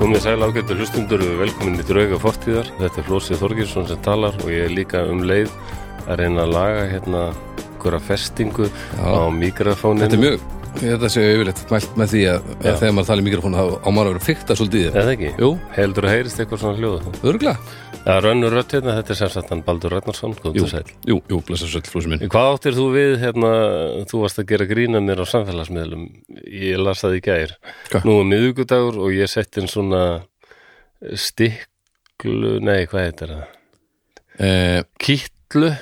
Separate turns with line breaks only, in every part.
Komið sæl ágættu hlustundur og velkomin í drauga fortíðar. Þetta er Flósið Þorgjursson sem talar og ég er líka um leið að reyna að laga hérna hverja festingu á mikrofóninu.
Þetta er mjög, ég held að sé yfirleitt mælt með því að
Já.
þegar maður talar í mikrofónu þá á maður að vera fyrta svolítið í
Er
því.
það ekki?
Jú,
Heldur að heyrist eitthvað svona hljóða?
örgla?
Það er önnur rött hérna, þetta er sem sagt hann Baldur Ragnarsson,
Jú,
góður sæl.
jú, jú, blessa svolítið flósi minn.
Hvað áttir þú við hérna, þú varst að gera grína mér á samfélagsmiðlum, ég las það í gær.
Hvað?
Nú er miðugudagur og ég sett inn svona stiklu, nei hvað heitir það?
Eh,
Kittlu?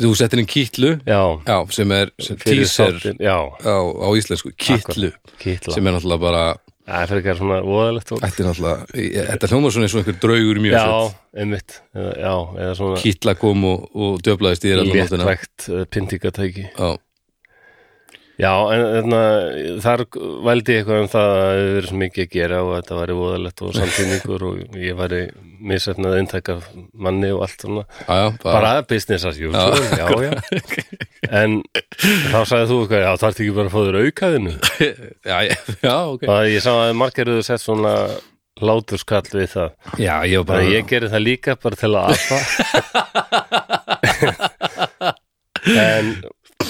þú settir inn kýtlu,
Já,
já, sem er sem
fyrir
teaser
þáttinn, Já,
á, á íslensku, kýtlu,
Kittla
sem er náttúrulega bara,
Það er fyrir ekki svona voðalegt og...
þetta er náttúrulega, ég- þetta hljómar svona eins og einhver draugur mjög
Já,
sett.
einmitt eða, Já, eða svona
Kýtla kom og, og döblaðist í þér allan nóttina.
léttvægt uh, pyntingatæki
Já,
Já, en þarna, þar vældi ég eitthvað um það að það hefur verið svo mikið að gera og þetta væri voðalegt og samtíningur og ég væri misefnað eintak af manni og allt svona
já, já, bara,
bara business as usual, já, já, en þá sagði þú eitthvað, já, það ert ekki bara að fá þér aukaðinu
já, já, já, ok.
og ég sá að margir eru sett svona láturskall við það
Já, ég var bara,
Bara ég gerir það líka bara til að apa en,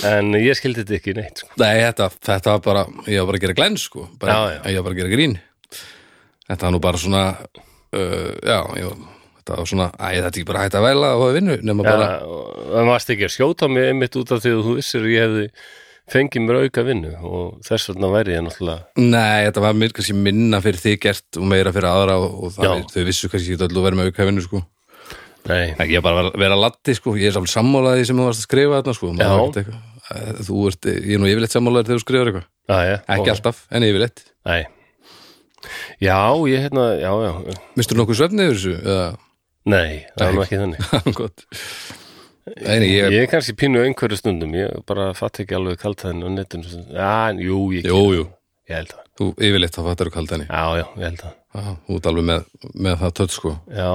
en ég skildi þetta ekki neitt sko.
Nei, þetta, þetta var bara, ég var bara að gera glenn sko, bara,
Já,
ég var bara að gera grín Þetta var nú bara svona uh, já, ég, var- þetta var svona æ, þetta er ekki bara hægt að væla og hafa vinnu nema
bara,
bara,
það varst ekki að skjóta mig einmitt út af því að þú vissir að ég hefði fengið mér auka vinnu og þess vegna væri ég náttúrulega
nei, þetta var mér kannski minna fyrir þig gert og meira fyrir aðra og, og það,
Já.
þau vissu kannski ekki öll að vera með auka vinnu sko
Nei,
Nei, ég er bara að vera- vera laddi sko, ég er svolítið sammálaði sem þú varst að skrifa þarna sko
Já.
maður var ekkert eitthvað. Æ, Þú ert, ég er nú yfirleitt sammálaður þegar þú skrifar eitthvað
aðja
Ekki alltaf, en yfirleitt
Ah, Nei Já, ég hérna, já, já
Mistur nokkuð svefni yfir þessu? Eða,
Nei, það er nú ekki þannig
gott Nei, nei, ég,
Ég er kannski pínu á einhverju stundum Ég bara fatt ekki alveg kaltaðin á netinu Já, en jú, ég,
jú, jú
ég held það
Þú yfirleitt þá fattar þú kaldan í.
Já, já, ég held það
Þú ert alveg með, með það tött sko.
Já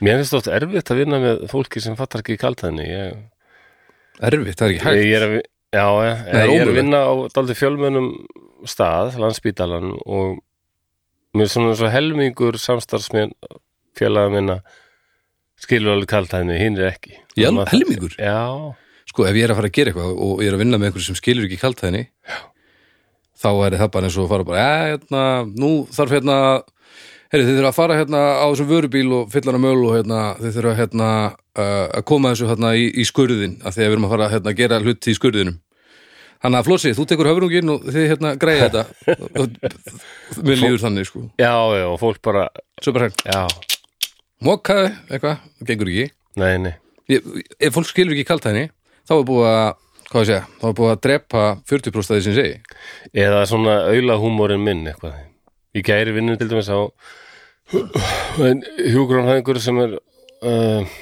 Mér finnst þótt erfitt að vinna með fólki sem fattar ekki kaltæðinni ég,
Erfitt, það er ekki hægt.
ég er að, vi- já, ég,
Nei,
ég er
ómögulegt.
að vinna á daldi fjölmönnum stað, landspítalan og mér er svona svo helmingur samstarfsmenn félaga minna skilur alveg kaltæðinni, hinn er ekki
Ég
Þannig
alveg
að-
helmingur.
Já,
Sko, ef ég er að fara að gera eitthvað og ég er að vinna með einhverju sem skilur ekki kalt henni, þá er það bara eins og að fara bara, ja, hérna, nú þarf hérna, heyri, þið þurfa að fara hérna á þessum vörubíl og fylla hana möl og hérna, þið þurfa hérna uh, að koma þessu hérna í, í skurðin, af því að við erum að fara hérna að gera hluti í skurðinum. Þannig að Flósi, þú tekur höfrungin og þið hérna græði þetta. Og- og- Mér líður þannig, sko.
já, já, og fólk bara,
Svo bara,
já,
mokaðu eitthvað, það gengur ekki
nei, nei
ég, ef fólk skilur ekki kalt henni þá er búið að, hvað ég segja þá er búið að drepa 40% af því sem ég segi
eða svona aulahúmórin minn eitthvað í gæri vinnu til dæmis á en hjúgrunhæðingur sem er uh,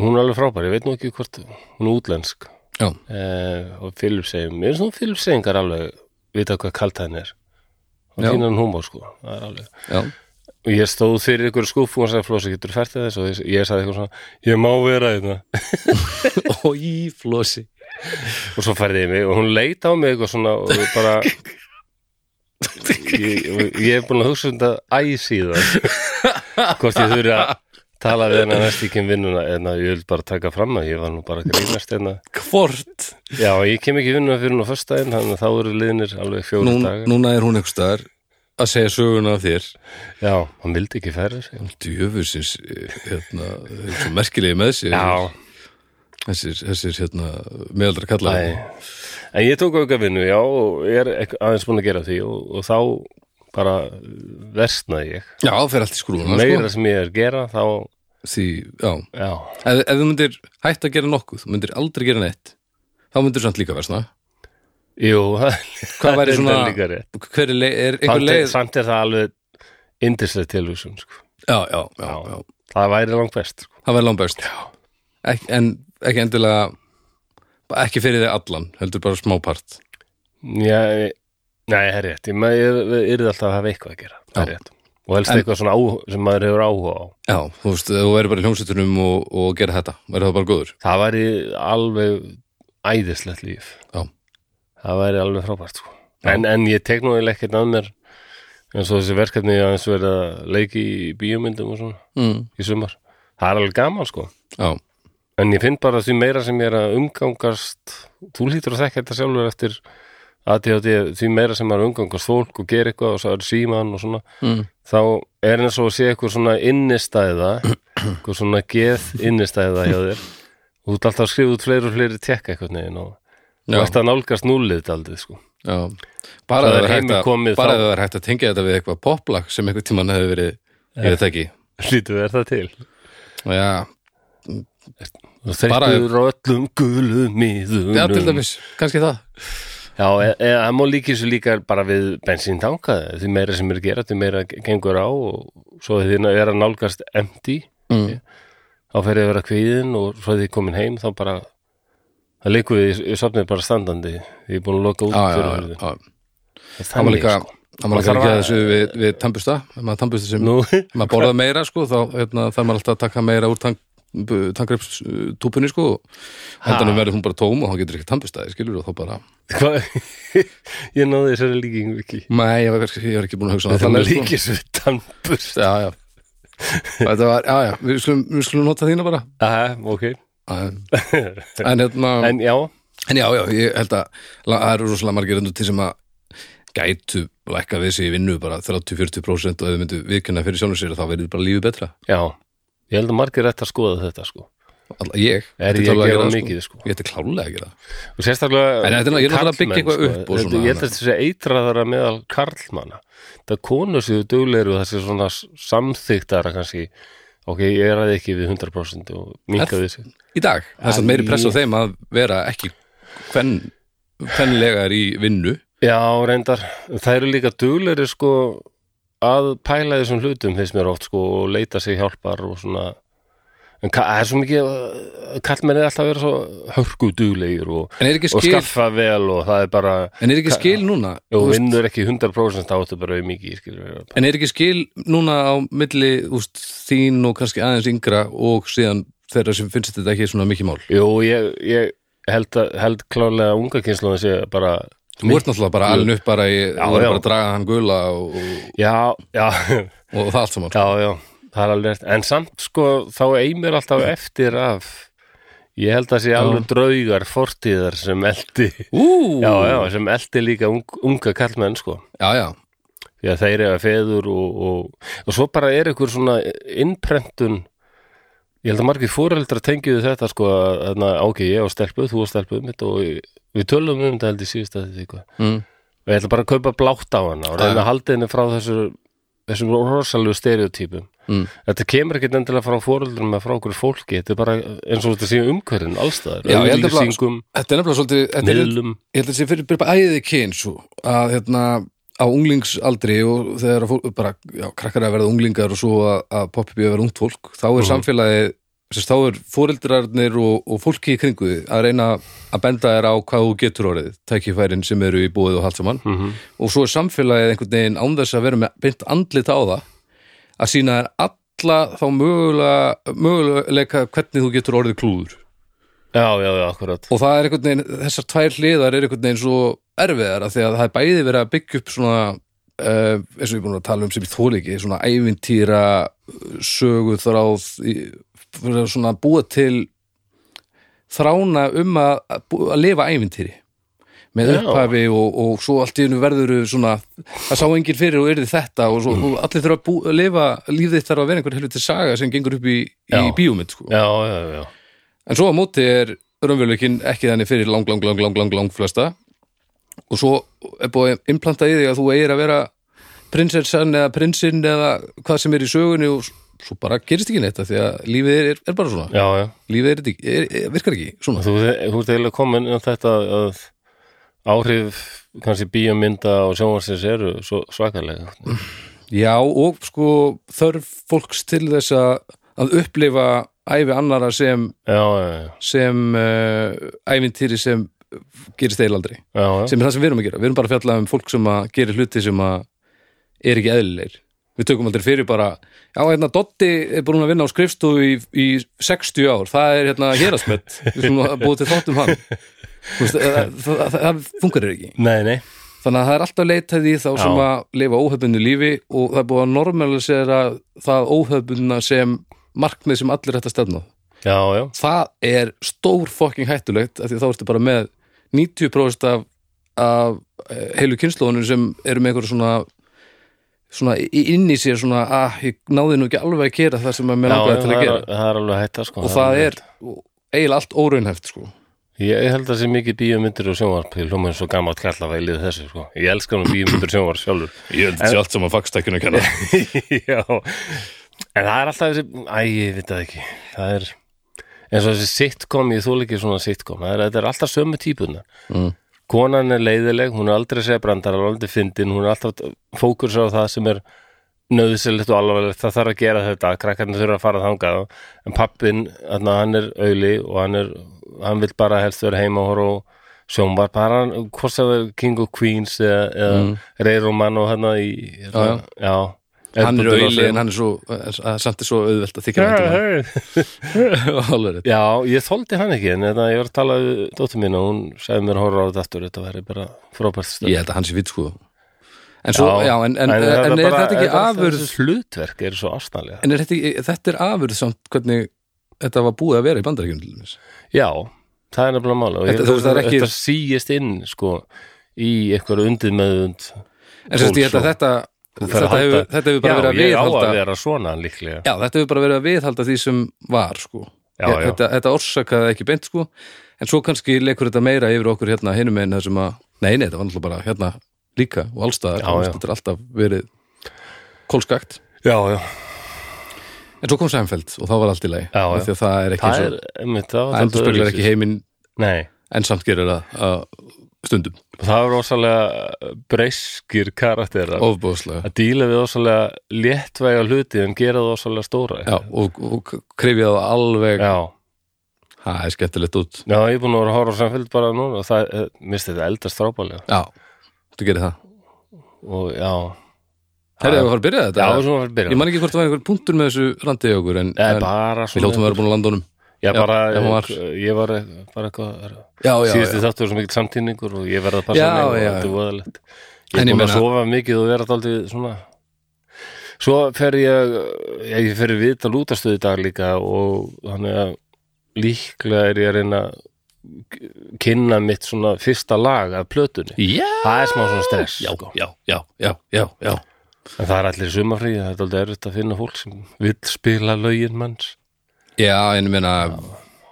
hún er alveg frábær, ég veit nú ekki hvort hún er útlensk
já,
uh, og Filipsegjum, mér er svona Filipseyingar alveg vita hvað kalt hann er og
Já.
fínan húmór sko, það er alveg
já,
og ég stóð fyrir ykkur skúf og hún sagði Flósi, getur fært þess og ég, ég sagði eitthvað svona ég má vera hérna." þetta
oi, flósi
og svo færði ég mig og hún leit á mig eitthvað svona og bara ég, og ég er búin að hugsa um þetta æ síðan hvort ég þurfi að tala við hennar næst ekki um vinnuna en að ég vil bara taka fram að ég var nú bara að grínast hérna
hvort,
já, ég kem ekki í vinnuna fyrir nú föstudaginn þannig að þá eru liðnir alveg fjóri
Nún,
dagar
núna er hún einhver staðar að segja söguna af þér
já, hann vildi ekki ferður
djöfursins eh, hérna, þeir eru svo merkilegi með sér
já,
þessir, þessir hérna, meðaldra kallar
Æ. en ég tók auka vinnu já, og ég er ekk- aðeins búin að gera því og, og þá bara versnaði ég
já, fer allt í skrúna
meira
sko.
sem ég er að gera þá,
því, já,
já
ef, ef þú myndir hætt að gera nokkuð, þú myndir aldrei gera neitt þá myndir samt líka versna
Jú,
hvað væri svona,
líka rétt
hver er, leið- er einhver
samt er,
leið
samt er það alveg indislega tilvísun sko.
já, já, já,
Já.
já.
það væri langt best sko.
Það verður langbæst Ek, En ekki endilega ekki fyrir þig allan, heldur bara smápart
Já, ég- Nei, það er rétt ég, maður, ég yrði alltaf að hafa eitthvað að gera það er
Já.
rétt og helst
En-
eitthvað svona á, sem maður hefur áhuga á
Já, þú veist, ef þú verður bara í hljómsveitunum og, og gera þetta, verður það bara góður
það væri alveg æðislegt líf
Já.
það væri alveg frábært sko. en, en ég tek nú eiginlega ekkert að mér en svo þessi verkefni aðeins verið að leiki í bíómyndum og svona
mm.
í sumar það er alveg gaman sko
Já,
en ég finn bara því meira sem ég er að umgangast þú hlýtur að þekka þetta sjálfur eftir ADHD, því meira sem maður umgangast fólk og gera eitthvað og svo er síman og svona
mm.
þá er eins og að sé eitthvað svona innistæða eitthvað svona geð innistæða hjá þér og þú ert alltaf að skrifa út fleiri og fleiri tekka eitthvað neginn og
Já.
þú ert að nálgast núlið daldið sko
já Bara
Það er
ef það er hægt
heimur komið
að- bara
þá.
ef það er hægt að tengja þetta við eitthvað poplag sem einhvern tímann hefði verið, ég veit ekki
Lítu er það til
Já,
og
Bara-
þeirkur öllum gulum miðum
já til dæmis, kannski það
Já, e- e- það má líka þessu líka bara við bensíntanga því meira sem er að gera, því meira gengur á og svo því að vera nálgast empty eh,
mm.
þá fer ég að vera kvíðin og svo því ég komin heim þá bara það leikur við, ég sopnið bara standandi ég er búin að loka út
Já, já,
fyrir
já,
hurðinni.
já
Það er
Það var
þannig,
líka,
sko.
það var
Maður
líka
þarf
ekki að
að-
þessu við, við tampusta, ef maður tampusta sem
Nú,
ef maður borða meira sko, þá hérna, þarf maður alltaf að taka meira úr tank, tankreipstúpunni sko og hendanum verður hún bara tóm og þá getur ekki tampustaði, skilur og þá bara,
hvað ég náði þessari líkingu ekki
nei, ég var, kannski- ég var ekki búin að hugsa
þannig að
sko.
líkis við tannburs
Já, já Þetta var, já, já, við skulum, við skulum nota þína bara
Aha, ok
En, en hérna, en,
en já,
já, já, ég held að la- það eru rosalega margir endur til sem að gætu lækka við sig í vinnu bara 30-40% og ef þau myndu vikuna fyrir sjálfum sér þá verður bara lífið betra
já ég held að margir ætti að skoða þetta sko
Alla, ég,
er
Þetta
ég að
klárlega
gera
það,
mikið sko
Ég ætti klálega að gera það
og sérstaklega
En þetta er náttúrulega- ég er náttúrulega að byggja
karlmenn, sko.
eitthvað upp og
Þetta-
svona,
ég held að þetta sé eitraðara meðal karlmanna það konu séu dugleiru það sé svona samþyktara kannski ok, ég er að ekki við 100% og minka við sig
Í dag, það er samt meiri press á þeim að vera ekki hvern, hvernlegar í vinnu
já, reyndar, það eru líka dugleiru sko að pæla þessum hlutum finnst mér oft sko og leita sig hjálpar og svona en ka- það er svo mikið kallmenn er alltaf að vera svo hörku duglegir og,
En er ekki
og
skil,
skaffa vel og það er bara
en er ekki skil núna
og
Þú veist,
vinnur ekki 100% þá áttu bara auðmikið skilur við
En er ekki skil núna á milli úst, þín og kannski aðeins yngra og síðan þeirra sem finnst þetta ekki svona mikið mál
Jú, ég, ég held, að, held klárlega að unga kynsluðan sé bara
Þú ert náttúrulega bara alveg upp bara í,
Já,
þú
já.
ert bara að draga hann gula og, og,
Já, já,
og það allt saman
já, já það er alveg rétt. en samt sko þá eimir alltaf eftir af ég held að sé alveg draugar fortíðar sem eldi
Ú,
já, já, sem eldi líka ung, unga kallmenn sko
já, já,
því að þeir eru feður og, og, og svo bara er einhver svona innprentun ég held að margir fóreldrar tengjuðu þetta sko að þarna, ok, ég á stelpu, þú á stelpu mitt og ég- við tölum um þetta held í síðust að því hvað
Mm.
og ég ætla bara að kaupa blátt á hana og reyna að halda henni frá þessu þessum rosalegu stereotypum
Mm.
þetta kemur ekkert endilega frá fóreldrum með frá okkur fólki, þetta er bara eins og þetta sé umhverfin allstaðar,
Já, ég held að bara-
auglýsingum,
Þetta er nefnilega svolítið þetta er-
miðlum
ég held að sé fyrir bara æðið kyn svo að hérna á unglingsaldri og þegar að fólk, bara já, krakkar að verða unglingar og svo að, að poppi að verða ungt fólk, þá er samfélagi sérst, þá er fóreldrarnir og, og fólki í kringu því að reyna að benda þér á hvað þú getur orðið, tækifærin sem eru í búið og haldt saman
mm -hmm.
og svo er samfélagið einhvern veginn án þess að vera með beint andlit á það að sína þér alla þá mögulega, möguleika hvernig þú getur orðið klúður
já, já, já, akkurat
og það er einhvern veginn, þessar tvær hliðar er einhvern veginn svo erfiðar af því að það er bæði verið að byggja upp svona uh, eins og við búin að tala um sem ég þóli ekki svona ævintýra eh, sögu þráð í- fyrir að svona búa til þrána um að, að bú- að lifa ævintýri með
Já.
upphafi og, og svo allt í hennu verður svona, það sá enginn fyrir og yrði þetta og
Mm.
svo og allir þurfa að, bú, að lifa lífið þitt þarf að vera einhver helviti saga sem gengur upp í, í
Já.
bíómynd sko.
já, já, já,
En svo á móti er raunveruleikin ekki þannig fyrir lang, lang, lang, lang, lang, lang flesta og svo er búið að implanta í því að þú eigir að vera prinsessan eða prinsinn eða hvað sem er í sögunni og s- svo bara gerist ekki neitt af því að lífið er, er bara svona
já, já.
lífið er, ekki- er, er, virkar ekki svona
Þú, þú ert eiginlega komin á þetta að áhrif kannski bíómynda og sjónvarsins eru svo svakalega
Já og sko þörf fólks til þess að, að upplifa æfi annara sem,
Já, já,
sem uh, ævintýri sem gerist þeir aldrei
já, já, já.
sem er það sem við erum að gera, við erum bara að fjalla um fólk sem að gerir hluti sem að er ekki eðlilegir við tökum aldrei fyrir bara já, hérna, Dotti er búin að vinna á skrifstofu í, í 60 ár, það er hérna hérasmett, við erum að búið til þátt um hann Þú veist, það, það, það, það fungerir ekki
Nei, nei,
þannig að það er alltaf leitað í þá sem
Já.
að lifa óhefbundu lífi og það er búið að normalisera það óhefbundna sem markmið sem allir þetta stefna á.
já, já,
það er stór fokking hættulegt af því að þá ertu bara með 90% af, af eh, heilu kynnslóðunum sem eru með einhverju svona svona í- inn í sér svona að ég náði nú ekki alveg að gera það sem að mér
já,
langaði
já
til
það,
að
er,
gera
það er alveg hætta sko,
og það
alveg
er eiginlega allt óraunhæft sko.
Ég, ég held að það sé mikið bíómyndir og sjónvarp ég hljóma eins og gammalt kalla að ég liði þessu sko. ég elskar nú bíómyndir og sjónvarp sjálfur
ég held þessi allt sem að fagstakjunum kenna
já en það er alltaf þessi, æ, ég veit það ekki það er eins og þessi sitcom, ég þól ekki svona sitcom það er, þetta er alltaf sömu típuna
Mm.
konan er leiðileg, hún er aldrei sebrandar hún er aldrei fyndin, hún er alltaf fókus á það sem er nöðsilegt og alvarlegt, það þarf að gera þetta krakkarnir þurfa að fara þangað en pappin, þarna, hann er auðli og hann er, hann vill bara helst vera heima og horfa á sjónvarp bara hann, hvort sem það er King of Queens eða, eða mm. Reirumann og hann í, hérna,
Já,
já,
hann er auðli en hann er svo eh, samt er svo auðvelt að þykja
já,
væntum
hey.
hann. Alveg rétt.
já, ég þoldi hann ekki en þetta, ég var að tala við dóttur mín og hún sagði mér að horfa á þetta aftur, þetta væri bara frábært stöð
ég held að hann sé vitt sko en, svo, já, en, en, en, er
bara-
þetta ekki
alltaf
afurð
þessi hlutverk eru svo ástæðlega
En er þetta, ekki- þetta er afurð samt hvernig þetta var búið að vera í bandaríkjum til þess.
Já, það er nefnilega mála og ég
Þetta-
held
þú
að
veist, það er ekki-
þetta síist inn sko, í einhverju undið meðund
En sem sagt, ég held að
Fólk
þetta, þetta, hefur, þetta hefur bara
Já,
verið að
ég á að
viðhalda
vera svona líklega
Já, þetta hefur bara verið að viðhalda því sem var sko.
Já,
Ég-
já.
Þetta, þetta orsakaði ekki beint sko. en svo kannski leikur þetta meira yfir okkur hérna hinum einu þessum að, nei, nei, þetta var náttúrulega bara hérna líka og allstaðar
Já,
Þú veist,
já.
þetta er alltaf verið kólskakt
Já, já,
en svo kom Sæmfeld og þá var allt í lagi
Já, já.
Af því að það er ekki
það er
svo,
einmitt, það var
það
dálítið
endurspeglar
öðruvísi.
ekki heiminn
Nei,
en samt gerir það að stundum,
það er rosalega breyskir karakterar
ofbúðslega
að díla við rosalega léttvæga hluti en gera það rosalega stóra
Já, og, og krifja það alveg
já,
Það er skemmtilegt út
já, ég er búin að vera að horfa á samfélg bara núna og það, eh, minnst þetta eldast þrábálega
Já, þú gerir það
og já,
Herra, ef við fara að byrja þetta
já, svona var að byrja
Ég man ekki hvort það var einhver punktur með þessu randi í okkur En,
Nei,
en
bara
við
svona
lótum að vera búin að landa honum
Já,
Já,
bara, eh,
ef hún var.
ég var eh, bara eitthvað
Já, já,
síðusti
já,
þáttur sem ekki samtíningur og ég verða að passa
Já,
mig og
já,
þetta er
já.
voðalegt Ég
En
er
ég
búin að
meina-
sofa mikið og vera þáldið svona Svo fer ég já, ég fer í viðtal útastöðu í dag líka og þannig að líklega er ég að reyna að kynna mitt svona fyrsta lag af plötunni
já
Það er smá svona stress
Já,
sko.
já, já, já, já, já
En það er allir sumafríð, það er aldrei erfitt að finna fólk sem vill spila lögin manns
Já, en ég meina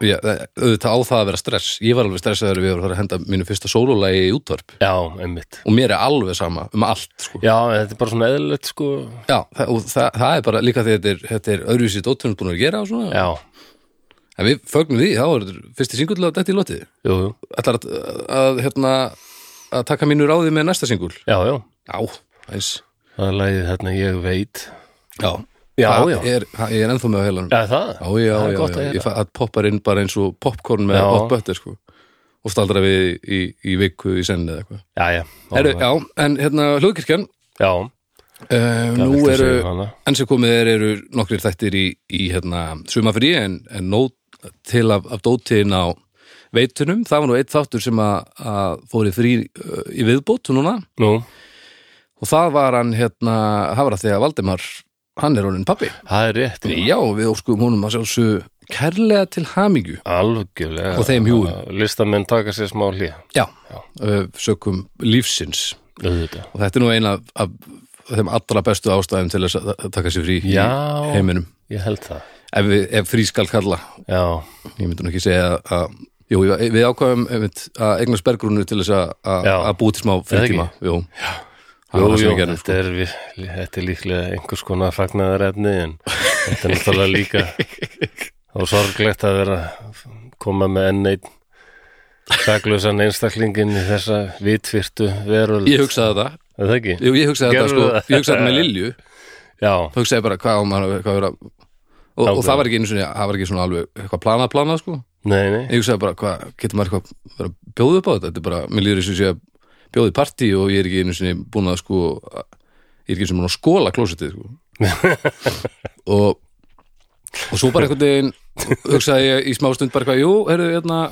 já, það- Auðvitað á það að vera stress Ég var alveg stressaður við vorum að fara að henda mínu fyrsta sólulagi í útvarp
Já, einmitt
Og mér er alveg sama um allt sko.
Já, en þetta er bara svona eðlilegt sko
Já, það, og það, það er bara líka því að þetta er, þetta er öðruvísi dóttunum búin að gera og svona
Já,
En við fögnum því, þá er þetta fyrsti singull að dætti í lotið
jú, jú
ætlar að, að, hérna, að taka mínu ráði með næsta singul
Já, já,
Já, eins
það er lagið þarna ég veit
Já,
Já,
það
já.
Er, það- ég er ennþá með á heilanum Já,
Já, það?
já, já,
það er
já,
gott að
já.
heyra.
Ég fæ, að poppar inn bara eins og popcorn með
Já.
hot butter sko. og staldra við í, í viku í senni eða eitthvað
Já, já
Heru, Já, en hérna hlugkirkjan
já
uh,
það
Nú
viltu
eru,
segja hana.
enn sem komið er eru nokkrir þættir í, í hérna, sumafrí en, en nót til af, af dótin á veitunum, það var nú eitt þáttur sem að, að fóri frí uh, í viðbót núna
Nú,
og það var hann hérna, það var að því að Valdimar hann er honin pappi
það er rétt já.
já, við óskuðum honum að sjálfsög kærlega til hamingju
Algjörlega
Og þeim hjúum.
Að Listamenn taka sér smá hlý
já, já. sökum lífsins
Auðvitað
og þetta er nú eina af, af þeim allra bestu ástæðum til þess að taka sér frí
Já.
í heiminum
Ég held það
ef, við, ef frí skal kalla
Já,
ég myndi nú ekki segja að Jú, ég- við ákvæðum einmitt, að eignast bergrúnu til þess að- að
Já.
að búið til smá
það
frítíma. Jú, það
jú,
var það sem
jú,
við gerum.
þetta er, við, þetta er líklega einhvers konar fagnaðarefni en þetta er náttúrulega líka og sorglegt að vera koma með enn einn saklausan einstaklingin í þessa vitvirtu veröld
Ég hugsaði þetta,
Er það ekki?
Jú, ég hugsaði þetta,
Gerðu
sko,
það?
ég hugsaði þetta með Lilju
Já,
þá hugsaði ég bara hvað á maður hvað vera, og, og
Ákveða.
það var ekki einu sinni, það var ekki svona alveg eitthvað planað planað sko,
nei, nei
ég hugsaði bara hvað, getur maður eitthvað vera að bjóða upp á þetta, þetta er bara mér líður þess að ég bjóði partí og ég er ekki einu sinni búin að sko að- ég er ekki einu sinni búin að skóla klósitið sko. og og svo bara einhvern veginn hugsaði ég í smá stund bara hvað, jú, heyrðu, hérna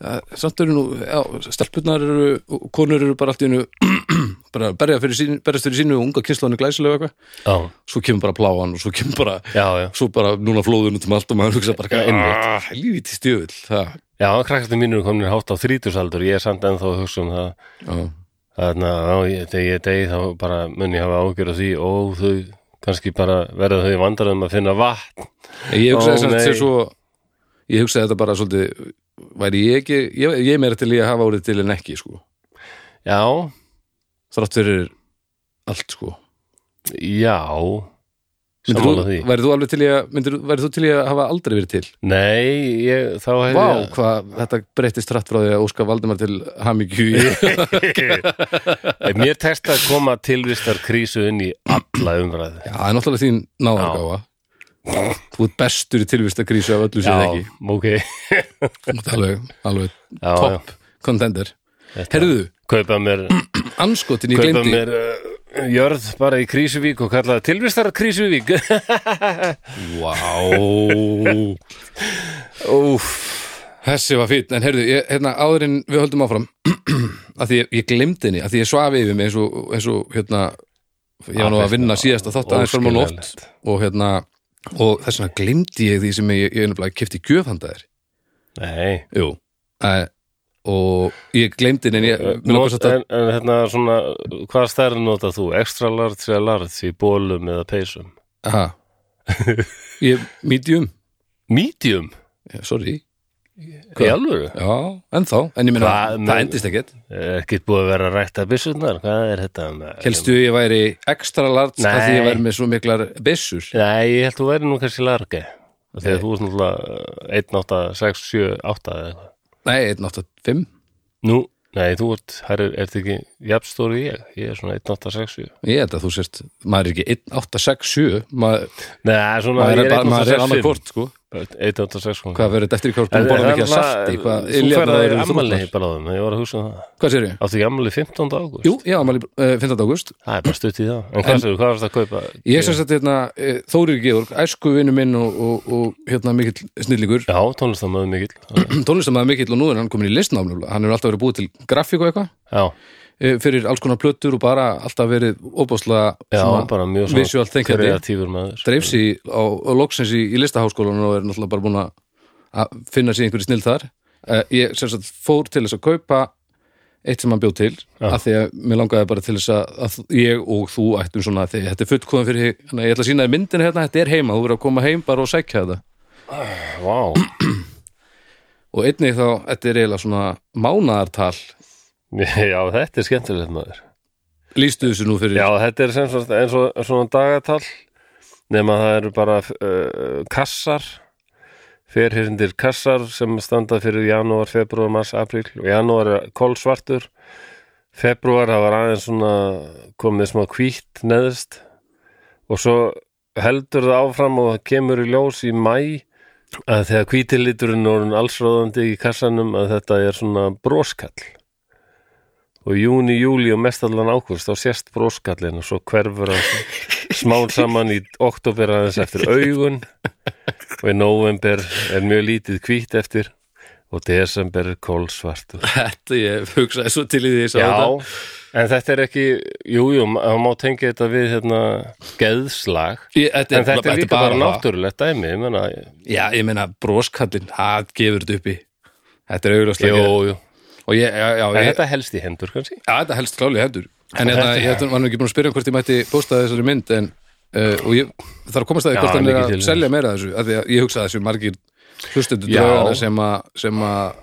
Ja, samt eru nú, já, stelpunar eru og konur eru bara allt í hennu bara berja fyrir sín, berjast fyrir sínu og unga kynslaðan er glæsilega og eitthvað,
já,
svo kemur bara pláan og svo kemur bara,
já, já,
svo bara núna flóðun út um allt og maður hugsa bara,
Já, einmitt.
helviti stjöfull það,
já krakkartin mínur komin hátt á þrítursaldur, ég er samt ennþá að hugsa um það
já,
þannig að á ég degi, degi þá bara mun ég hafa ágjör á því og þau kannski bara verða þau vandarðum að finna vatn
Ég
Ó,
hugsaði
nei.
þetta svo ég hugsaði þetta bara svolítið væri ég ekki, ég, ég er meira til í að hafa árið til en ekki sko,
já,
þrátt fyrir allt sko
já
Myndir
sammála
þú,
því
væri þú alveg til í að myndir, væri þú til í að hafa aldrei verið til
nei, ég, þá hefði
Vá, hvað þetta breytist rætt frá því að Óskar Valdimar til hamingju í
ég mér tekst að koma tilvistar krísu inn í alla umræðu
Já, það er náttúrulega þín náðargáfa Þú ert bestur í tilvistakrísu af öllu sér ekki
ok
Þú ert alveg, alveg
Já,
topp contender
Þetta-
Herðu,
kaupa mér,
anskotin ég
kaupa
gleymdi
mér uh, jörð bara í Krísuvík og kallaði tilvistar Krísuvík
Vá
Úf,
Þessi var fýtt, en herðu, ég, hérna, áðurinn við höldum áfram að því ég, ég gleymdi henni, að því ég svafi yfir mig eins og, eins og hérna ég var nú að vinna síðasta þátt aðeins fram á nótt
Óskiljanlegt.
og hérna, og þess vegna gleymdi ég því sem ég, ég nefnilega kefti gjöfhandaðir
nei
Jú uh, Og ég gleymdi henni en ég, mér
Not,
langar samt að-
en, en hérna svona hvaða stærð notað þú? Extra large eða large í bólum eða peysum?
Aha. Ég medium
Medium?
Já, Sorry,
Í alvöru?
já, ennþá En ég meina,
Hvað með-
það endist ekkert
Eh, Ekkert búið að vera að rækta byssurnar? Hvað er þetta? með-
Helstu ég væri ekstra larts að því
Nei.
ég væri með svo miklar byssur
Nei, ég held þú væri nú kannski large Þegar þú ert náttúrulega eh, 1, 8, 6, 7, 8 eða eitthvað
Nei, 185
Nú, nei, þú ert, herri, ert ekki jafnstóri ég, ég er svona 1, 8, 6, 7
Ég held að þú sért, maður er ekki 1867 maður,
Nei, svona,
maður er,
ég
bara- maður er
1,86.
annað hvort sko.
1, 8, 6 kom.
Hvað verður þetta eftir í hvort
En-
búin borðum
en
ekki að
náttúrulega-
salti hvað,
Þú
iljarnar
ferð að
eru
ammali
þrútnar.
bráðum, ég var að hugsa um það
Hvað sér ég?
Áttu ekki ammali 15. ágúst?
Jú, ég ammali uh, 15. ágúst
Það er bara stutt í það En hvað séu, hvað varst að kaupa?
Ég sem sagt hérna, eh, Þórir Georg, æsku vinnu minn og, og, og hérna mikill snillíkur
Já, tónlistamöðu mikill
tónlistamæður mikill og nú er hann komin í listnámnum hann er alltaf verið búið til grafík og eitthvað
Já,
eh, fyrir alls konar plötur og bara alltaf verið óbáslega
já bara mjög
visual
svona
thinkandi
kreatífur maður
dreif sig á, á loksins í, í listaháskólanum og er náttúrulega bara búin að- að finna sér einhverju snill þar uh, ég sem sagt fór til þess að kaupa eitt sem hann bjóð til
Já.
af því að mér langaði bara til þess að, að ég og þú ættum svona því, þetta er fullkoðan fyrir hana, ég ætla að sína þér myndin hérna, þetta er heima þú verður að koma heim bara og sækja þetta
Vá,
og einnig þá, þetta er eiginlega svona mánaðartal
já, þetta er skemmtilegt maður
lýstu þessu nú fyrir
Já, þetta er sem svona, eins og svona dagatal nema það eru bara uh, kassar fyrirhyrndir kassar sem standa fyrir janúar, februar, mars, apríl og janúar er kolsvartur februar það var aðeins svona komið smá hvítt neðst og svo heldur það áfram og það kemur í ljós í mæ að þegar hvítiliturinn orðin allsráðandi í kassanum að þetta er svona broskall og júni, júli og mestallan ákvörst þá sést broskallin og svo hverfur hann smán saman í oktober aðeins eftir augun og í november er mjög lítið hvít eftir og desember er kólsvartur
þetta ég hugsaði svo til í því ég sá þetta.
Já, en þetta er ekki jújú, jú, ma- það má tengja þetta við hérna, geðslag
Ég, þetta,
en þetta er líka bara,
það.
náttúrulegt dæmi ég menna,
Já, ég meina, broskallin, það gefur þetta uppi Þetta er auðvitað
jú, jú.
Og ég, já, já,
en
ég,
þetta helst í hendur kannski
já, þetta helst klálega hendur En hérna, ég þetta var nú ekki búin að spyrja hvort ég mætti posta þessari mynd en, uh, og ég þarf að komast að því
Já,
hvort hann er
mikið
að
til.
selja meira af þessu af því að ég hugsa að þessu margir hlustendur
Já.
draugana sem að sem að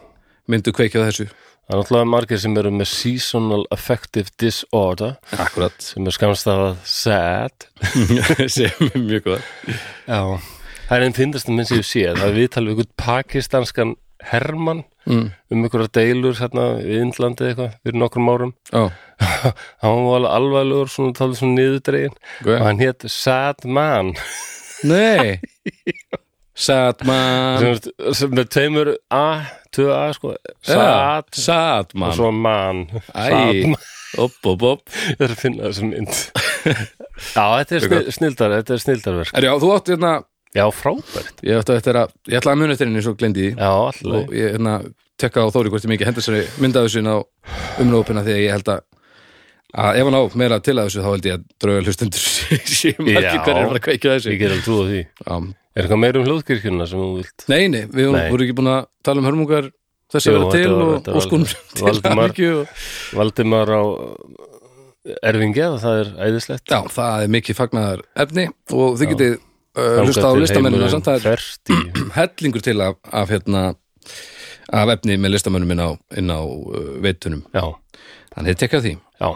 myndu kveikja á þessu
það er náttúrulega margir sem eru með seasonal affective disorder
Akkurat,
sem er skamstafað SAD
sem er mjög góð
Já, það er einn fyndastum minn sem ég sé það er viðtal við einhvern pakistanskan Hermann mm. um einhverja deilur hérna við Indlandi eða eitthvað fyrir nokkrum árum
Já,
hann var alveg alvarlegur svona talið svona niðurdregin
Guð.
og hann hétt Sad Man
nei Satman
sem, er- sem með tveimur A, tvö A sko
Já,
Sad og
Satman
svo Man Sad
Æ,
Man.
upp, upp, upp
Ég þarf að finna þessum mynd Já, þetta er snil, snildar, þetta er snildarverk
Er já, þú átt hérna
Já, frábært
Ég ætla, að, ég ætla að muni eftir henni svo glendi því
Já, alltaf
og ég, hérna, tekka á Þóri hvort ég mikið hendur sér mynda af þessu inn á umlópina því að ég held að að ef hann á meira til að þessu þá held ég að drauga hlustendur sé margir
Já.
hverjir að fara að kveikja á þessu
Ég get alveg trú á því
Já.
Er eitthvað meira um hljóðkirkjuna sem þú vilt?
Nei, nei, við vorum
Nei.
voru ekki búin að tala um hörmungar þess að
Jú,
vera
þetta
til
var-
og,
þetta var
og skunum
alveg-
til
Valdimar.
hamingju og-
Valdimar á erfingja það er æðislegt
Já, það er mikið fagnaðar efni og þið getið uh,
Þangað
hlusta á
til
listamennina
heimurinn
samt það er
ferst í
hellingur til af, af hérna af efni með listamönnum inn á, inn á uh, veitunum,
Já,
þannig að tekka því
já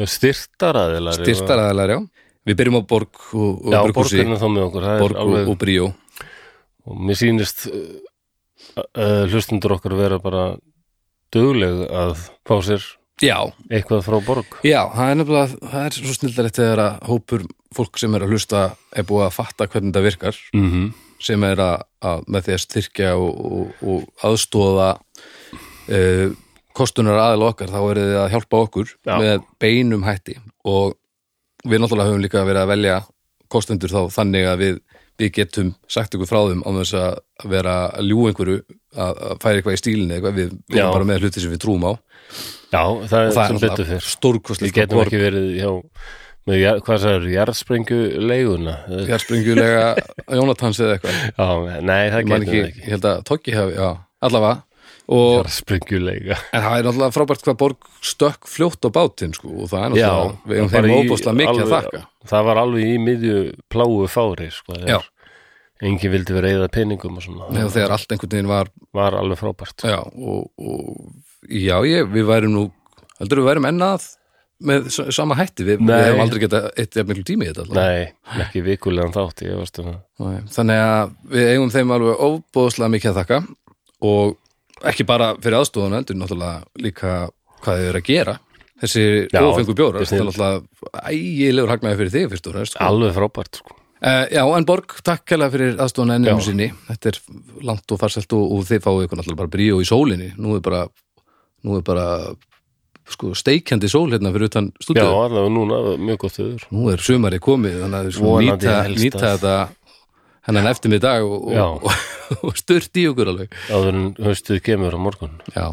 Styrtaraðilar
styrtaraðalar, já, við byrjum á Borg og, og
Já,
Brukhúsi,
borgarinn er þá með okkur það er
Borg og,
alveg,
og Bríó
og mér sýnist uh, uh, hlustundur okkar vera bara dugleg að fá sér
Já,
eitthvað frá borg
já, það er nefnilega það er svo snildarætt þegar að hópur fólk sem er að hlusta er búið að fatta hvernig það virkar
mm -hmm.
sem er að, að með því að styrkja og, og, og aðstóða uh, kostunar aðeila okkar þá eru þið að hjálpa okkur
Já.
með beinum hætti og við náttúrulega höfum líka verið að velja kostendur þá þannig að við, við getum sagt ykkur frá þeim á þess að vera að ljú einhverju að, að færa eitthvað í stílinni eitthvað, við við
Já.
erum bara með hluti sem við trúum á
Já, það er
og
sem
það er
betur fyrr Við
stórkostlegt
getum ekki verið hjá með, jar- hvað sagður, jarðsprengju leiguna
fjarspringjulega Jónatans eða eitthvað
Já, nei, það
ég, man
getum
ekki,
við ekki
ég held að Toggi hafi, já, allavega og
Jarðsprengju leiga
En það er náttúrulega frábært hvað borg stökk fljótt á bátinn sko og það er náttúrulega, við erum þeim óbúslega mikið að þakka.
Það var alveg í miðju pláu fári sko,
Já.
þegar enginn vildi vera eða peningum og svona,
Nei, og þegar allt einhvern veginn var,
var alveg frábært
já, og, og já, ég, við værum nú, heldur við værum ennað með s- sama hætti, við, við
Nei.
hefum aldrei getað eitt jafn miklu tími í þetta alltaf.
Nei, ekki vikulegan þátt ég varst um það
Nei. Þannig að við eigum þeim alveg óbúslega mikið að þakka og ekki bara fyrir aðstofuna heldur náttúrulega líka hvað þau eru að gera. Þessi
Já,
ófengu bjórar,
þetta
þetta
er
er náttúrulega ægilegur hagnaði fyrir þig fyrst og fremst. sko.
Alveg frábært sko
Uh, já, en Borg, takk kæla fyrir aðstofan
Já.
ennum sinni. Þetta er langt og farselt og, og þið fáið ykkur náttúrulega bara bríó í sólinni. Nú er bara, nú er bara sko, steikjandi sól hérna fyrir utan
Já,
stúdíu.
allavega núna, mjög gott yfir
Nú er sumari komið, þannig að við sko
Vonandi
nýta,
helst
nýta
að-
þetta hennan eftir mig dag og,
Já.
og, og, og sturt í okkur alveg.
Áður en haustið kemur á morgun
Já.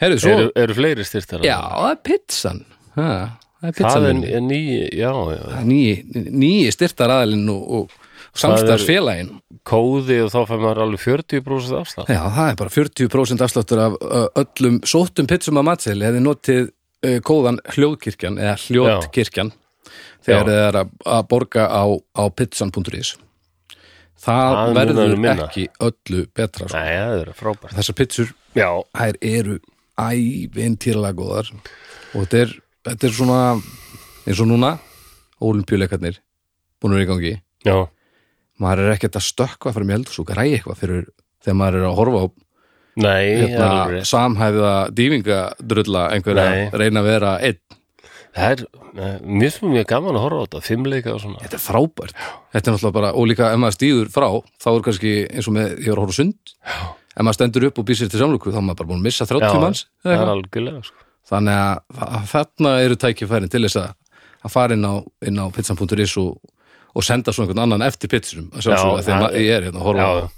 Herru, svo,
eru, eru fleiri styrtar
já, það er pizzan. Ha, það er
Það
pizzan.
er, er ný, já, já
Nýji, nýji styrtar aðalinn og, og samstarfsfélaginn.
Kóði og þá fær maður alveg 40% afslátt
Já, það er bara 40% afsláttur af ö, öllum sóttum pizzum að matsel hefði notið ö, kóðan hljóðkirkjan eða hljóðkirkjan
Já.
þegar þið er að, að borga á, á pizzan.is Það
Það munar
verður
um minna.
ekki öllu betra sko.
Nei, það eru frábært
Þessar pizzur,
Já,
þær eru ævintýrlega góðar og þetta er, þetta er svona eins og núna ólimpjuleikarnir búin að vera í gangi
já,
maður er ekkert að stökkva fyrir mjöld og svo græja eitthvað fyrir þegar maður er að horfa á
nei, það er alveg
hérna,
rétt.
samhæfða dývingadrulla einhverja
Nei.
reyna að vera einn
Það er, eh, mér finnst mjög gaman að horfa á þetta, fimmleika og svona.
þetta er frábært, þetta er náttúrulega bara og líka ef maður stíður frá, þá er kannski eins og með, ég var að horfa á sund ef maður stendur upp og býr sér til samlöku, þá er maður bara búin að missa 30 manns, eða
það er
eitthvað.
algjörlega, sko.
þannig að, að þarna eru tækifærin til þess að, að fara inn á, inn á pizzan.is og, og senda svo einhvern annan eftir pizzunum að
Já,
sjálfsögðu, af því að
það-
ma- ég er hérna að horfa
Já.
á-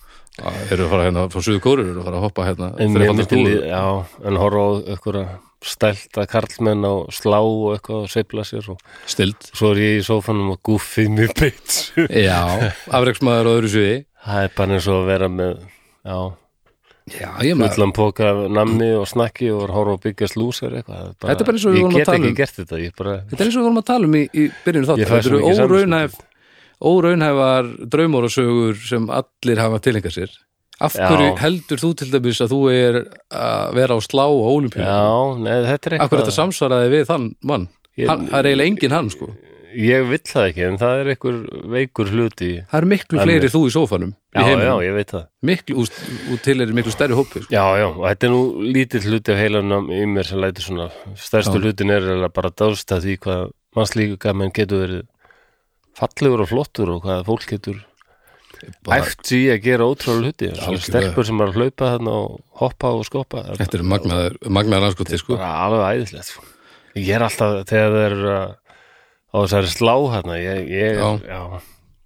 að eru að fara hérna frá suðu kóru, eru að fara að hoppa hérna
En mér
þrefaldar
myndi
dúður.
líð, já, en horfa á einhverja stælta karlmenn á slá og eitthvað og seifla sér og
Stillt.
svo er ég í sófanum og guffið mér beitsu.
Já, afreksmaður á öðru sviði
Það er bara eins og að vera með, já,
Já, ég maður
fullan póka af nammi og snakki og horfa að byggja slúsar eitthvað. Það
Þetta er bara eins og við vorum að
Ég get
tala um.
ekki gert þetta, ég bara,
Þetta er eins og við vorum að tala um í, í byrjunum þátt
Ég fæ
Þetta
svo
eru
mikið um
óraunhæf óraunhæfar draumur og sögur sem allir hafa tilhengað sér Af
Já.
hverju heldur þú til dæmis að þú er að vera á slá á olimpíu?
já, neð, þetta er
Af
eitthvað.
hverju þetta samsvaraði við þann mann?
Ég-
Hann, það er eiginlega engin hann sko
Ég vill það ekki, en það er einhver veikur hluti. í-
Það eru miklu
Alveg.
fleiri þú í sófanum
Já, já,
í heiminum.
ég veit það.
miklu, úst, út til er miklu stærri hópi sko.
Já, já, og þetta er nú lítill hluti af heilanum í mér sem lætur svona stærstu
Já.
hlutin er eiginlega bara að dásta því hvað mannslíka menn getur verið fallegur og flottur og hvað fólk getur
Bara-
æft sig í að gera ótrúlega hluti svona
Algjörlega.
stelpur sem er að hlaupa þarna og hoppa og skoppa það er
Þetta eru magnaðar, magnaðar anskotið sko
bara alveg æðislegt sko. ég er alltaf þegar það er á þessari slá hérna ég, ég,
Já.
já.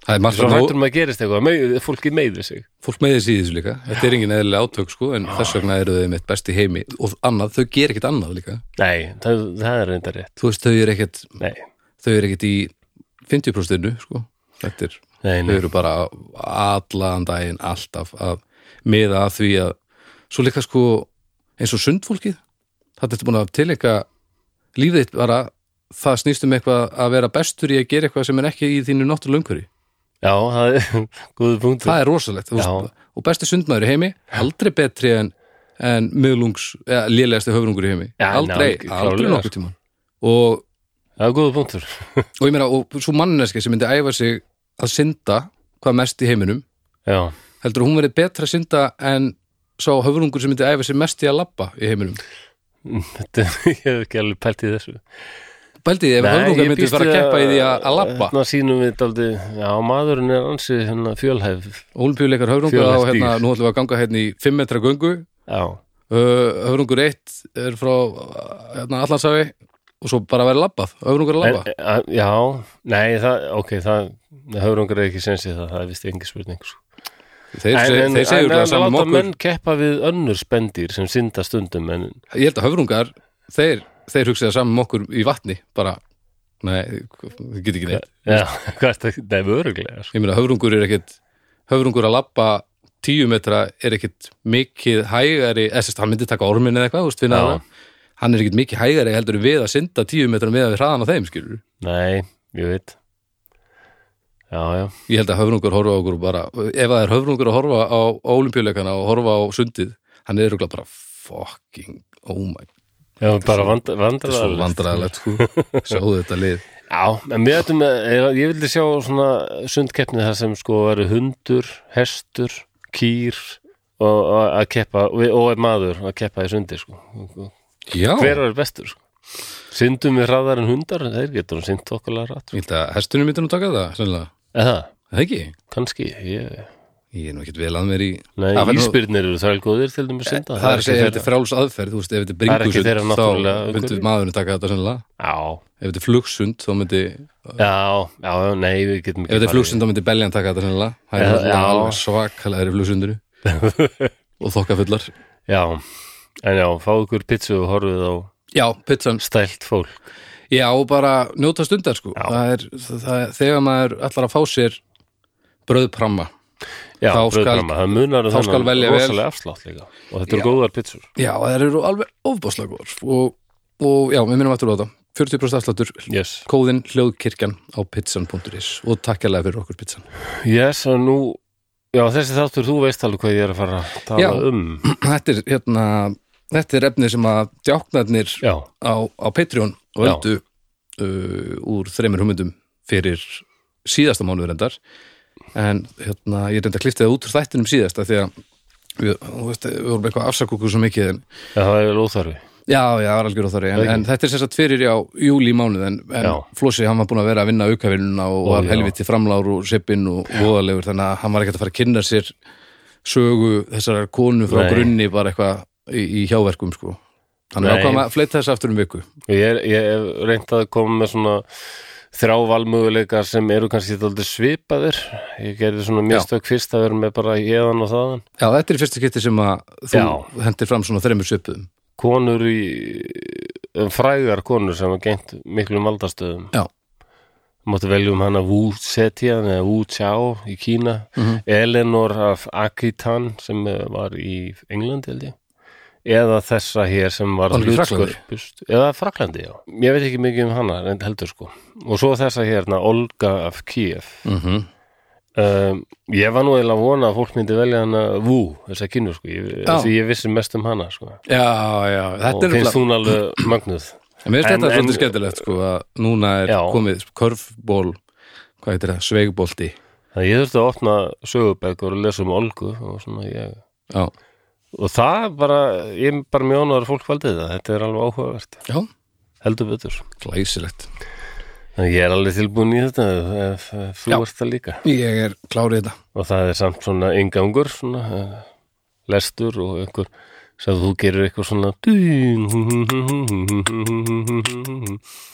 það er margt
Svo
þarna og-
hættur maður að gerist eitthvað, með, fólki meiðir sig
fólk með þessi í þessu líka þetta er engin eðlilega átök sko en þess vegna eru þau mitt besti heimi og annað, þau ger ekkert annað líka
Nei, það, það er reynda rétt
þú veist, þau eru ekkert,
Nei,
þau eru ekkert í 50% sko, þetta er
nei,
þau
nei.
eru bara allan daginn alltaf að miða að því að svo líka sko eins og sundfólkið það er búin að tilika lífið þitt bara það snýst um eitthvað að vera bestur í að gera eitthvað sem er ekki í þínu náttúrulega umhverfi
Já, það er góðu punktur
það er rosalegt þú
Já.
veist, og besti sundmaður í heimi aldrei betri en, en miðlungs, eða lélegasti höfrungur í heimi
Já,
aldrei,
ná,
aldrei
klárlega, sko.
nokkuð tíma og,
Það er góðu punktur
og ég meina, og svo manneski sem myndi æfa sig að synda hvað mest í heiminum
Já,
heldur að hún verið betra synda en sá höfrungur sem myndi æfa sig mest í að labba í heiminum
þetta, ég hef ekki alveg pælt í þessu
Bældi því ef höfrungur myndi fara að keppa í því að, að labba
Þannig sínum við daldi, já, maðurinn er ansi hérna fjölhæf
Ólympíuleikar höfrungur á
Fjölhæft
hérna,
dýr.
nú ætlum við að ganga hérna í 5 metra göngu
Já,
uh, höfrungur 1 er frá uh, hérna, allansafi og svo bara verið labbað, höfrungur að
en,
labba
a, já, nei, það, ok, það höfrungar er ekki sensið það, það er vist engi spurning sko.
Þeir, en,
en,
þeir segjur
en,
það
en
saman um
láta
okkur
menn keppa við önnur spendýr sem synda stundum en
Ég held að höfrungar, þeir, þeir hugsa það saman um okkur í vatni, bara Nei, þið getur ekki neitt
já, hvað er það, það er vöruglega sko.
Ég meina höfrungur er ekkit höfrungur að labba tíu metra er ekkit mikið hægari eða sérst, hann myndi taka ormin eða eitthvað, þú veist, finna
Já.
það hann er ekkit mikið hægari heldur en við að synda tíu metra með að við hraðan á þeim, skilur
nei, ég veit já, já,
Ég held að höfrungur horfa á okkur og bara ef það er höfrungur að horfa á olimpíuleikana og horfa á sundið, hann er örugglega bara fucking, oh my
já bara vandra,
þetta er svo
vandra
vandræðilegt sko, sjáðu þetta lið
Já, en við ættum að, ég- ég vildi sjá svona sundkeppni þar sem sko veru hundur, hestur, kýr og, og að keppa og, og maður að keppa í sundi sko.
Já,
Hver er bestur sko? Syndum við hraðar en hundar, þeir getur að synda okkarlega rætt.
ég held að hestunum myndi nú taka það, sennilega,
sko. Eða,
það ekki
kannski, ég...
Ég er nú ekkit vel að mér í
Nei,
Það fer nú- Eh,
íspyrnir eru þrælgóðir til dæmis synda.
það er að segja ef þetta
ekki
er fráls aðferð þú veist, ef þetta er
Það er ekki þeirra
bringusund
náttúrulega
þá myndi
umhverfi.
maðurinn taka þetta sennilega
þeirra-
ef þetta er flugsund þá myndi ef
Já, já, já, nei, við getum
þetta er
farið-
flugsund þá myndi beljan taka þetta sennilega það er
Já,
náttúrulega
já.
alveg svakalegri flugsunduru og þokkafullar
Já, en já, fá ykkur pizzu og horfið á
já, pizzan
stælt fólk.
já, og bara njóta stundar sko það er, það er, þegar maður ætlar að fá sér bröðpramma
Já,
Þá skal-
bröðgrama, það munar um
þá skal
þennan
velja vel.
rosalega afslátt líka og þetta eru
Já.
góðar pizzur
já, það eru alveg ofbáslega góðar og, og já, við minnum aftur á þetta 40% afsláttur,
yes.
kóðin hljóðkirkjan á pizzan.is og takkjalega fyrir okkur pizzan
yes, og nú já, þessi þáttur, þú veist alveg hvað ég er að fara að tala
Já.
um
þetta er hérna þetta er efni sem að djáknarnir
já,
á, á Patreon völdu uh, úr þreymur humundum fyrir síðasta mánuður endar en hérna, ég reynda að klifta það út úr þættinum síðasta því að við, þú veist, við vorum eitthvað afsakúku svo mikið en,
já, það er vel óþarfi
já, já, það var algjör á þar en,
Ekki.
en þetta er sem sagt fyrir já, júli mánuð en, en
Já.
Flossi, hann var búin að vera að vinna aukavinnuna og
Ó,
var
já.
helviti framlár og seppin og voðalegur þannig að hann var ekkert að fara að kynna sér sögu þessarar konu frá
Nei.
grunni bara eitthvað í, í hjáverkum sko. hann er
Nei.
ákvæm að fleita þess aftur um viku
ég, er, ég hef reynt að koma með svona þrjá valmöguleika sem eru kannski þáldi svipaðir ég gerði svona mistök fyrst að vera með bara éðan og þaðan
Já, þetta er í fyrsta kitti sem að þú
Já.
hendir fram svona þreymur svipuðum.
konur í frægar konur sem hafa gengt miklum valdastöðum
Já.
máttu velja um hana Wu Zetian eða Wu Chao í Kína
Mhm.
Eleanor af Akitan sem eh, var í Englandi held ég eða þessa hér sem var
Var hún í Frakklandi?
hlutskörpust eða Fraklandi, já, ég veit ekki mikið um hana reynd heldur sko, og svo þessa hérna Olga af Kiev
Mm -hmm.
um, ég var nú eiginlega að vona að fólk myndi velja hana Wu, þessa kínu sko ég,
Já.
því ég vissi mest um hana sko
Já, já,
og
þetta er
finnst
nefnilega-
hún alveg magnuð
En Mér finnst
en-
þetta
en-
svolítið skemmtilegt sko að núna er
Já.
komið körfból, hvað heitir það, sveigbolti.
þannig ég þurfti að opna sögubækur og lesa um Olgu og svona ég
Já,
og það bara, ég er bara mjög ánæður fólk valdið það, þetta er alveg áhugavert
já,
heldur betur,
glæsilegt.
þannig ég er alveg tilbúin í þetta ef, ef, ef þú
Já.
ert það líka
Ég er klárið þetta.
og það er samt svona yngangur svona, eh, lestur og einhver sem þú gerir eitthvað svona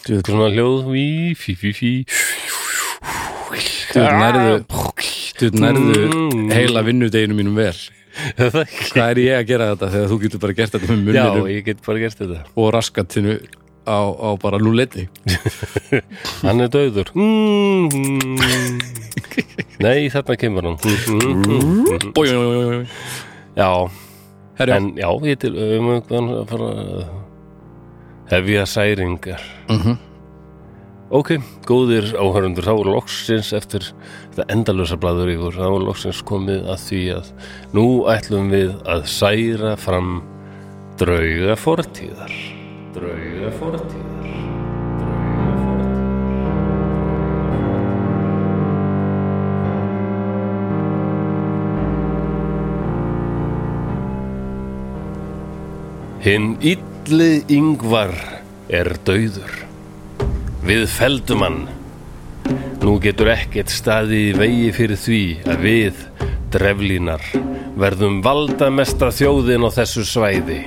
eitthvað svona hljóð fí, fí, fí, fí
Þú nærðu, þú nærðu
Mm.
heila vinnudeginu mínum vel
Það ekki
Hvað er ég að gera þetta þegar þú getur bara gert þetta með
Já,
munninum
ég get bara gert þetta
og raskatinu á, á bara lúletti
Hann er döður Nei, þarna kemur hann Mm.
Herru,
Já, en já, ég til um einhvern að fara hefja særingar
Mhm.
Ok, góðir áhörundur, þá er loksins eftir þetta endalösa blaður ykkur, þá er loksins komið að því að nú ætlum við að særa fram drauga fortíðar. Drauga fortíðar. Drauga fortíðar. Hinn illi yngvar er dauður. Við feldum hann. Nú getur ekkert staði í vegi fyrir því að við, dreflínar, verðum valdamesta þjóðin á þessu svæði.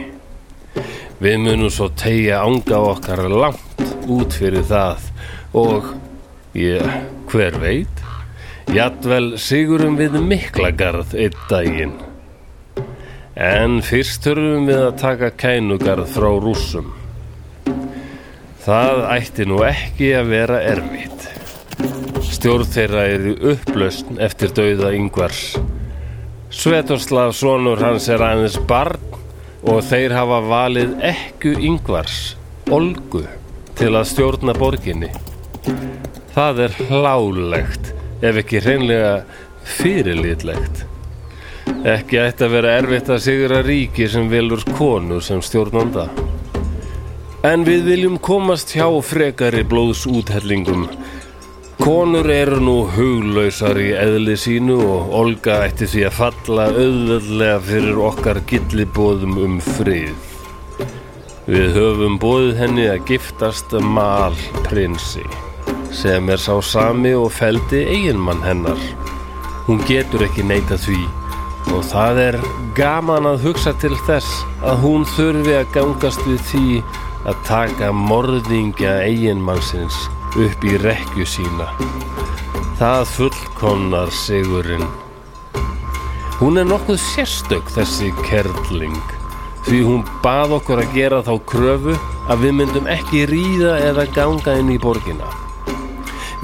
Við munum svo tegja ánga okkar langt út fyrir það og, ég, hver veit, jadvel sigurum við miklagarð einn daginn. En fyrst þurfum við að taka kænugarð frá rússum. Það ætti nú ekki að vera erfitt. Stjórn þeirra er í upplausn eftir dauða yngvars. Svetoslav sonur hans er aðeins barn og þeir hafa valið ekku yngvars, Olgu, til að stjórna borginni. Það er hlálegt, ef ekki hreinlega fyrirlitlegt. Ekki ætti að vera erfitt að sigra ríki sem velur konu sem stjórnanda. En við viljum komast hjá frekari blóðsúthellingum. Konur eru nú huglausar í eðli sínu og Olga ætti því að falla auðveldlega fyrir okkar gillibóðum um frið. Við höfum bóðið henni að giftast mal prinsi sem er sá sami og feldi eiginmann hennar. Hún getur ekki neita því og það er gaman að hugsa til þess að hún þurfi að gangast við því að taka morðingja eiginmannsins upp í rekju sína. Það fullkomnar sigurinn. Hún er nokkuð sérstök þessi kerling því hún bað okkur að gera þá kröfu að við myndum ekki ríða eða ganga inn í borgina.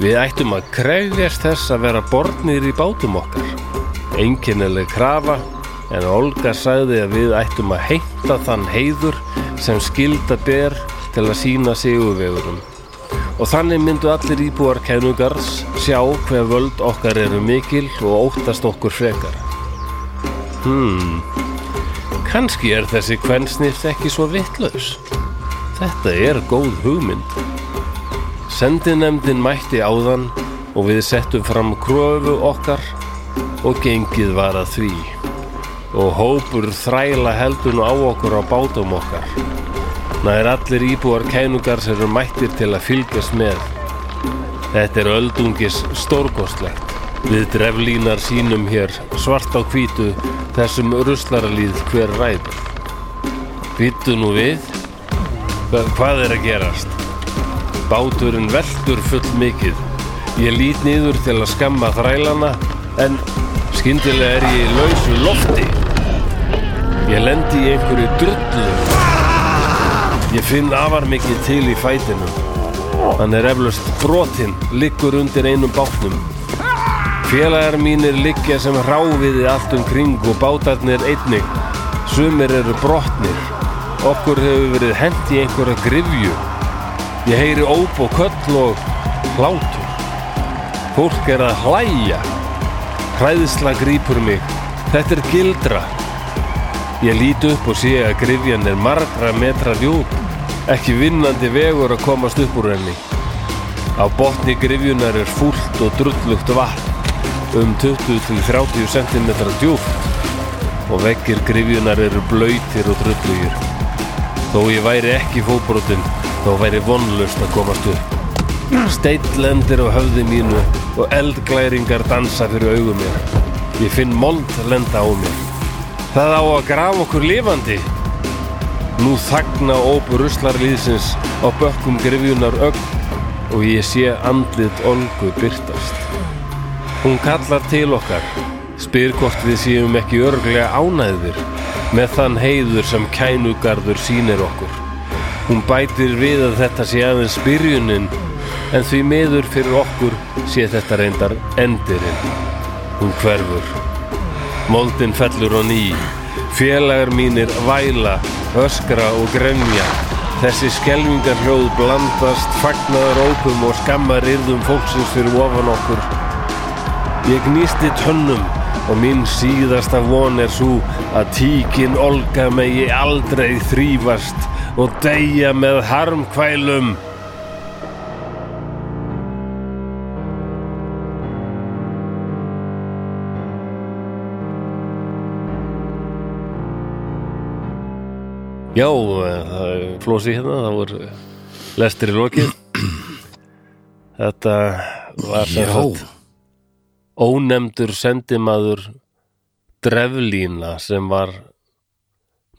Við ættum að krefjast þess að vera borðnir í bátum okkar. Einkennileg krafa, en Olga sagði að við ættum að heimta þann heiður sem skilda ber til að sína sigurvegurum. Og þannig myndu allir íbúar kænugars sjá hver völd okkar eru mikil og óttast okkur frekar. Hmm, kannski er þessi kvensnýrt ekki svo vittlaus. Þetta er góð hugmynd. Sendinemdin mætti áðan og við settum fram kröfu okkar og gengið var að því og hópur þræla heldur nú á okkur á bátum okkar. Nær allir íbúar kænungars eru mættir til að fylgjast með. Þetta er öldungis stórkostlegt. Við dreflínar sínum hér svart á hvítu þessum ruslaralíð hver ræður. Býttu nú við, Hva- hvað er að gerast? Báturinn veldur full mikið. Ég lít niður til að skamma þrælana en skyndilega er ég í lausu lofti. Ég lendi í einhverju drullu. Ég finn afar mikið til í fætinu. Hann er eflaust brotinn, liggur undir einum bátnum. Félagar mínir liggja sem ráfiði allt um kring og bátarnir einnig. Sumir eru brotnir. Okkur hefur verið hent í einhverja grifju. Ég heyri óp og köll og hlátur. Fólk er að hlæja. Hræðisla grípur mig. Þetta er gildra. Ég lít upp og sé að grifjan er margra metra djúp. Ekki vinnandi vegur að komast upp úr henni. Á botni grifjunar er fúlt og drullugt vatn um 20-30 cm djúpt og veggir grifjunar eru blöytir og drullugir. Þó ég væri ekki fótbrotinn, þá væri vonlust að komast upp. Steitlendir á höfði mínu og eldglæringar dansa fyrir augum mér. Ég finn mold lenda á mér. Það á að grafa okkur lifandi. Nú þagna óp ruslarlýðsins á bökkum grifjunar ögn og ég sé andlit olgu byrtast. Hún kallar til okkar, spyr hvort við séum ekki örglega ánæðir með þann heiður sem kænugarður sýnir okkur. Hún bætir við að þetta sé aðeins byrjunin en því miður fyrir okkur sé þetta reyndar endirinn. Hún hverfur. Moldin fellur á ný. Félagar mínir væla, öskra og gremja. Þessi skelvingar hljóð blandast, fagnaðar ópum og skammar yrðum fólksins fyrir ofan okkur. Ég gnýsti tönnum og mín síðasta von er svo að tíkin olga megi aldrei þrýfast og deyja með harmkvælum. Já, eh, það er flósi hérna, það voru lestir í lokið. Þetta var sem sagt ónefndur sendimaður dreflína sem var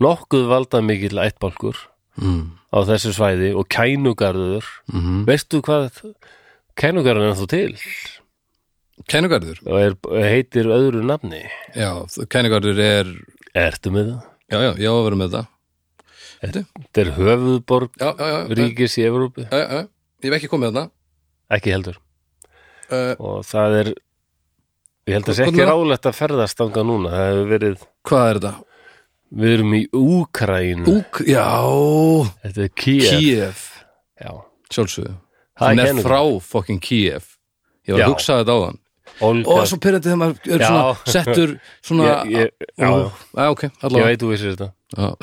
nokkuð valdamikill ættbálkur
mm.
á þessu svæði og kænugarður.
mm -hmm.
Veistu hvað kænugarður er þú til
Kænugarður
og er, heitir öðru nafni?
Já, kænugarður er
Ertu með það?
Já, já, ég á að vera með þetta
Þetta er höfuðborg
Já, já, já, já,
ríkis í Evrópu?
já, já. Ég hef ekki komið þarna
Ekki heldur.
uh,
og það er ég held að sé
Hvað-
ekki
hvað-
rálegt að ferðast þangað núna, það hefur verið
Hvað er þetta?
við erum í Úkraínu
Úk, já,
þetta er Kiev
Kiev
Já.
Sjálfsögðu
Það er
Hún er
kenning.
frá fokkin Kiev Ég var
Já.
að hugsa þetta á þann
Olga,
Ó, svo pyrrandi þegar maður er
Já.
svona settur svona
Ég- ég- já.
Ó, já, ok,
ég
allavega
veit þú vissir þetta
Já,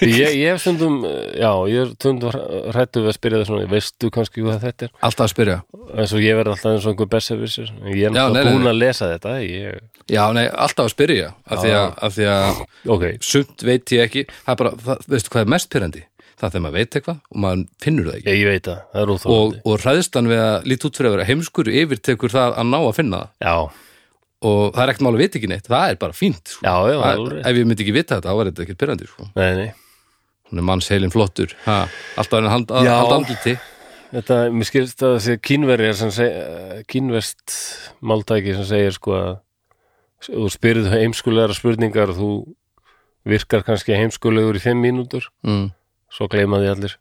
ég, ég hef stundum, já, ég er stundum hrættu við að spyrja það svona, veistu kannski hvað þetta er,
Alltaf að spyrja
eins og ég verð alltaf eins og einhver besservissir, ég er
Já, nei,
náttúrulega
nei,
búin
nei.
að lesa þetta ég,
Já, nei, alltaf að spyrja Af því að, af því að
ok,
sumt veit ég ekki það er bara, það, veistu hvað er mest pyrrandi það er þegar maður veit eitthvað og maður finnur það ekki
ég, ég veit það, það er úþólandi
og, og hræðslan við að líta út fyrir að vera heimskur yfir tekur það að ná að finna það
já,
og það er ekkert mál að vita ekki neitt, það er bara fínt sko.
já, já,
það,
alveg rétt.
ef ég myndi ekki vita þetta, þá var þetta ekkert pyrrandi sko.
nei, nei
hún er manns heilin flottur ha, alltaf er hann hand,
Já.
hald andliti
Þetta, mér skilst að það sé kínverjar sem segja, kínvest máltæki sem segir sko að þú spyrir þú heimskulegar spurningar og þú virkar kannski heimskulegur í fimm mínútur,
mm.
svo gleyma því allir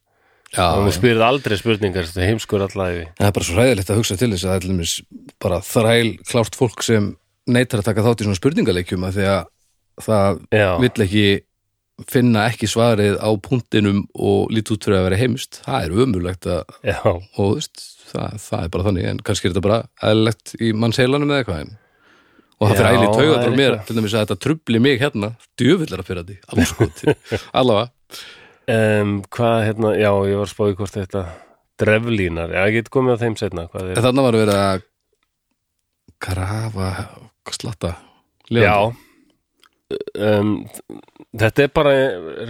já,
og þú
já.
spyrir aldrei spurningar, þetta er heimskur allæfi
það er bara svo hræðilegt að hugsa til þess að það er til dæmis bara þræl klárt fólk sem neytar að taka þátt í svona spurningaleikjum af því að það
Já,
vill ekki finna ekki svarið á punktinum og lítið út fyrir að vera heimist það er ömulegt að,
já,
og þú veist, það, það er bara þannig en kannski er þetta bara eðlilegt í mannsheilanum eða eitthvað en og það
Já,
fyrir æli í
það
taugatur
er
á mér
eitthvað.
til dæmis að þetta trubli mig hérna djöfullara fyrir því, alveg sko allavega,
um, hvað hérna, já, ég var að spáði hvort þetta dreflínar, já, ég get komið á þeim setna, hvað
en
er,
þannig var að vera að grafa slatta
já
lifandi.
um, þetta er bara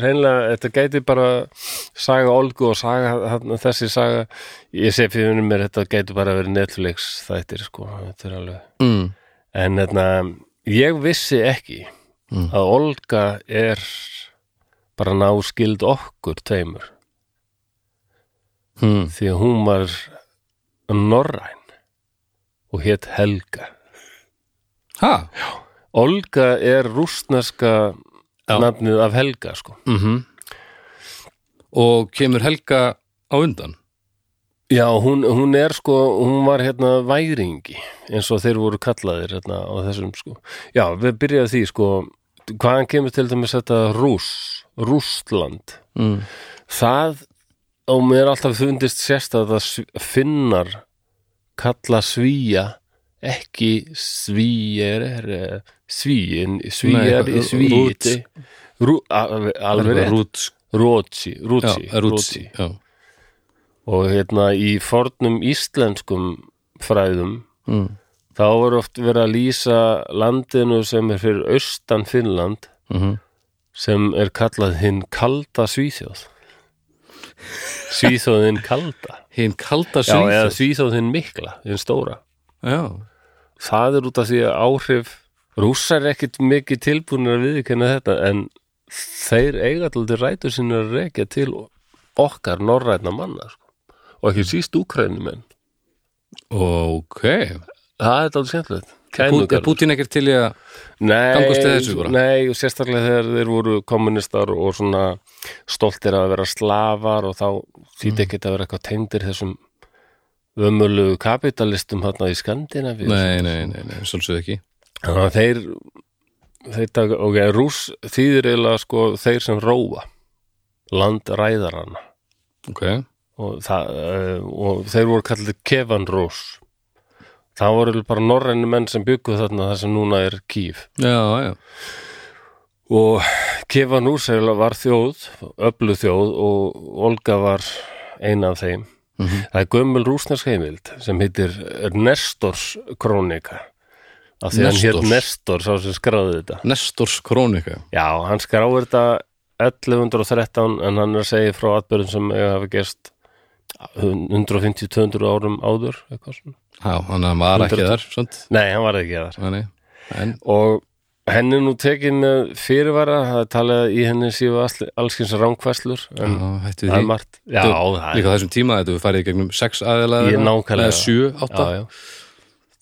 reynlega, þetta gæti bara saga Olgu og saga þarna, þessi saga, ég sé fyrir mér mér þetta gæti bara verið Netflix þættir sko, þetta er alveg
mm,
en þarna, ég vissi ekki
Mm.
að Olga er bara náskild okkur tveimur,
mm,
því að hún var norræn og hétt Helga
ha,
Olga er rústneska
Já.
nafnið af Helga sko
mhm og kemur Helga á undan
Já, hún, hún er sko, hún var hérna væringi, eins og þeir voru kallaðir hérna á þessum sko. Já, við byrjaði á því sko, hvaðan kemur til dæmis þetta Rús, Rússland.
mm.
Það, og mér alltaf fundist sérst að það sv- finnar kalla svíja, ekki svíjar, svíin, svíjar,
Nei,
svíti, rú, al- alveg rétt,
Rúts
rótsi,
Já,
rótsi,
Rútsi já.
og hérna í fornum íslenskum fræðum
Mm.
þá var oft verið að lýsa landinu sem er fyrir austan Finnland
Mhm.
sem er kallað hinn kalda Svíþjóð Svíþjóðin kalda
Hinn kalda
Já, eða
svíþjóð
Svíþjóðin mikla, hinn stóra
Já,
það er út af því að áhrif rússar er ekkit mikið tilbúinir að viðkenna þetta en þeir eiga til rætur sinni að rekja til okkar norræna manna sko. og ekki síst úkrænumenn
ok
Það er alveg skemmtilegt
Er
kæmugarður
Putin ekkert til í að gangast til þessu bara?
Nei, nei, og sérstaklega þegar þeir voru kommunistar og svona stoltir að vera slafar og þá
Mm.
þýtti ekkert að vera eitthvað tengdir þessum ömulu kapitalistum þarna í Skandinavíu
Nei, nei, nei, nei, svolsög ekki
Þannig að þeir, þeir taka, ok, rús þýðir eiginlega sko þeir sem róa landræðarana
Ok,
og, það, eh, og þeir voru kallið Kefan Rús það voru eiginlega bara norrænu menn sem byggu þarna þar sem núna er Kýf
já, já
og Kefan Rús eiginlega var þjóð, öflu þjóð og Olga var eina af þeim
Mhm.
það er gömul rúsnesk heimild sem heitir Nestors krónika af því hann hétt
Nestors?
Nestor sá sem skráði þetta
Nestors krónika
Já, hann skráir þetta 1113 en hann er að segja frá atbyrðum sem eiga að hafa gerst 150-200 árum áður eitthvað svona.
Já, hann var ekki þar, svont
Nei, hann var ekki þar
Nei, nei. en
og henni er nú tekin með fyrirvara, það er talað í henni síðu allskins ránkvæslur en
já, hættu
það
því
er margt Já,
Þú-
það er
Líka á þessum tíma þetta við farið í gegnum sex aðila
Ég nákvæmlega.
Eða sjö, átta
já, já.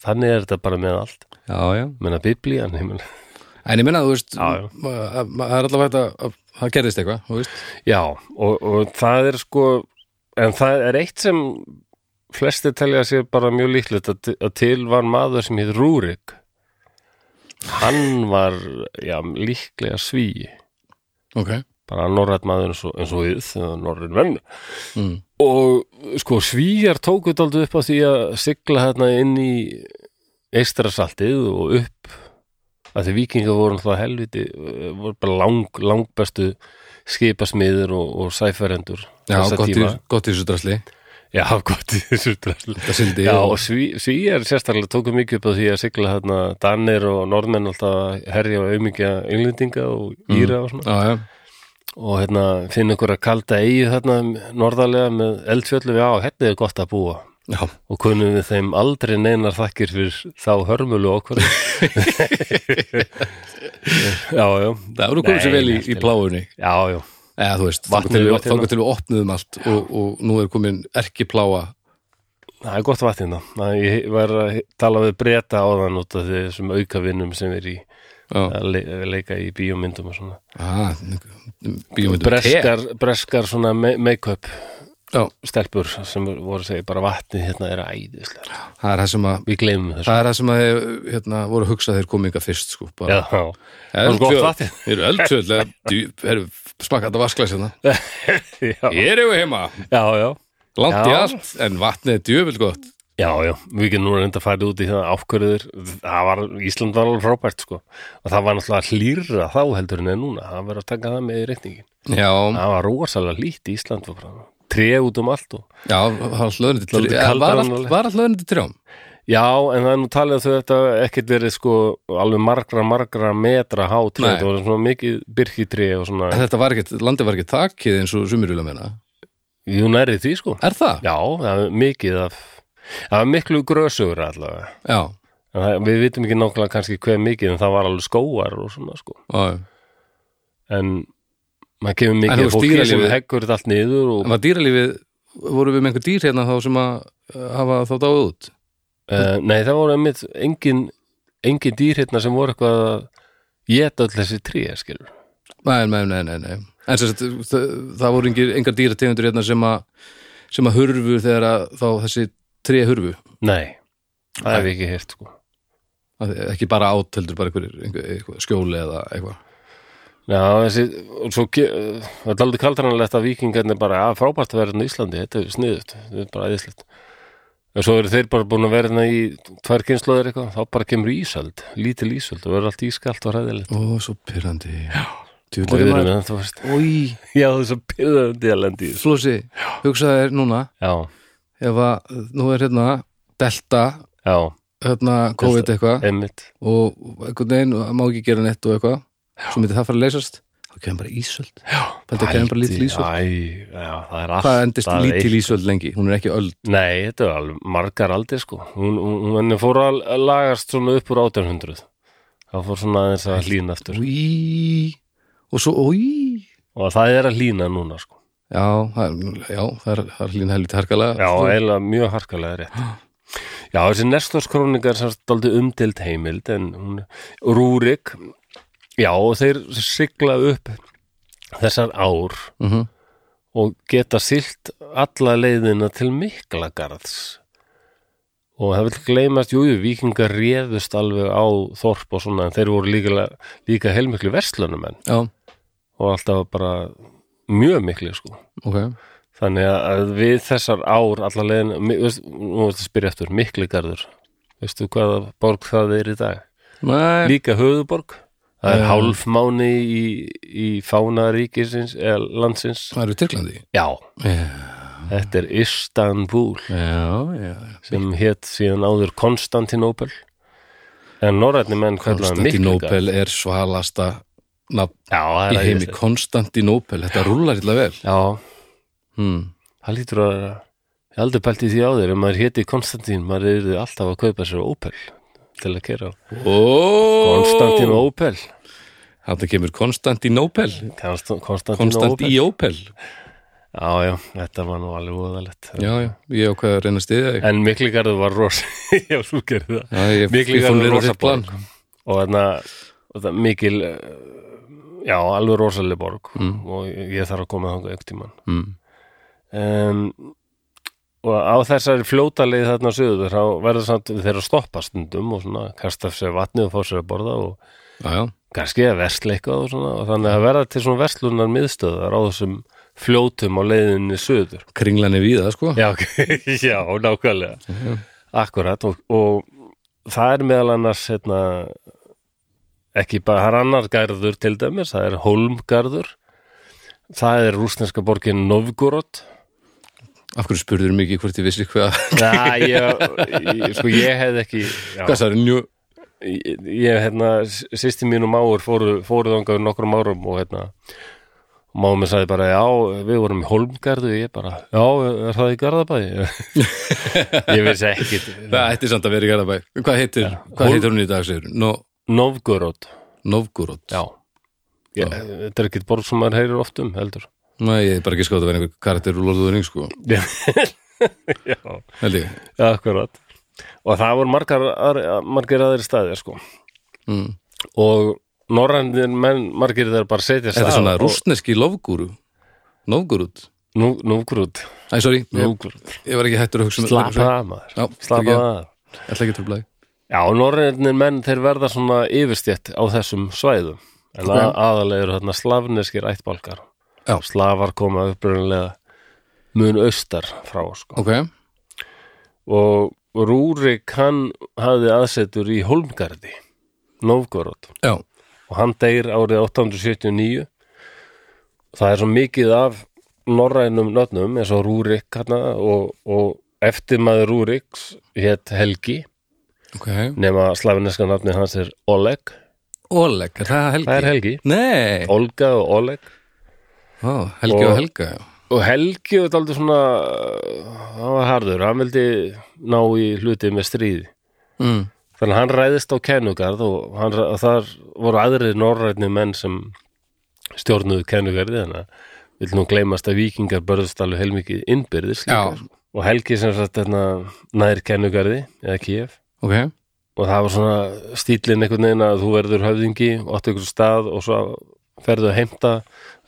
Þannig er þetta bara með allt
já, já.
menna biblían, ég meina
En ég minna, þú veist,
Já, já.
ma- ma- ma- það er allavega hægt að- að það gerðist eitthvað, þú veist
Já, og, og það er sko en það er eitt sem flestir telja að sé bara mjög líklegt að, að til var maður sem hétt Rúrik hann var já, líklega svíi
Ok,
bara norrætt maður eins og, eins og við eða norræn venn
mm.
og sko svíjar tóku þetta aldrei upp á því að sigla hérna inn í eistrasaltið og upp að því vikingar voru alltaf helviti eh, voru bara lang, langbestu skipasmiður og, og sæfærendur
já,
þessa
gott í,
tíma.
gott í þessu drasli
Já, gott í þessu drasl
Það sildi
Já,
og-
og sví, svíjar sérstaklega tóku mikið upp á því að sigla hérna Danir og Norðmenn alltaf að herja og aumingja englendinga
Mm.
og Íra og svona
já, já,
og hérna finna ykkur að kalda eigi þarna norðarlega með eldfjöllum já, hérna er gott að búa
já,
og kunnum við þeim aldrei neinar þakkir fyrir þá hörmulu okkur Já, já
það voru komið
Nei,
sér vel í,
allt í
í pláunni
Já, já,
eða þú veist,
Vatnið
þangað til,
í
við-
vatninu.
þangað til við opnuðum allt og, og nú er komin erki pláa
það er gott vatnina ég var að tala við breyta á þann út af þessum aukavinnum sem er í
já,
að le leika í bíómyndum og svona
ah, bíómyndum te.
breskar, breskar svona me- make-up
já,
stelpur sem voru að segja bara vatnið hérna er æðislega
það er það sem að
við gleymum þessu
það er það sem að þeir, hérna, voru að hugsa að þeir kominga fyrst sko,
já,
bara,
já. var gott vatnið.
þeir eru eldfjöld eða, djú- heyrðu, smakka þetta vasklæs hérna
já,
ég er yfir heima,
já, já
langt í
Já.
allt en vatnið er djöfil gott
Já, já, við getum nú reynda að fara út í það ákvörður, það var, Ísland var alveg frábært sko, og það var náttúrulega að hlýra þá heldur en er núna, það verður að taka það með í reikningin,
já,
það var rosalega lít í Ísland var bara, tré út um allt og
já, það var alltaf öðrundi
Dálítið
trjám
kaldara
var
en
allt-
alveg.
var alltaf öðrundi trjám
Já, en það er nú talið að þau þetta ekkert verið sko alveg margra, margra metra há tré,
Nei.
þetta var svona mikið birkitré og svona,
En þetta var ekkert, landið var ekkert takkið eins og sumirjulega meina,
jú nærið því sko.
er það?
Já, það er mikið af, það var miklu grösugur allavega,
já,
en það, við vitum ekki nákvæmlega kannski hver mikið, en það var alveg skóar og svona sko.
já.
En maður kemur
En þú
mikið
veist,
fólki sem
dýralífið-
heggur þetta allt niður og
En var dýralífið, voru við með einhver dýr hérna þá sem að uh, hafa þá dáið út?
Uh, nei, það voru einmitt engin, engin dýr hérna sem voru eitthvað að geta öll þessi tré, skilur.
Nei, nei, nei, nei, nei. En sem sagt, það, það voru engir, engar dýrategundur hérna sem að, sem að hurfu þegar að þá þessi tré hurfu.
Nei, það hef ég ekki heyrt, sko.
Af því- Ekki bara át, heldur bara einhver, einhver, einhver skjóli eða eitthvað.
Já, þessi, og svo, ge- uh, það er aldrei kaldranalegt að vikingarnir bara, að frábært að vera hérna á Íslandi, þetta er sniðut, þetta er bara æðislegt. En svo eru þeir bara búin að vera hérna í tvær kynnslóðir eitthvað, þá bara kemur ísöld, lítil ísöld, og verður allt ískalt og hræðilegt.
Ó, svo pyrrandi. Já.
Og hérna- við
Tjúlega
erum
maður.
ennþá fyrst.
Í,
Já, þess að pyrðandi að lendi í þessu.
flósi, hugsaðu þér núna,
Já,
ef að nú er hérna delta,
já,
hérna COVID eitthvað.
einmitt.
og einhvern veginn og það má ekki gera neitt og eitthvað svo myndi það fara að leysast þá kemur bara ísöld Pældi að kemur bara lítil
Æ,
ísöld
já, það er alltaf
hvað endist lítil ísöld lengi, hún er ekki öld
Nei, þetta er alveg margar aldir sko Hún, hún, hún fór að að lagast svona upp úr 1800 Það fór svona aðeins að hlýna aftur
Í, og svo ói
Og það er að hlýna núna sko
já, það er, já, það er, það er hlýn helviti harkalega
Já,
Þú-
eiginlega mjög harkalega rétt Já, þessi Nestorskroniga er sérst aldrei umdild heimild en hún, Rúrik já, og þeir sigla upp þessar ár
Mhm.
og geta silt alla leiðina til Miklagarðs og það vil gleymast, jú, jú, vikingar réðust alveg á þorp og svona en þeir voru líka, líka heilmiklu verslunumenn
Já,
og alltaf bara mjög miklu, sko
ok
Þannig að við þessar ár alla leiðin, mi- veist, nú veist að spyrja eftir Mikligarður, veistu hvaða borg það er í dag?
Nei,
Líka höfuborg það er
Já.
hálfmáni í, í fána ríkisins eða landsins
það eru Tyrklandi
Já,
Já,
þetta er Istanbul
já, já
sem hétt síðan áður Konstantinopel en norrænni menn kallaði Mikligarð
Konstantinopel er svalasta nafn
Já, það
í
er
heimi
æðislegt.
Konstantinopel, þetta rúlar illa vel
Já,
hmm.
það lítur að vera ég hef aldrei pælt í því á þér, ef maður héti Konstantín maður yrði alltaf að kaupa sér Opel til að kera á Konstantin
Konstantinopel
Opel
Þetta kemur Konstantinopel
Konstantin Opel
Konstantinopel
Já, já, þetta var nú alveg úðalegt
Já, já, ég ákveða að reyna að stiðja þig
En Mikligarður var ros Já, þú gerði það
Já, ég, ég fór
Mikligarður
niður á
rosa
þitt plan
borg Og þarna og það, Mikil eh, Já, alveg rosaleg borg Og ég þarf að koma þangað einhvern tímann
mm.
um, Og á þessari fljótaleið þarna söður þá verður samt þeir eru að stoppa stundum og svona kasta af sér vatni og fá sér að borða og
Já, já,
kannski að versla eitthvað og svona og þannig að verða til svona verslunar miðstöðar á þessum fljótum á leiðinni söður
kringlan er víða, sko
já, ok. já nákvæmlega akkurat og, og það er meðal annars hérna, ekki bara það er annar garður til dæmis það er Holmgarður það er rúsneska borgin Novgorod
Af hverju spurður mikið hvort ég vissi hvað
Næ, ég, ég, sko ég hefði ekki já.
Hvað það er njú
ég, ég, hérna, sýsti mín og máur fóru, fóru þangað nokkrum árum og hérna máur mér sagði bara, já, við vorum í Holmgarðu ég bara, já, er það í Garðabæði? ég vissi ekkit
Það ætti samt að vera í Garðabæ Hvað heitir,
Hol-
hvað heitir hún í dag, segir no,
Novgorod,
Novgorod
já ég, þetta er ekkit borg sem maður heyrir oft um, heldur
Nei, ég er bara ekki skátt að vera einhver karakter úr Lorðuðurinn, sko
já, já,
Held ég
akkurat og það voru margar, aðri- margir aðri staðir sko,
mm.
og norrænir menn, margir þeir bara setja
Þetta er svona rústneski lofgúru Novgorod
nú, núgrúd,
Æ, sorry, ég,
núgrúd
ég var ekki hættur að hugsa um-
slapa það maður
Já,
Slappa
fyrirgefðu.
það.
Ég ætla ekki að trubla þig.
Já, norrænir menn þeir verða svona yfirstjætt á þessum svæðum en okay. aðalega eru þarna slavneskir ættbálkar
Já.
Slavar koma upprunnilega mun austar frá sko.
Ok,
og Rúrik hann hafði aðsetur í Holmgarði Novgorod
já,
og hann deyr árið 879 það er svo mikið af norrænum nöfnum eins og Rúrik hana, og, og eftirmaður Rúriks hétt Helgi
ok
nema slavineska nafni hans er Oleg
Oleg, er það Helgi?
það er Helgi,
Nei,
Olga og Oleg
Ó, Helgi og,
Og-
Helga, já
og Helgi var aldrei svona uh, hann var harður, hann vildi ná í hluti með stríði
mm.
þannig að hann ræðist á kennugarð og, hann, og þar voru aðrir norrænni menn sem stjórnuðu kennugarði þannig að vil nú gleymast að vikingar börðust alveg heilmikið innbyrðis líka,
Já.
sko. og Helgi sem sagt hérna, nær kennugarði eða Kiev
Ok,
og það var svona stílinn einhvern veginn að þú verður höfðingi og átt einhver stað og svo ferðu að heimta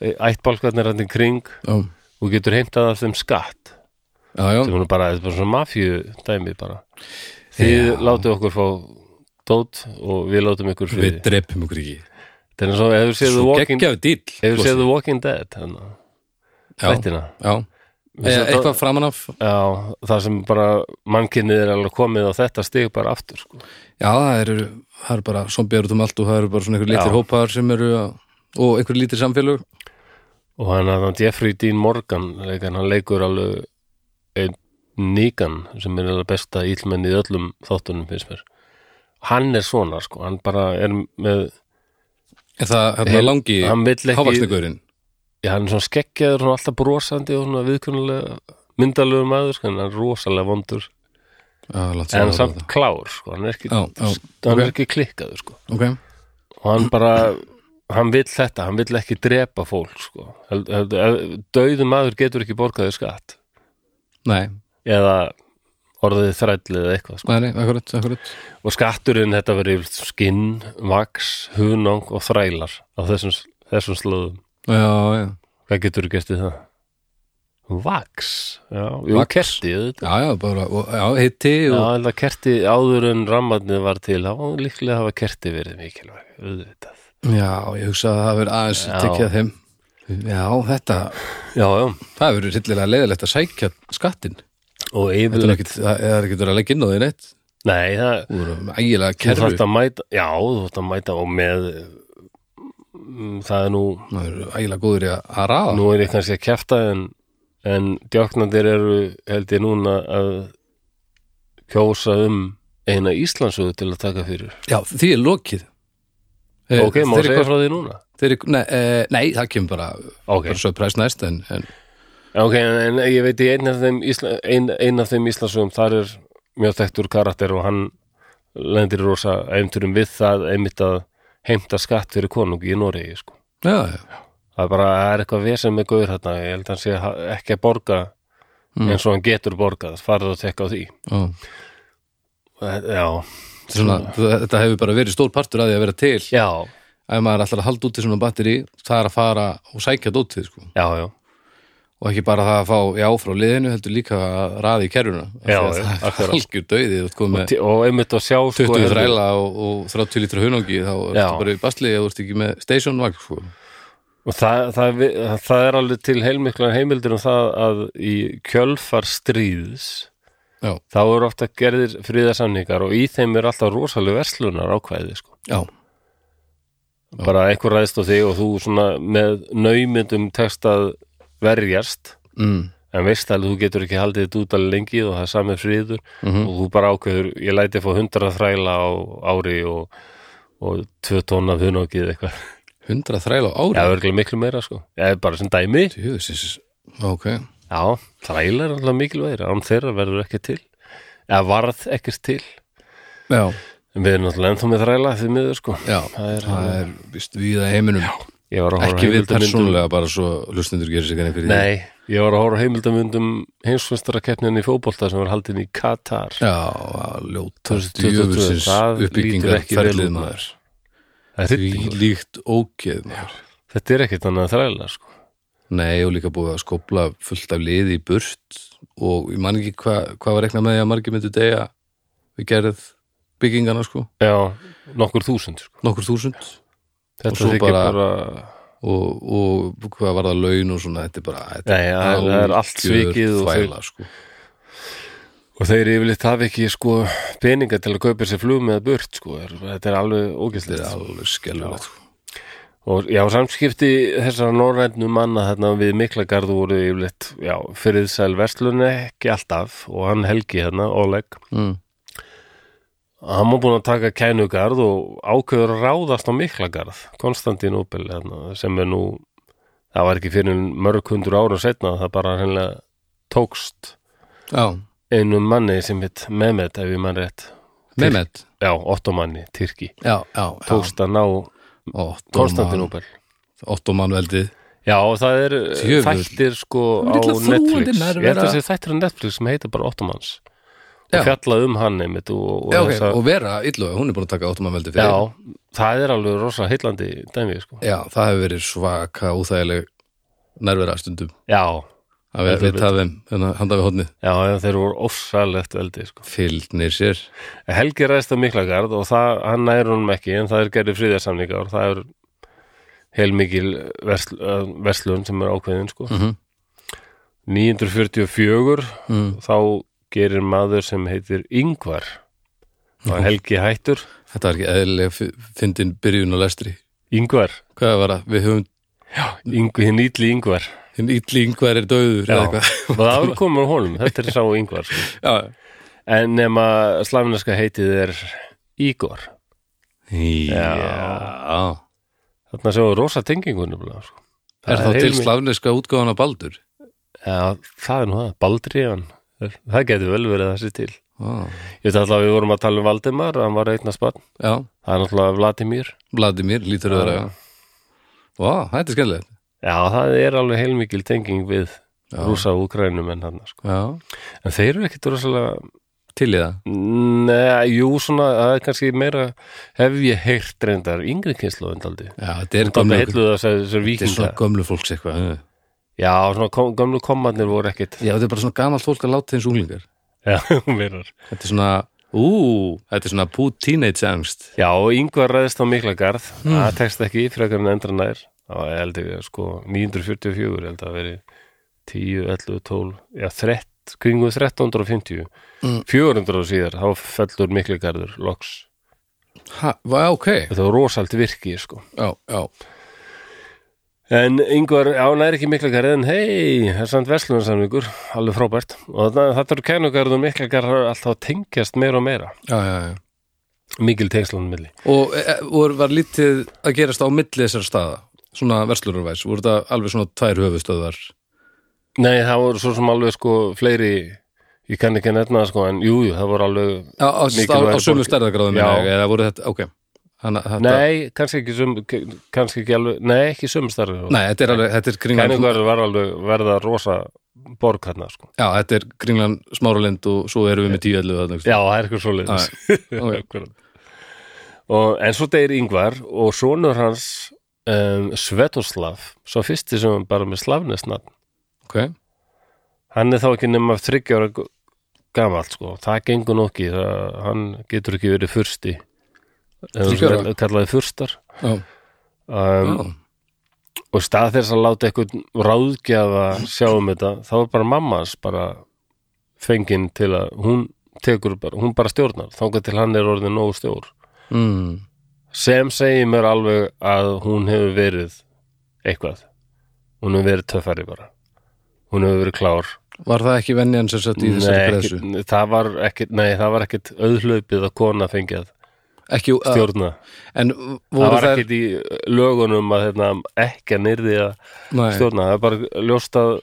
e, ættbálkarnir hann í kring
já,
og getur heimtað af þeim skatt
já, já
sem er nú bara, þetta er bara svona mafíu dæmi bara þið
Já.
látið okkur fá dót og við látum ykkur
Við
friði
drepum ykkur ekki
þetta er eins og hefur séð The
Svo
Walking,
geggjaðu dýll
hefur
Blossi.
séð The Walking Dead þannig,
Já,
þættina
já e,
Vissi þetta-
Eitthvað framan af
Já, það sem bara mannkynnið er alveg komið á þetta stig bara aftur sko.
Já, það eru, það eru bara zombiðar út um allt og það eru bara svona einhver lítir
Já.
hópar sem eru að, og einhver lítir samfélög
og hann að hann Jeffrey Dean Morgan leikan, hann leikur alveg einn nýgan sem er alveg besta íllmenn í öllum þáttunum finnst mér hann er svona sko, hann bara er með
Er það hérna
Hel-
langi
hann vill ekki,
hávaksnegurinn?
já, hann er svona skeggjaður svona alltaf brosandi og svona viðkunnulega myndalegu maður, sko, en hann er rosalega vondur
Já, látt
en
sér
samt klár, sko, hann er ekki
Já, já,
hann
ok.
er ekki klikkaður, sko
Ok,
og hann bara, hann vill þetta hann vill ekki drepa fólk, sko Held- held- ef- dauður maður getur ekki borgaði skatt
nei,
eða orðið þræll eða eitthvað sko.
Nei, nei, akkurat, akkurat
og skatturinn þetta verið yfirleitt skinn, vaks, hunang og þrælar á þessum, þessum slöðum
Já, já,
hvað getur þú gert í það? Vaks já, jú,
Vax.
kerti auðvitað.
já, já, bara, og, já, hitti
Já,
og,
þetta kerti áður en rammarnið var til þá var líklega hafa kerti verið mikilvæg auðvitað.
já. ég hugsa að það verið aðeins
Já.
tekið að þeim Já, þetta,
Já, já,
það verið hryllilega leiðilegt að sækja skattin
og
Þetta er
yfirleitt
ekkit, það það er ekkit verið að leggja inn á því neitt
Nei, það,
Þú erum ægilega
þú
kerfi
þarft að mæta Já, þú þarft að mæta og með mm, það er nú
Það eru ægilega góður í að, að raða
nú er ég kannski að kjafta en, en djáknandir eru held ég núna að kjósa um eina Íslandsöðu til að taka fyrir
Já, því er lokið Eh,
Ok, má
þeir
segja
eitthvað-
frá því núna
þeir eitthvað- nei, eh, nei, það kemur bara,
Ok,
bara svo præs næst en, en
ok, en, en ég veit ég einn af þeim, Ísla, ein, ein af þeim Íslandsöðum þar er mjög þekktur karakter og hann lendir í rosa einturum við það einmitt að heimta skatt fyrir konungi í Noregi sko
Já, já,
það er bara, það er eitthvað vesen með guður þarna, ég held að hann sé ha- ekki að borga eins og hann getur borgað farið að tekka á því
já.
Það- já,
Svona, þetta hefur bara verið stór partur að því að vera til
já,
ef maður ætlar að halda út í svona batteri það er að fara og sækja dótið sko.
já, já
og ekki bara það að fá já frá liðinu heldur líka að raði í kerfuna Af því
Já,
að
já,
það er
akkurat.
algjör dauði þú ert komið með
Ti- og einmitt að sjá sko,
20
heyrðu,
þræla og, og 30 lítra hunangi þá ertu
Já.
bara í basli eða þú ert ekki með station vagn sko.
og það, það, vi- það, það er alveg til heilmiklar heimildur um það að í kjölfar stríðs
já,
þá eru ofta gerðir fríðarsamningar og í þeim er alltaf rosalega verslunar ákvæði sko.
já,
bara einhver ræðist á þig og þú svona með naumyndum tekst að verjast
mm.
en veist alveg þú getur ekki haldið þetta út alveg lengi og það er samið friður og þú bara ákveður, ég læti að fá hundra þræla á ári og, og tvö tónn af hunókið eitthvað
100 þræla á
Já,
ári
örgulega miklu meira sko Já, bara sem dæmi
Jöfisins. ok,
Já, þræla er alltaf mikilvægir án þeirra verður ekki til eða varð ekkert til
já,
en við erum náttúrulega ennþá með þræla því miður sko
já
Það er-
það er víst við að heiminum já.
Ég var að horfa á
ekki við
heimildamyndum-
persónulega bara svo hlustendur gerir sig ekki fyrir því
Nei, ég var að horfa á heimildamundum heimsfæstarakeppnin í fótbolta sem var haldin í Katar
Já, að ljóta
2022,
djöfusins
það lítur ekki vel
uppbyggingarferlið
út,
maður
Þetta er,
Því líkt ógeð maður
þetta er ekkert annað en þræla sko
Nei, og líka búið að skopla fullt af liði í burt og ég man ekki hvað hva var rekna með því að margir myndu degja við gerð byggingana sko
Já, nokkur þúsund sko
nokkur þúsund Og
Þetta
svo
þykir
bara-
bara
og, og hvað var það laun og svona þetta er bara þetta
Nei, það er- það er allt
algjör
svikið og
þvæla, sko.
Og þeir yfirleitt hafi ekki sko peninga til að kaupa sér flug með burt sko, er, þetta er alveg
þetta
ógæslegt.
er alveg skelfulegt sko.
Og já, samskipti þessara norrænnu manna þarna við Miklagarð voru yfirleitt, já, fyrir sæl verslun ekki alltaf og hann Helgi hérna, Oleg,
mm.
hann var búin að taka kænugarð og ákveður að ráðast á Miklagarð, Konstantín Opel hérna, sem er nú, það var ekki fyrir en mörg hundur ára setna, það bara hennilega tókst
Já,
einum manni sem hitt Mehmet, ef ég mann rétt,
Mehmet
já, ottomanni, Tyrki.
Já, já, já
tókst að ná Konstantinóbel
Ottomanveldið
Já, og það eru
Djöfull.
þættir sko á
Það er illa þrúgandi
Netflix
nærvera.
Ég held að þessi þættir á Netflix sem heitir bara Ottomans
Já.
og fjalla um hann einmitt og, og,
Já, ok,
þessa-
og vera illu, hún er búin að taka áttumanveldi fyrir
já, það er alveg rosa heillandi dæmi sko.
Já, það hefur verið svaka óþægileg nærvera stundum
Já,
að við,
Heldur
við tafum hérna, handa við hodnið
já, já, þeir voru ofsalegt veldi sko.
fylgnir sér
Helgi ræðist á Miklagard og það, hann næri honum ekki en það er gerði fríðarsamningar og það er heilmikil versl, eh, verslun sem er ákveðin sko.
Mhm.
944
mm.
þá gerir maður sem heitir Yngvar
Mhm.
og Helgi hættur
Þetta var ekki eðlilega fi- fyndin byrjun á lestri
Yngvar,
Hvað var það? Við höfum
Yng, hinn ítli Yngvar
hinn illing hver er döður eða
Já.
eitthvað
og það var komin á honum, þetta er sá Yngvar sko.
Já,
en nema slavinarska heitið er Ígor
Já.
þarna sjáum við rosa tengingun nefnilega, sko.
Er þá
heilmi-
til slavneska útgáðan af Baldur?
Já, það er nú það, Baldríðan það getur vel verið að það sé til
Já,
ég veit alltaf að við vorum að tala um Valdimar hann var einna spann,
já
það er náttúrulega Vladimir
Vladimir, lítur öðra Já, Vá, þetta er skemmtilegt
já, það er alveg heilmikil tenging við
Já.
rúsa og ukrænum en hann sko.
Já,
En þeir eru ekkit rosalega
til í það
Nei, jú, svona, það er kannski meira hef ég heyrt reyndar yngri kynslu endaldi.
Já, þetta er
Dabbi
gömlu, þetta
heilluð þessar þessar
er
vikinga.
svona gömlu fólks eitthvað eh.
Já, svona kom, gömlu komarnir voru ekkit.
Já, þetta er bara svona gamalt fólk að láta þeins unglingar
Já, meirar.
Þetta er svona, ú, þetta er svona pú teenage angst
Já, og yngvar ræðist á Miklagarð. Það tekst ekki frekar en endra nær. Það var held ég, sko, 944 held að veri 10, 11, 12, já, 13, kringu 1350.
Mm.
400 og síðar, þá fellur Miklagarður loks.
Ha, va, ok
Þetta var rosalt virki, sko.
Já, já,
En yngvar, já, næri ekki miklagarð en hei, það er samt verslunarsamningur alveg frábært og þarna- þetta eru kænugarð og miklagarð alltaf að tengjast meira og meira
já, já, já.
mikil tengslanum milli
Og e, e, voru- var lítið að gerast á milli þessar staða Svona verslurarvæs, voru þetta alveg svona tvær höfustöðar
Nei, það voru svo sem alveg sko fleiri ég kann ekki að nefna það sko en jú, jú, það voru alveg
Já, á, á, á
Mikilvæg
sömu
borg.
stærðagráðum
Já.
eða voru þetta, ok Hanna, þetta,
Nei, kannski ekki sum kannski ekki alveg, nei, ekki sumstarfi
nei, þetta er alveg, þetta er kringlan
Kænugarð sko. var alveg verða rosa borg hérna sko
Já, þetta er kringlan smáralind og svo erum við með tíu ellu þarna,
Já, það er eitthvað svoleiðis
ok.
Akkurat. og, En svo deyr Ingvar og sonur hans um, Svetoslav svo fyrsti sem hann bara með slavnesnafn
ok,
hann er þá ekki nema þriggja ára gu- gamall sko, það gengur nú ekki það, hann getur ekki verið fursti eða
Þriggja ára?
sem kallaði furstar
já,
um,
já.
og í stað þess að láta eitthvað ráðgjafa sjá um þetta þá er bara mamma hans bara fengin til að hún tekur bara, hún bara stjórnar þangað til hann er orðin nógu stjór
Mm.
sem segir mér alveg að hún hefur verið eitthvað hún hefur verið töffari bara hún hefur verið klár
Var það ekki venjan sem sett í
Nei,
þessari
ekkit,
greiðsu?
það var ekkit, nei, það var ekkit auðhlaupið að kona fengið að
Ekki, uh,
stjórna
en
það
voru
var
þær
ekkit í lögunum að hérna, ekki að nyrði að
Nei, já,
stjórna það er bara ljóst að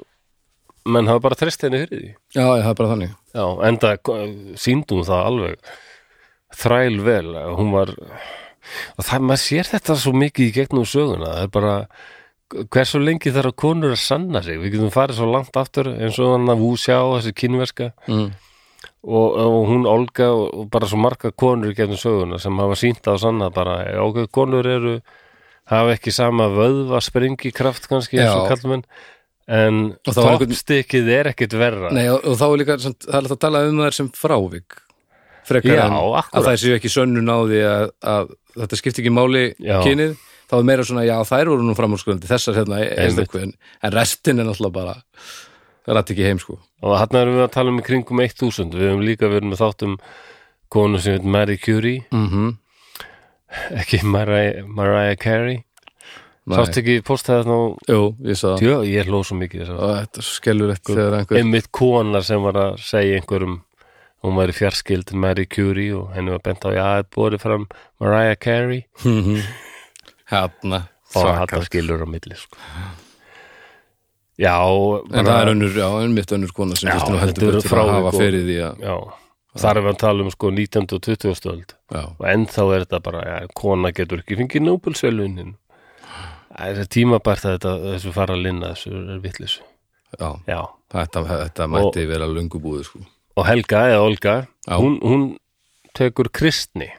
menn hafa bara treyst henni fyrir því
já, það er bara þannig
Já, enda síndum það alveg þræl vel hún var og það, maður sér þetta svo mikið í gegnum söguna það er bara hversu lengi þarf að konur að sanna sig við getum farið svo langt aftur eins og hann að Wu Xia og þessi kínverska
mm.
og, og hún Olga og, og bara svo marga konur í gegnum söguna sem hafa sínt það og sanna bara já, ok, konur eru hafa ekki sama vöðva springi kraft kannski eins og
Já.
kallmenn en
Og það var einhvern-
toppstykkið er ekkit verra
Nei, og, og þá er líka, samt, það er alltaf að tala um þær sem frávik Frekar
Já,
en
akkúrat.
að þær séu ekki sönnun á því að, að þetta skipti ekki máli
Já.
kynið Þá er meira svona, já, þær voru nú framúrskulandi Þessar hérna, er
Einmitt.
stökku en, en restin er náttúrulega bara Það rætt ekki heim, sko
Og hann erum við að tala um í kringum 1000 Við hefum líka verið með þáttum konu sem heit Marie Curie
mm
ekki Mariah, Mariah Carey Sátt ekki postaði þá
Jú, ég sá það
Tjó, ég hló svo mikið þess
og þetta er skellulegt þegar
að
einhver
Sko, einmitt kona sem var að segja einhverjum hún væri fjarskild Marie Curie og henni var bent á já, það er borið fram Mariah Carey
hérna
og
svaka.
þetta skilur á milli sko. Já bara,
en það er önnur, já, en mitt önnur kona sem
Já,
þurfti nú
þetta
heldur
eru
betur að
frávik
hafa
og-
fyrir því að
Já, þar er við að tala um sko 19. og 20. stöld
já,
og ennþá er þetta bara, já, kona getur ekki fengið Nóbelsvelunin það er tímabært að þetta þessu fara að linna þessu er vitleysu
já,
já,
þetta, þetta mætti vera löngu búið sko.
og Helga eða Olga,
Já.
hún, hún tekur kristni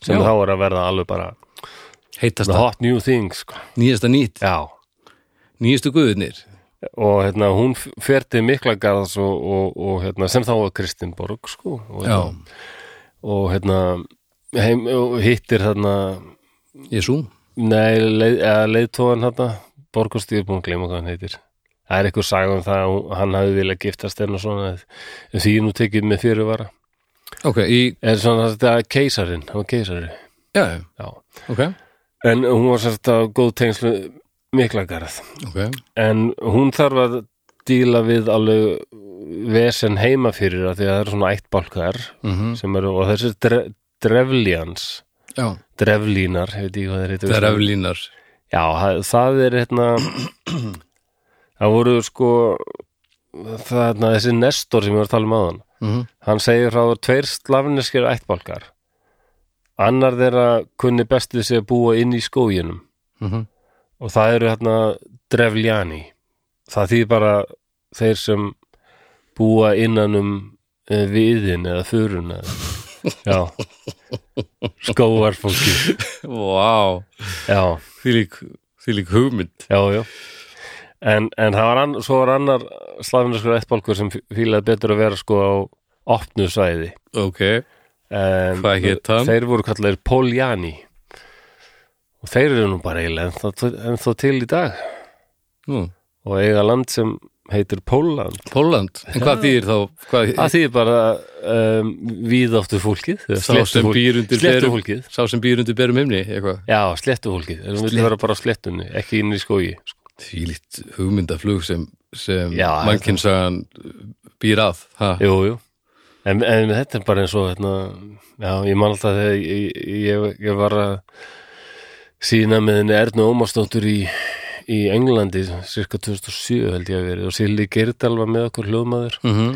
sem
Já.
þá er að verða alveg bara the
heitasta,
hot new thing sko.
nýjasta nýtt
já,
nýjastu guðunir,
og hérna hún f- fer til Miklagarðs og, og, og hérna, sem þá var Kristinborg sko, og,
já,
og hérna heim, og hittir þarna
Jesú
Nei, leið, eða leiðtóðan hann Borgustýr búin að gleyma hvað hann heitir Það er eitthvað saga um það að hún- hann hafi viljað giftast enn og svona en því ég nú tekið með fyrirvara
ok, í,
En svona þetta er keisarinn, hann var keisari
já, já,
Já.
ok
En hún var sérst að góð tengslu miklagarð
ok,
En hún þarf að díla við alveg vesen heima fyrir að því að það eru svona ættbálkar
mm
sem eru, og þessi dre, drefljans
já,
dreflínar, ég veit ekki hvað þeir heitir
það er eflínar
Já, það- það er hérna það voru sko það er hérna, þessi Nestor sem ég var að tala um áðan
mhm,
hann segir frá tveir slavneskir ættbálkar annar þeirra kunni bestið sig að búa inn í skóginum
mhm,
og það eru hérna drefljani það þýðir bara þeir sem búa innan um eh, viðin eða föruna já skóarfólki
Vá,
já,
því lík, því lík hugmynd
já, já en, en það var annar, svo var annar slafinurskur eittbálkur sem fí- fílaði betur að vera sko á opnu svæði
Ok,
en,
Hvað hét hann?
þeir voru kallar Poljani og þeir eru nú bara eiginlega ennþá, ennþá til í dag
nú,
og eiga land sem heitir Póland
Póland En hvað þýðir þá? Hvað,
það þýðir bara um, víðáttu fólkið eða
sá sem
sléttufólk-
býr undir berum
sléttufólkið
Sá sem býr undir berum himni, eitthvað
já, sléttufólkið, þeir vilja vera bara á sléttunni ekki inn í skógi
Því líkt hugmyndaflug sem, sem
Já,
mannkinsagan býr að ha?
jú, jú. En, en þetta er bara eins og hérna, já, ég man alltaf þegar ég, ég, ég var að sína með henni Ernu Ómarsdóttur í, í Englandi cirka 2007 held ég að verið og Silli Geirdal var með okkur hljóðmaður
mm -hmm.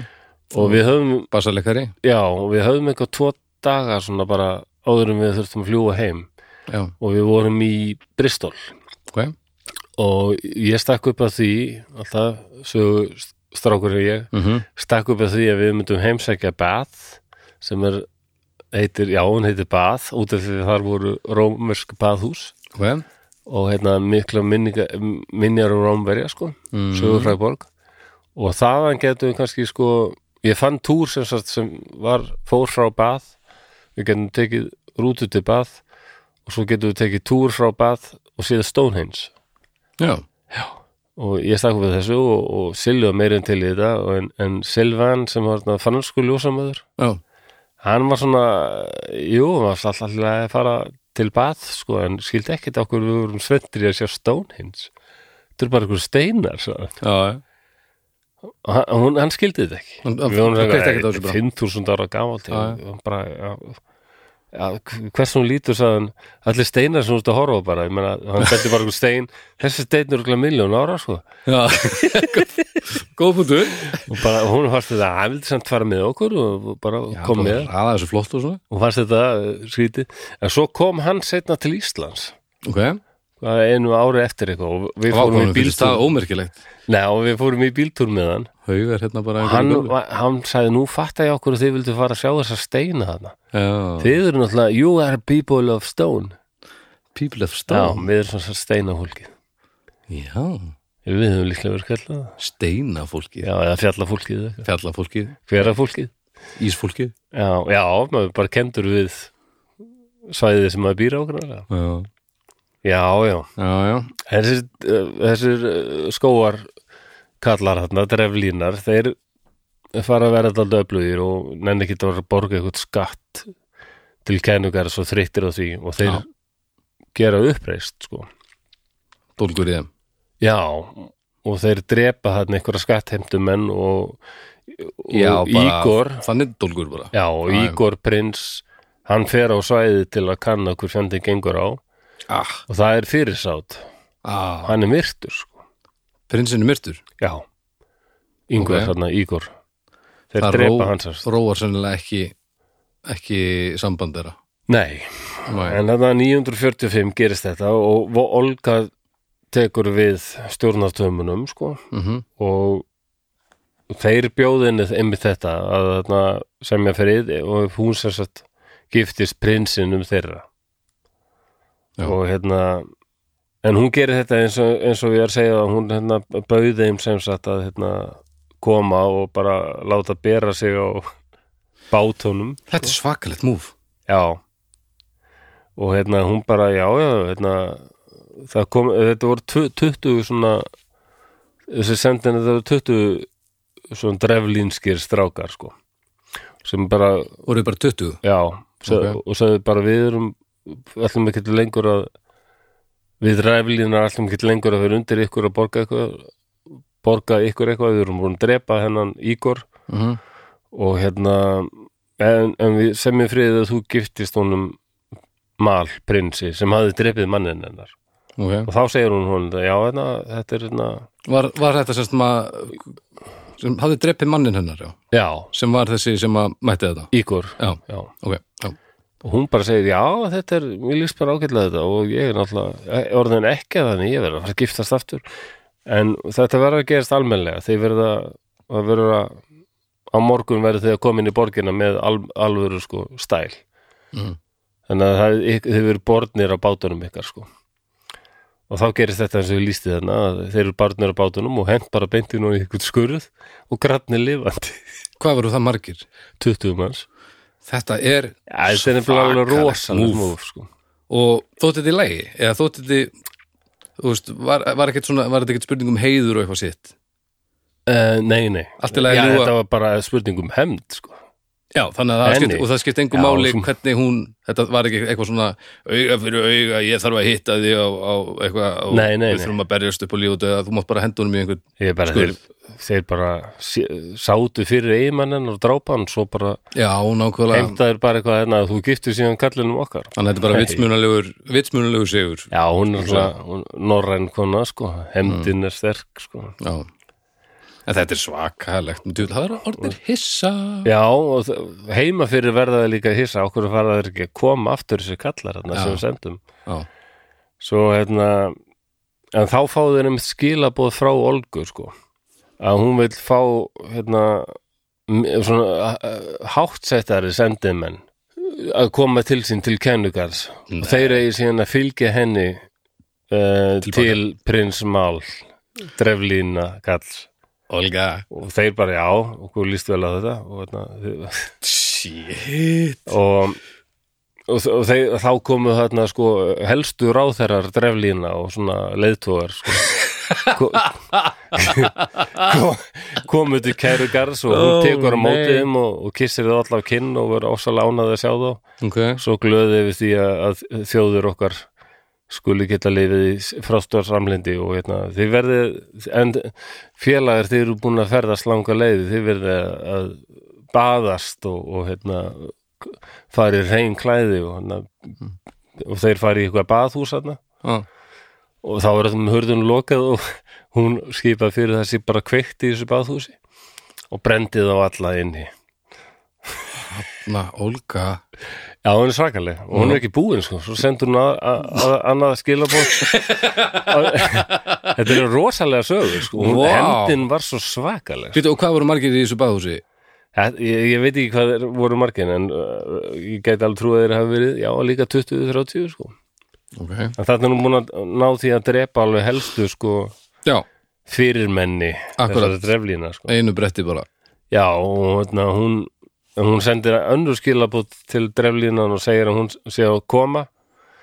og við höfum,
Basalekari
já, og við höfum eitthvað tvo daga svona bara áður en við þurftum að fljúga heim
Já,
og við vorum í Bristol
ok
og ég stakk upp að því alltaf, sögu strákur og ég
mm
stakk upp að því að við myndum heimsækja Bath sem er, heitir, já hún heitir Bath út af því að þar voru rómersk bathús
Ok
og hérna mikla minninga, minjar og rómverja sko,
mm.
sögurfræðborg og þaðan getum við kannski sko ég fann túr sem, sagt, sem var fór frá Bath við getum tekið rútu til Bath og svo getum við tekið túr frá Bath og síðan Stonehenge
Já,
og ég stakk við þessu og, og Silva meirinn til í þetta og en, en Silvan sem var þarna fannsku ljósamöður
já,
hann var svona, jú, hann var alltaf alltaf að fara til bað sko, en skildi ekkit okkur við vorum svendri að sjá Stonehenge þetta er bara einhver steinar sagði hann.
já, já.
og hann, hún- hann skildi þetta ekki
Hann- hann-
við vorum
hann kveikti ekkit á
svona
þessu bara.
5000 ára gamalt
Já, já.
og hann bara já, já, hvers hún lítur sagðan allir steinar sem hún stu að horfa á bara ég meina, hann setti bara einhver stein þessi stein er okkur miljón ára sko
já. Góð punktur
og bara, hún fannst þetta að hann vildi samt fara með okkur og og bara kom með
Ræða þessu flott og svona
og fannst þetta eh, skrítið en svo kom hann setna til Íslands
Ok
hvað, einu ári eftir eitthvað og við fórum
Vákonum
í
fyrir stað
bíltúr
ómerkilegt
Nei, og við fórum í bíltúr með hann
Haugar hérna bara
hann,
einhverjum gömlu.
var- hann sagði nú fatta ég okkur að þið vildu fara að sjá þessa steina þarna
Já,
þið eru náttúrulega, you are people of stone
people of
já,
stone
við erum svona steinahólkið
Já,
við höfum líklega verið kallað það.
steinafólkið
já, eða fjallafólkið,
Fjallafólkið,
hverafólkið
ísfólkið
já, já, maður bara kendur við svæðið sem maður býr á okkur já
Já,
Já, já,
já, já
þessir, uh, þessir uh, skóar kallar þarna, dreflínar, þeir fara að vera þetta öflugir og nenni ekki að borga eitthvað skatt til kennugar svo þreyttir á því og þeir
Já.
gera uppreist sko.
Dólgur í þeim
Já, og þeir drepa þarna einhverja skattheimtumenn og, og Ígor
Þannig dólgur bara
Já, og
Já, já.
Ígor prins hann fer á svæðið til að kanna hver fjandinn gengur á og
ah,
það er fyrirsátt,
ah,
hann er myrtur sko.
Prinsinn er myrtur
Já Yngvar
Ok.
þarna, Ígor Þeir
Það
drepa
ró-
hans hans
Róar sennilega ekki ekki samband þeirra
Nei,
Nei.
en þarna 945 gerist þetta og Vo- Olga tekur við stjórnartömunum sko
Mhm.
og þeir bjóðinni einmitt þetta að þarna semja frið og hún sem sagt giftist prinsinum þeirra
Já.
og hérna en hún gerir þetta eins og, eins og ég er að segja að hún hérna bauði þeim sem sagt að hérna koma og bara láta bera sig á bátunum
Þetta er svakalegt múf
Já og hérna hún bara já já hérna það kom, þetta voru tv- 20 svona þessi sendin þetta voru 20 svona dreflínskir strákar sko sem bara
og eru bara 20
já sag,
Ok.
og sagði bara við erum ætlum ekki lengur að við dreflínar ætlum ekki lengur að vera undir ykkur að borga eitthvað borga ykkur eitthvað, við erum búin að drepa hennan Ígor
mm -hmm.
og hérna en, en við semjum friðið að þú giftist honum mal prinsi sem hafði drepið mannin hennar og þá segir hún hún já, hérna, þetta er hérna
Mhm. var, var þetta sem maður sem hafði dreppið mannin hennar já.
já,
sem var þessi sem að mætti þetta
Ígor
Já,
já.
ok, já,
og hún bara segir, já, þetta er mér líst bara ágætlega þetta og ég er náttúrulega e- orðin ekki að þannig, ég verður að fara að giftast aftur en þetta verður að gerast almennlega þeir verða að verður að á morgun verður þið að koma inn í borgina með al, alvöru sko stæl
Mm.
þannig að það, ykk- þið verður borðnir á bátunum ykkar sko og þá gerist þetta eins og ég lísti þarna að þeir eru barnir á bátunum og hent bara beintin og ykkur skurð og grannir lifandi
Hvað voru það margir?
20 manns
Þetta er
ja, þetta er nefnilega alveg
Svakalegt
rosalega
múf.
múf sko.
og þótti þetta í lægi eða þótti þetta þú veist, var, var, ekkert svona, var þetta ekkert spurning um heiður og eitthvað sitt
uh, nei, nei
Allt í lagi
Já,
að ljúga.
þetta var bara spurning um hemd sko.
já, þannig að það
Henni.
skipt, og það skipt engum
Já,
máli
sem-
hvernig hún, þetta var ekki eitthvað svona auga fyrir auga, ég þarf að hitta því á, á eitthvað, og
Nei, nei,
við
nei.
þurfum að berjast upp og lífa þetta, þú mátt bara henda honum í einhvern
Ég bara, þeir,
Skurð.
þeir bara sé- sátu fyrir eigimannin og drápa hann svo bara
já, nákvæmlega,
heimtaður bara eitthvað en að þú giftir síðan kallinum okkar
þannig að þetta er bara
Nei.
vitsmunalegur vitsmunalegur sigur
Já, hún er svona hún- norræn kona sko, hemdin er sterk sko.
já en þetta er svakalegt, menn djúl, það er orðin hissa
Já, og þ- heima fyrir verða það líka hissa, okkur fara þeir ekki að koma aftur þessi kallar hérna
Já.
sem við sendum
já,
Svo hérna en þá fáðu þeir einmitt skilaboð frá Olgu sko, að hún vil fá hérna m- svona háttsættari sendimenn að koma til sín til kennugars og þeir eigi síðan að fylgja henni uh,
Til baka.
til prins Mál dreflína kalls
Olga
og þeir bara já, okkur líst vel á þetta og, hérna, þið-
shit
og, og, og þeir, þá komu þarna sko helstu ráðherrar dreflína og svona leiðtógar sko. Ko- ko- komu til kæru garðs og hún
Ó,
tekur á móti
nei.
þeim og, og kissir þau allar kinn og verður ósalega ánað að sjá þá
ok,
svo glöði við því að að þjóður okkar skuli geta lifið í frástór samlindi og hérna, þið verðið en félagar þið eru búin að ferðast langa leiði, þið verðið að baðast og, og hérna farið reyn klæði og, hérna, og þeir farið í eitthvað baðhús hérna
já
og þá er þeim hurðun lokað og hún skipað fyrir þessi bara kveikt í þessu baðhúsi og brendið á alla inni
Na, Olga
Já, hún er svakaleg og hún er ekki búin sko, svo sendur hún að- að- að- annað skilabóð Þetta eru rosalega sögur sko, hún
Vá.
hendin var svo svakaleg
Býtu, og hvað voru margir í þessu baðhúsi?
ég, ég veit ekki hvað er, voru margin en uh, ég gæti alveg trúið þeir hafa verið já, líka 20-30 sko
Ok.
en þarna er hún búin að ná því að drepa alveg helstu sko
Já,
fyrirmenni
Akkurat.
þessara dreflína sko
einu bretti bara.
Já, og hérna, hún, hún sendir önnur skilabótt til dreflínan og segir að hún sé að koma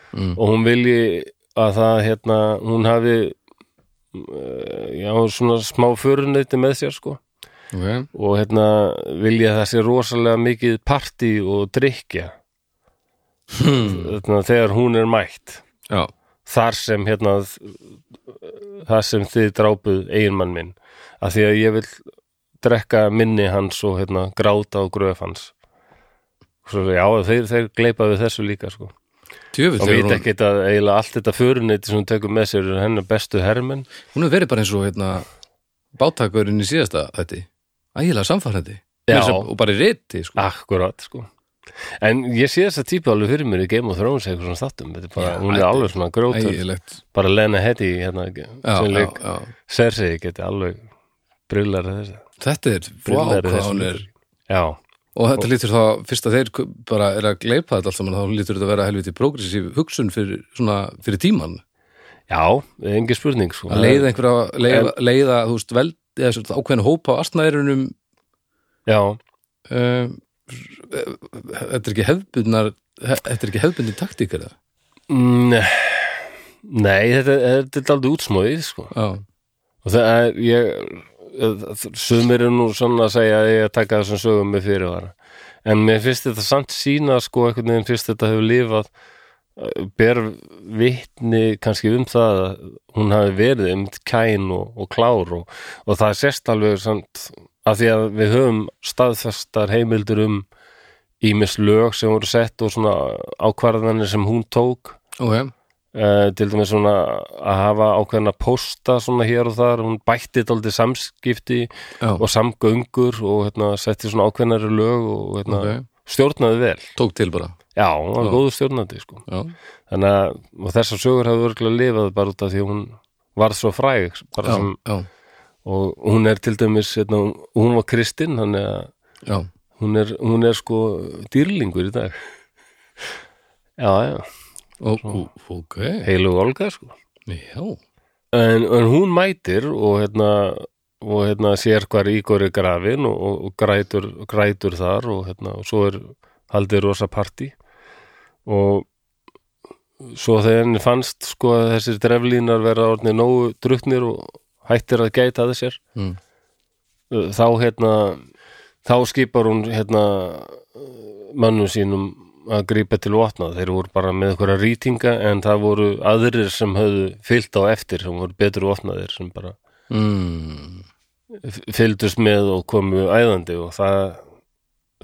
Mm.
og hún vilji að það, hérna, hún hafi eh, já, svona smá föruneyti með sér, sko
Ok.
og hérna, vilja að það sé rosalega mikið partí og drykja hérna, þegar hún er mætt
Já.
þar sem hérna þar sem þið drápuð eiginmann minn af því að ég vil drekka minni hans og hérna gráta á gröf hans svo já, þeir, þeir gleipa við þessu líka sko.
Tjöfull,
og
hefur
veit
hún,
ekki að eiginlega allt þetta föruneyti sem hún tekur með sér er hennar bestu hermenn
hún hefur verið bara eins og hérna, báttakurinn í síðasta þetta. Ægilega samfærandi.
Já.
Og bara í riti, sko.
akkurat sko en ég sé þessa típu alveg fyrir mér í Game of Thrones eitthvað svona þáttum, þetta er bara,
Já,
hún er
æ-
alveg svona grótur,
Ægilegt.
bara Lena Headey hérna,
Já,
sem
já,
leik
já.
Cersei geti alveg brillar þessu
Þetta er, vá,
Brillari
hvað
þessi
hún er.
leikur. já,
Og þetta lítur þá, fyrst að þeir ku- bara er að gleipa þetta allt saman, þá lítur þetta að vera helviti progressív hugsun fyrir, svona, fyrir tíman.
já, engi spurning sko.
Að leiða einhverja, leiða, leiða þú veist, veld, eða svona ákveðin hópa á astnæðurinnum
já,
uh, þetta er ekki hefbundnar þetta er ekki hefbundin taktíkar það
mm, nei þetta, þetta er aldrei útsmóðið sko.
já,
og það er ég sumir er nú svona að segja að ég að taka þessum sögum með fyrirvara en mér finnst þetta samt sína sko einhvern veginn fyrst þetta hefur lifað eh, ber vitni kannski um það að hún hafi verið um kæn og, og klár og, og það sérst alveg samt að því að við höfum staðfestar heimildur um ímis lög sem voru sett og svona ákvarðanir sem hún tók
ok,
uh, til dæmis svona að hafa ákveðna pósta svona hér og þar hún bætti dálítið samskipti
já,
og samgöngur og hérna, setti svona ákveðnari lög og hérna,
ok
stjórnaði vel
tók til bara
já, hún var
Já.
góður stjórnandi sko.
já,
þannig að og þessar sögur hafa örgulega lifað bara út af því að hún varð svo fræg bara
já,
sem,
já,
og hún er til dæmis hérna, hún- hún var kristinn þannig að
já,
hún er, hún er sko dýrlingur í dag já, já,
Ó, ó, ok
heilu olga sko
já,
en, en hún mætir og hérna og hérna sér hvar Ígor er grafin og, og, og grætur, grætur þar og hérna og svo er haldið rosa partí og svo þegar henni fannst sko að þessir dreflínar vera orðni nógu druknir og hættir að gæta að sér
Mm.
Uh, þá hérna þá skipar hún hérna mannum sínum að grípa til vopna, þeir voru bara með einhverja rýtinga en það voru aðrir sem höfðu fyllt á eftir sem voru betur vopnaðir sem bara
mm.
f- fylgdust með og komu æðandi og það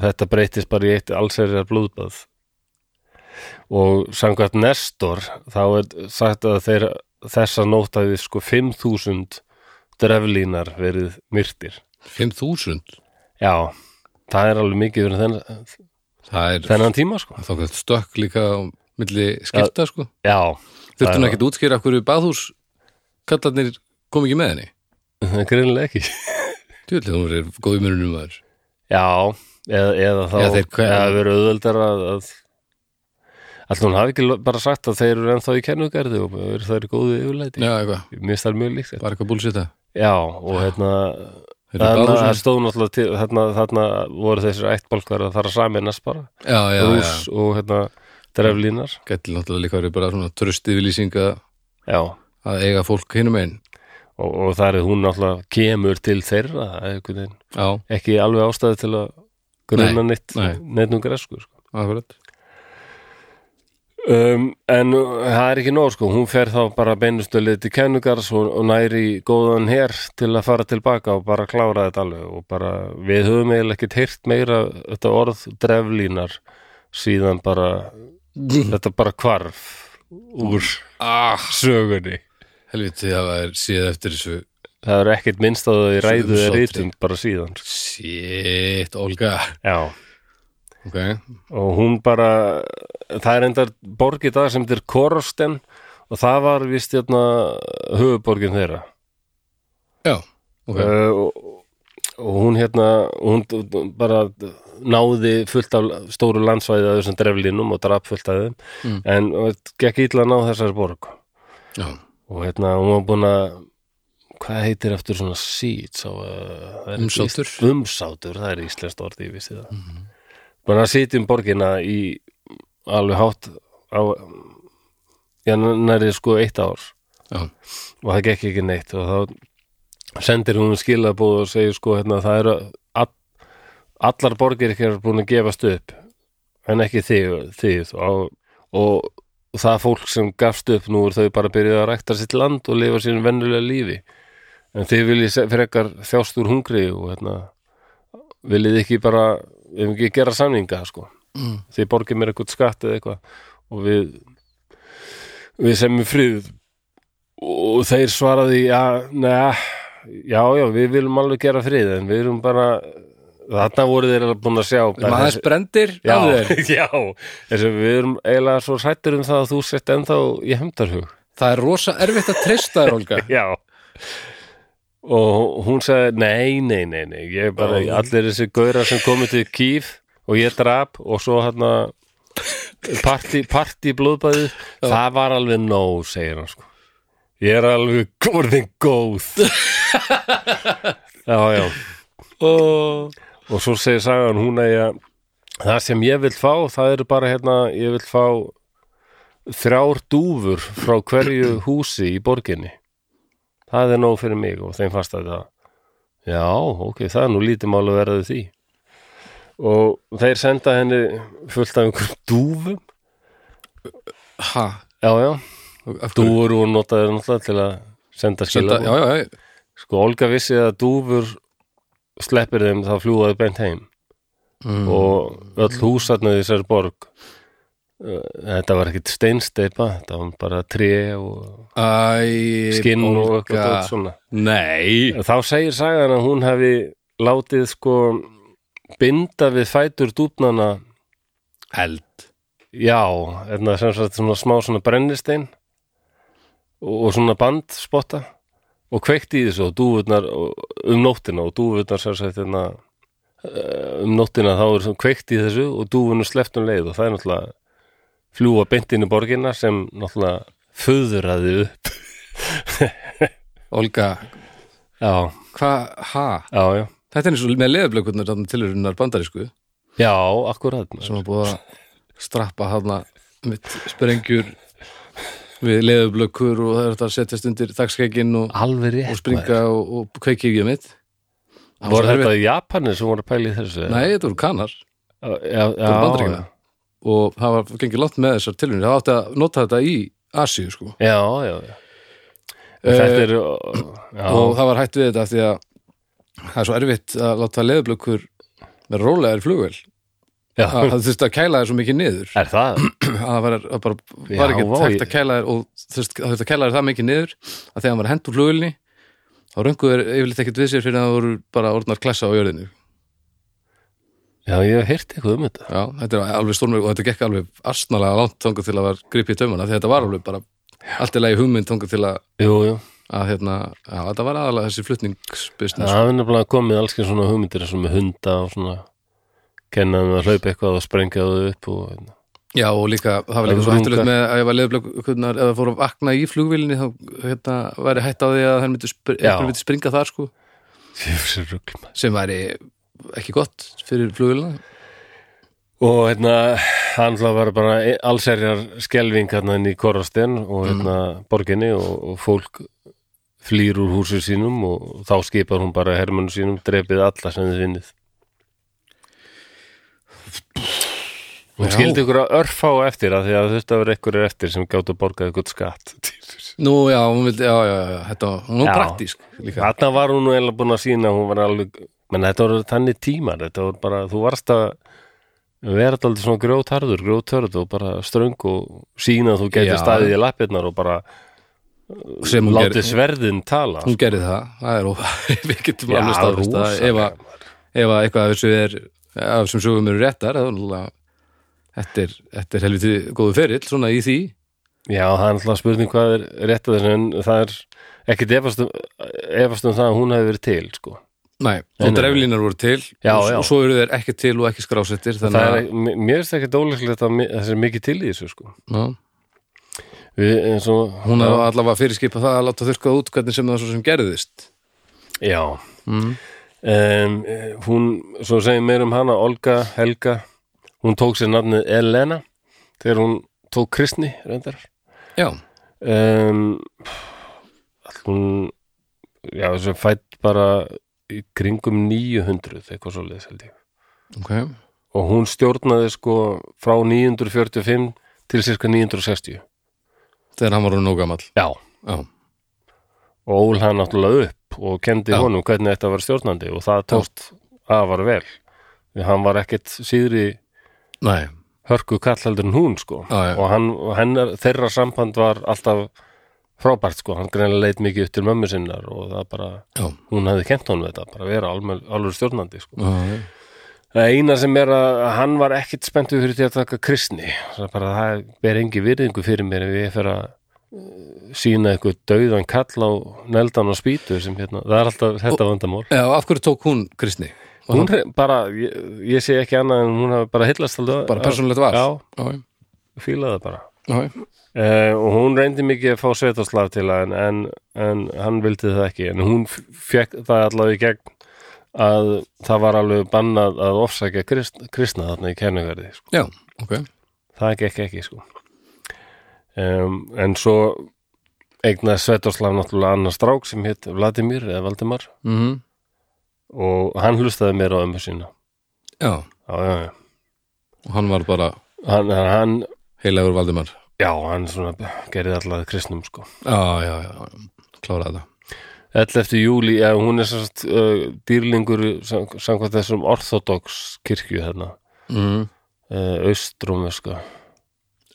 þetta breytist bara í eitt allserjar blóðbað og samkvæmt Nestor þá er sagt að þeir þessa nótt hafið sko 5.000 dreflínar verið myrtir
5000
já, það er alveg mikið fyrir þennan,
það er
þennan tíma sko
þá gætt stökk líka á milli skipta sko
já,
þurftum ekki að útskýra okkur baðhús kallarnir kom ekki með henni
það er greinilega ekki
djúlega hún er góð í mörunum maður
já, eða, eða þá
Já, þeir-
eða verið auðveldar að, að Alltaf hún hafi ekki lo- bara sagt að þeir eru ennþá í kennugarði og eru þær í góðu yfirleiti.
já, eitthvað,
Mér finnst það mjög líkt þetta.
bara eitthvað búlsita
Já, og hérna
Þetta er
þarna það
baðhús
stóð náttúrulega til, þarna, þarna voru þessir ættbálkar að fara saminast bara,
já, já, já,
rús og hérna dreflínar,
gæti náttúrulega líka verið bara svona tröst yfirlýsing að
já
að eiga fólk hinum einn
og, og þar er hún náttúrulega kemur til þeirra, það er einhvern veginn
já,
ekki alveg ástæði til að grunna neitt,
nei.
neitt nú gresku sko.
akkurat
um, en uh, það er ekki nóg sko, hún fer þá bara beinustölu til kennugars og, og næri góðan her til að fara tilbaka og bara klára þetta alveg og bara við höfum eiginlega ekkert heyrt meira þetta orð dreflínar síðan bara þetta bara kvarf úr
ah,
sögunni
helviti það er séð eftir þessu
það er ekkert minnst að þau ræðu eða
Sögusátri.
rítum bara síðan sko.
shit, Olga
já
ok,
og hún bara það er endar borg í dag sem þetta er Korosten og það var vist hérna höfuborgin þeirra
já, ok
uh, og, og hún hérna hún d- d- bara náði fullt af stóru landsvæði að þessum dreflinum og drap fullt af þeim
Mm.
en og, gekk illa að ná þessari borg
já,
og hérna hún var búin að hvað heitir eftir svona seeds á, uh, það er ekki
Umsátur.
ísl- umsátur, það er íslenskt orð ég vissi það mm -hmm. búin að sitja um borgina í alveg hátt á já, nærið sko eitt ár
já,
og það gekk ekki neitt og þá sendir hún skilabóð og segir sko hérna það eru all, allar borgir ykkar búin að gefast upp en ekki þið, þið og, og það fólk sem gafst upp nú er þau bara byrjuð að rækta sitt land og lifa sínum vennulega lífi en þið viljið se- frekar þjást úr hungri og hérna viljið ekki bara ef ekki gera samninga sko
Mm.
þið borgið mér eitthvað skatt eða eitthvað og við við semjum frið og þeir svaraði já, neða, já, já, við viljum alveg gera frið en við erum bara þarna voru þeir alveg búin að sjá bara
maður
þessi-
sprendir
já,
af þér.
já, þessi, við erum eiginlega svo sættur um það að þú sett ennþá í hefndarhug
það er rosa erfitt að treysta þér, Olga
já og hún sagði, nei, nei, nei, nei ég er bara,
Ó.
allir þessi gaurar sem komið til Kýf og ég drap og svo hérna partí, partí blóðbæði það var alveg nóg, segir hann sko ég er alveg góðin góð já, já
oh.
og svo segir sagan hún að ég, það sem ég vil fá það eru bara hérna, ég vil fá þrjár dúfur frá hverju húsi í borginni það er nóg fyrir mig og þeim fast að það já, ok, það er nú lítið mál að verða því og þeir senda henni fullt af einhverjum dúfum
ha,
já, já,
af hverju?
dúfur og notaði náttúrulega til að senda
Senda, já,
skilabóð
já, já,
sko, Olga vissi að dúfur sleppir þeim þá fljúaði bent heim
Mm.
og öll húsarnu í þessari borg uh, þetta var ekkit steinsteipa þetta var bara tré og
Æ,
skinn og
Olga.
eitthvað dót svona
Nei,
þá segir sagan að hún hafi látið sko binda við fætur dúfnana
held
já, hérna sem sagt svona smá svona brennistein og, og svona bandspotta og kveikti í þessu og dúfurnar og- um nóttina og dúfurnar sem sagt hérna eh, um nóttina þá er svona kveikt í þessu og dúfunum sleppt um leið og það er náttúrulega fljúa beint inn í borginna sem náttúrulega föðuraði upp
Olga,
já,
hvað, ha?
já, já,
Þetta er eins og með leðablökunar tilurinnar bandarísku
já, akkurat maður.
sem var búið að strappa hana mitt sprengjur við leðablökur og það er þetta að setjast undir dagskækin og,
alveg rétt
og springa og, og kveiki í mitt Það
maður. voru
svo erfitt.
þetta Japanir sem voru að pæla í þessu
Nei, þetta voru kanar
já, já,
voru
já,
Bandaríkjanna. og það var gengið langt með þessar tilhörnir það átti að nota þetta í Asíu sko.
já, já, já. þetta er já,
Eh, og það var hætt við þetta af því að það er svo erfitt að láta leðublökkur vera rólegar í flugvél
já,
það það þurfti að kæla þér svo mikið niður
er það
að það var, að bara,
Já,
var ekki
vá,
hægt
ég-
að kæla þér og þurfti það þurfti að kæla þér það mikið niður að þegar hann var hent úr flugvélni þá rönguðu þér yfirleitt ekkert við sér fyrir að það voru bara orðnar klessa á jörðinu
já, ég hef heyrt eitthvað um þetta
Já, þetta er alveg stórmörg og þetta gekk alveg arsnalega langt þangað til að var gripið í taumana því þetta var alveg bara allt í lagi hugmynd þangað til að
jú, jú
að hérna, já, þetta var aðalega þessi flutningsbusiness
Það er nefnilega komið alls kemur svona hugmyndir eins og með hunda og svona kennaðum að hlaupa eitthvað og sprengja þau upp og hérna.
Já, og líka, það var líka
Það
svo
var
hættulegt
lunga.
með að ég var leðublökunar eða fór að vakna í flugvílinni þá hérna, væri hætt á því að hann myndi, spr
Já.
einhver myndi springa þar sko
Djöfusir rugl, maður.
sem væri ekki gott fyrir flugvílina
og hérna hann hlað var bara allserjar skelving hérna inn í Korrasten og hérna borginni og, og fólk flýr úr húsu sínum og þá skipar hún bara hermönu sínum drepið alla sem þið finnið hún
Já.
skildi ykkur að örfá eftir að því að þetta verið ykkur eftir sem gáttu að borga ykkur skatt Djöfusir
Nú, já, hún vildi, já, já, já, þetta var hún var
Já.
praktísk líka
Þarna var hún nú eiginlega búin að sína hún var alveg, menn þetta voru þannig tímar þetta voru bara, þú varst að vera alltaf svona grjótarður, grjótörð og bara ströng og sína að þú
Já.
getur staðið í lappirnar og bara
sem hún
látið
gerði,
sverðin tala sko.
hún gerði það það er, ó- við getum alveg staðfest
rosa
að ef að- ef að eitthvað af þessu er af sem sögum eru réttar þá er náttúrulega- þetta er, þetta er helviti góðu ferill, svona í því
Já, það er alltaf spurning hvað er rétt að þessu en það er ekkit efast um, efast um það að hún hefði verið til sko.
Nei, og
nei, nei.
dreflínar voru til
Já,
og,
já.
og svo eru þeir ekki til og ekki skrásettir þannig
það
að
er, mér mér finnst ekki dólíklegt að mi- það sé mikið til í þessu sko.
já,
Við, eins og,
hún hefði allavega fyrirskipa það að láta þurrkað út hvernig sem það svo sem gerðist
Já um, eh, Hún, svo segjum meir um hana Olga Helga, hún tók sér nafnið Elena þegar hún tók kristni reyndar
Já,
um, Hún já, þessu fætt bara í kringum 900 eitthvað svo held ég
ok
og hún stjórnaði sko frá 945 til cirka 960
Þegar hann var nú gamall
Já,
Já,
og ól hann náttúrulega upp og kendi
Já.
honum hvernig þetta var stjórnandi og það tókst afar vel því hann var ekkit síðri
nei,
hörku kall heldur en hún sko
Já, já.
og, hann, og hennar, þeirra samband var alltaf frábært sko hann greinlega leit mikið upp til mömmu sinnar og það bara,
já,
hún hefði kent honum þetta bara vera alveg, alveg stjórnandi sko
já, já.
það eina sem er að að hann var ekkit spenntu fyrir því að taka kristni það, er bara, það ber engi virðingu fyrir mér ef ég fer að eh, sína eitthvað dauðan kall á neldan og spýtu sem hérna, það er alltaf þetta vandamál
já af hverju tók hún kristni? Og
hún hre- bara, ég, ég sé ekki annað en hún hafi bara hillast alltaf
Bara persónulegt val
já,
já, já,
fílaði það bara
já,
Uh, og hún reyndi mikið að fá Svetoslav til hann en, en hann vildi það ekki en hún fekk það allavega í gegn að það var alveg bannað að ofsækja krist, kristna þarna í kennugarði sko.
já, ok
það gekk ekki sko. um, en svo eignaði Svetoslav náttúrulega annar strák sem hétt Vladimir eða Valdimar
mm
og hann hlustaði mér á ömmu sína
Já,
já, já, já.
og hann var bara
Hann, hann,
heilagur Valdimar
já, hann svona gerði allavega kristnum sko
Já, já, já, já, kláraði það
11. júli, ja, hún er sannst, uh, dýrlingur sam- samkvæmt þessum orthodox kirkju hérna
mm.
uh, austrúmeska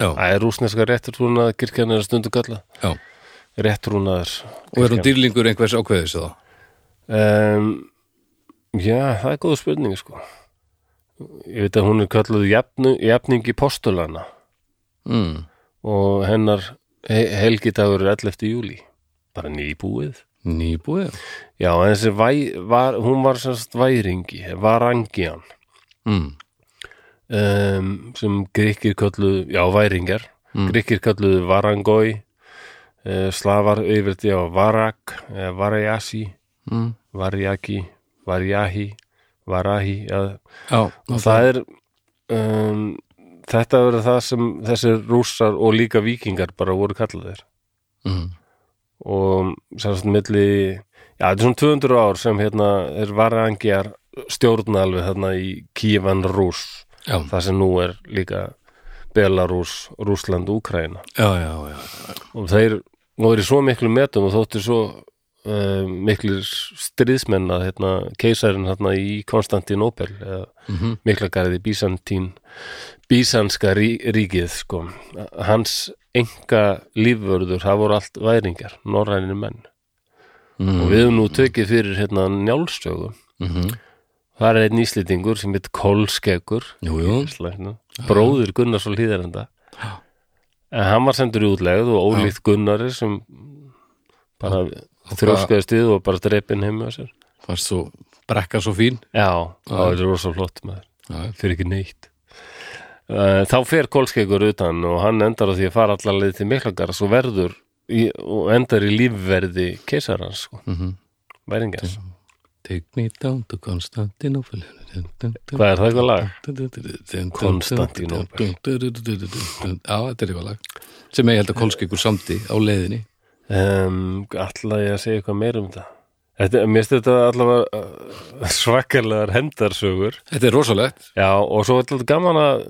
Já,
Það er rúsneska réttrúnaðar kirkjan er stundu kallað
já
réttrúnaðar
Og er hún dýrlingur einhvers ákveðis eða?
um, Já, það er góð spurning sko Ég veit að hún er kalluð jafnu, jafningi postulana
Mm.
og hennar he helgidagur er 11. júli bara nýbúið
Nýbúið?
Já, en þessi væ, var, hún var sérst væringi, varangian
Mm.
um, sem grikkir kölluðu, já, væringar grikkir kölluðu varangói uh, slavar yfirleitt já, varak, uh, varajasi
Mm.
varjaki, varjahi varahi ja,
Já,
og það er um, þetta verður það sem þessir rússar og líka vikingar bara voru kallaðir
mm.
og sérst milli já, þetta er svona 200 ár sem hérna er varangjar stjórna alveg þarna í Kívan Rúss
já,
það sem nú er líka Belarus, Rússland og Ukraina
já, já, já.
og þeir voru í svo miklu metum og þóttu svo uh, miklir stríðsmenn að hérna, keisarinn hérna í Konstantinopel eða
Mm -hmm.
miklagarði Bísantín Bísanska rí, ríkið sko. hans enga lífvörður, það voru allt væringar norrænir menn
Mm.
og við höfum nú tökið fyrir hérna njálstögu
Mm
það er einn íslendingur sem heit Kolskegur
Jú, jú.
Íslandsnum, bróðir Gunnars og hlýðarenda en hann var sendur í útlegð og ólíkt Gunnari sem bara þrjóskaðist við og bara dreipin heim með sér
Fannst svo brekka svo fín
já, það er rosa flott maður
Já,
fyrir ekki neitt Eh, þá fer Kolskeikur utan og hann endar á því að fara allar leið til Miklagarðs og verður í, og endar í lífverði keisarans sko,
mm
væringars
Take me down to Konstantinopel
hvað er það eitthvað lag?
Konstantinopel Já, þetta er eitthvað lag sem ég held að Kolskeikur samdi á leiðinni
Um, allar ég að segja eitthvað meir um það þetta, mér stu þetta allavega eh, svakalegar hendarsögur
Þetta er rosalegt
já og svo er alltaf gaman að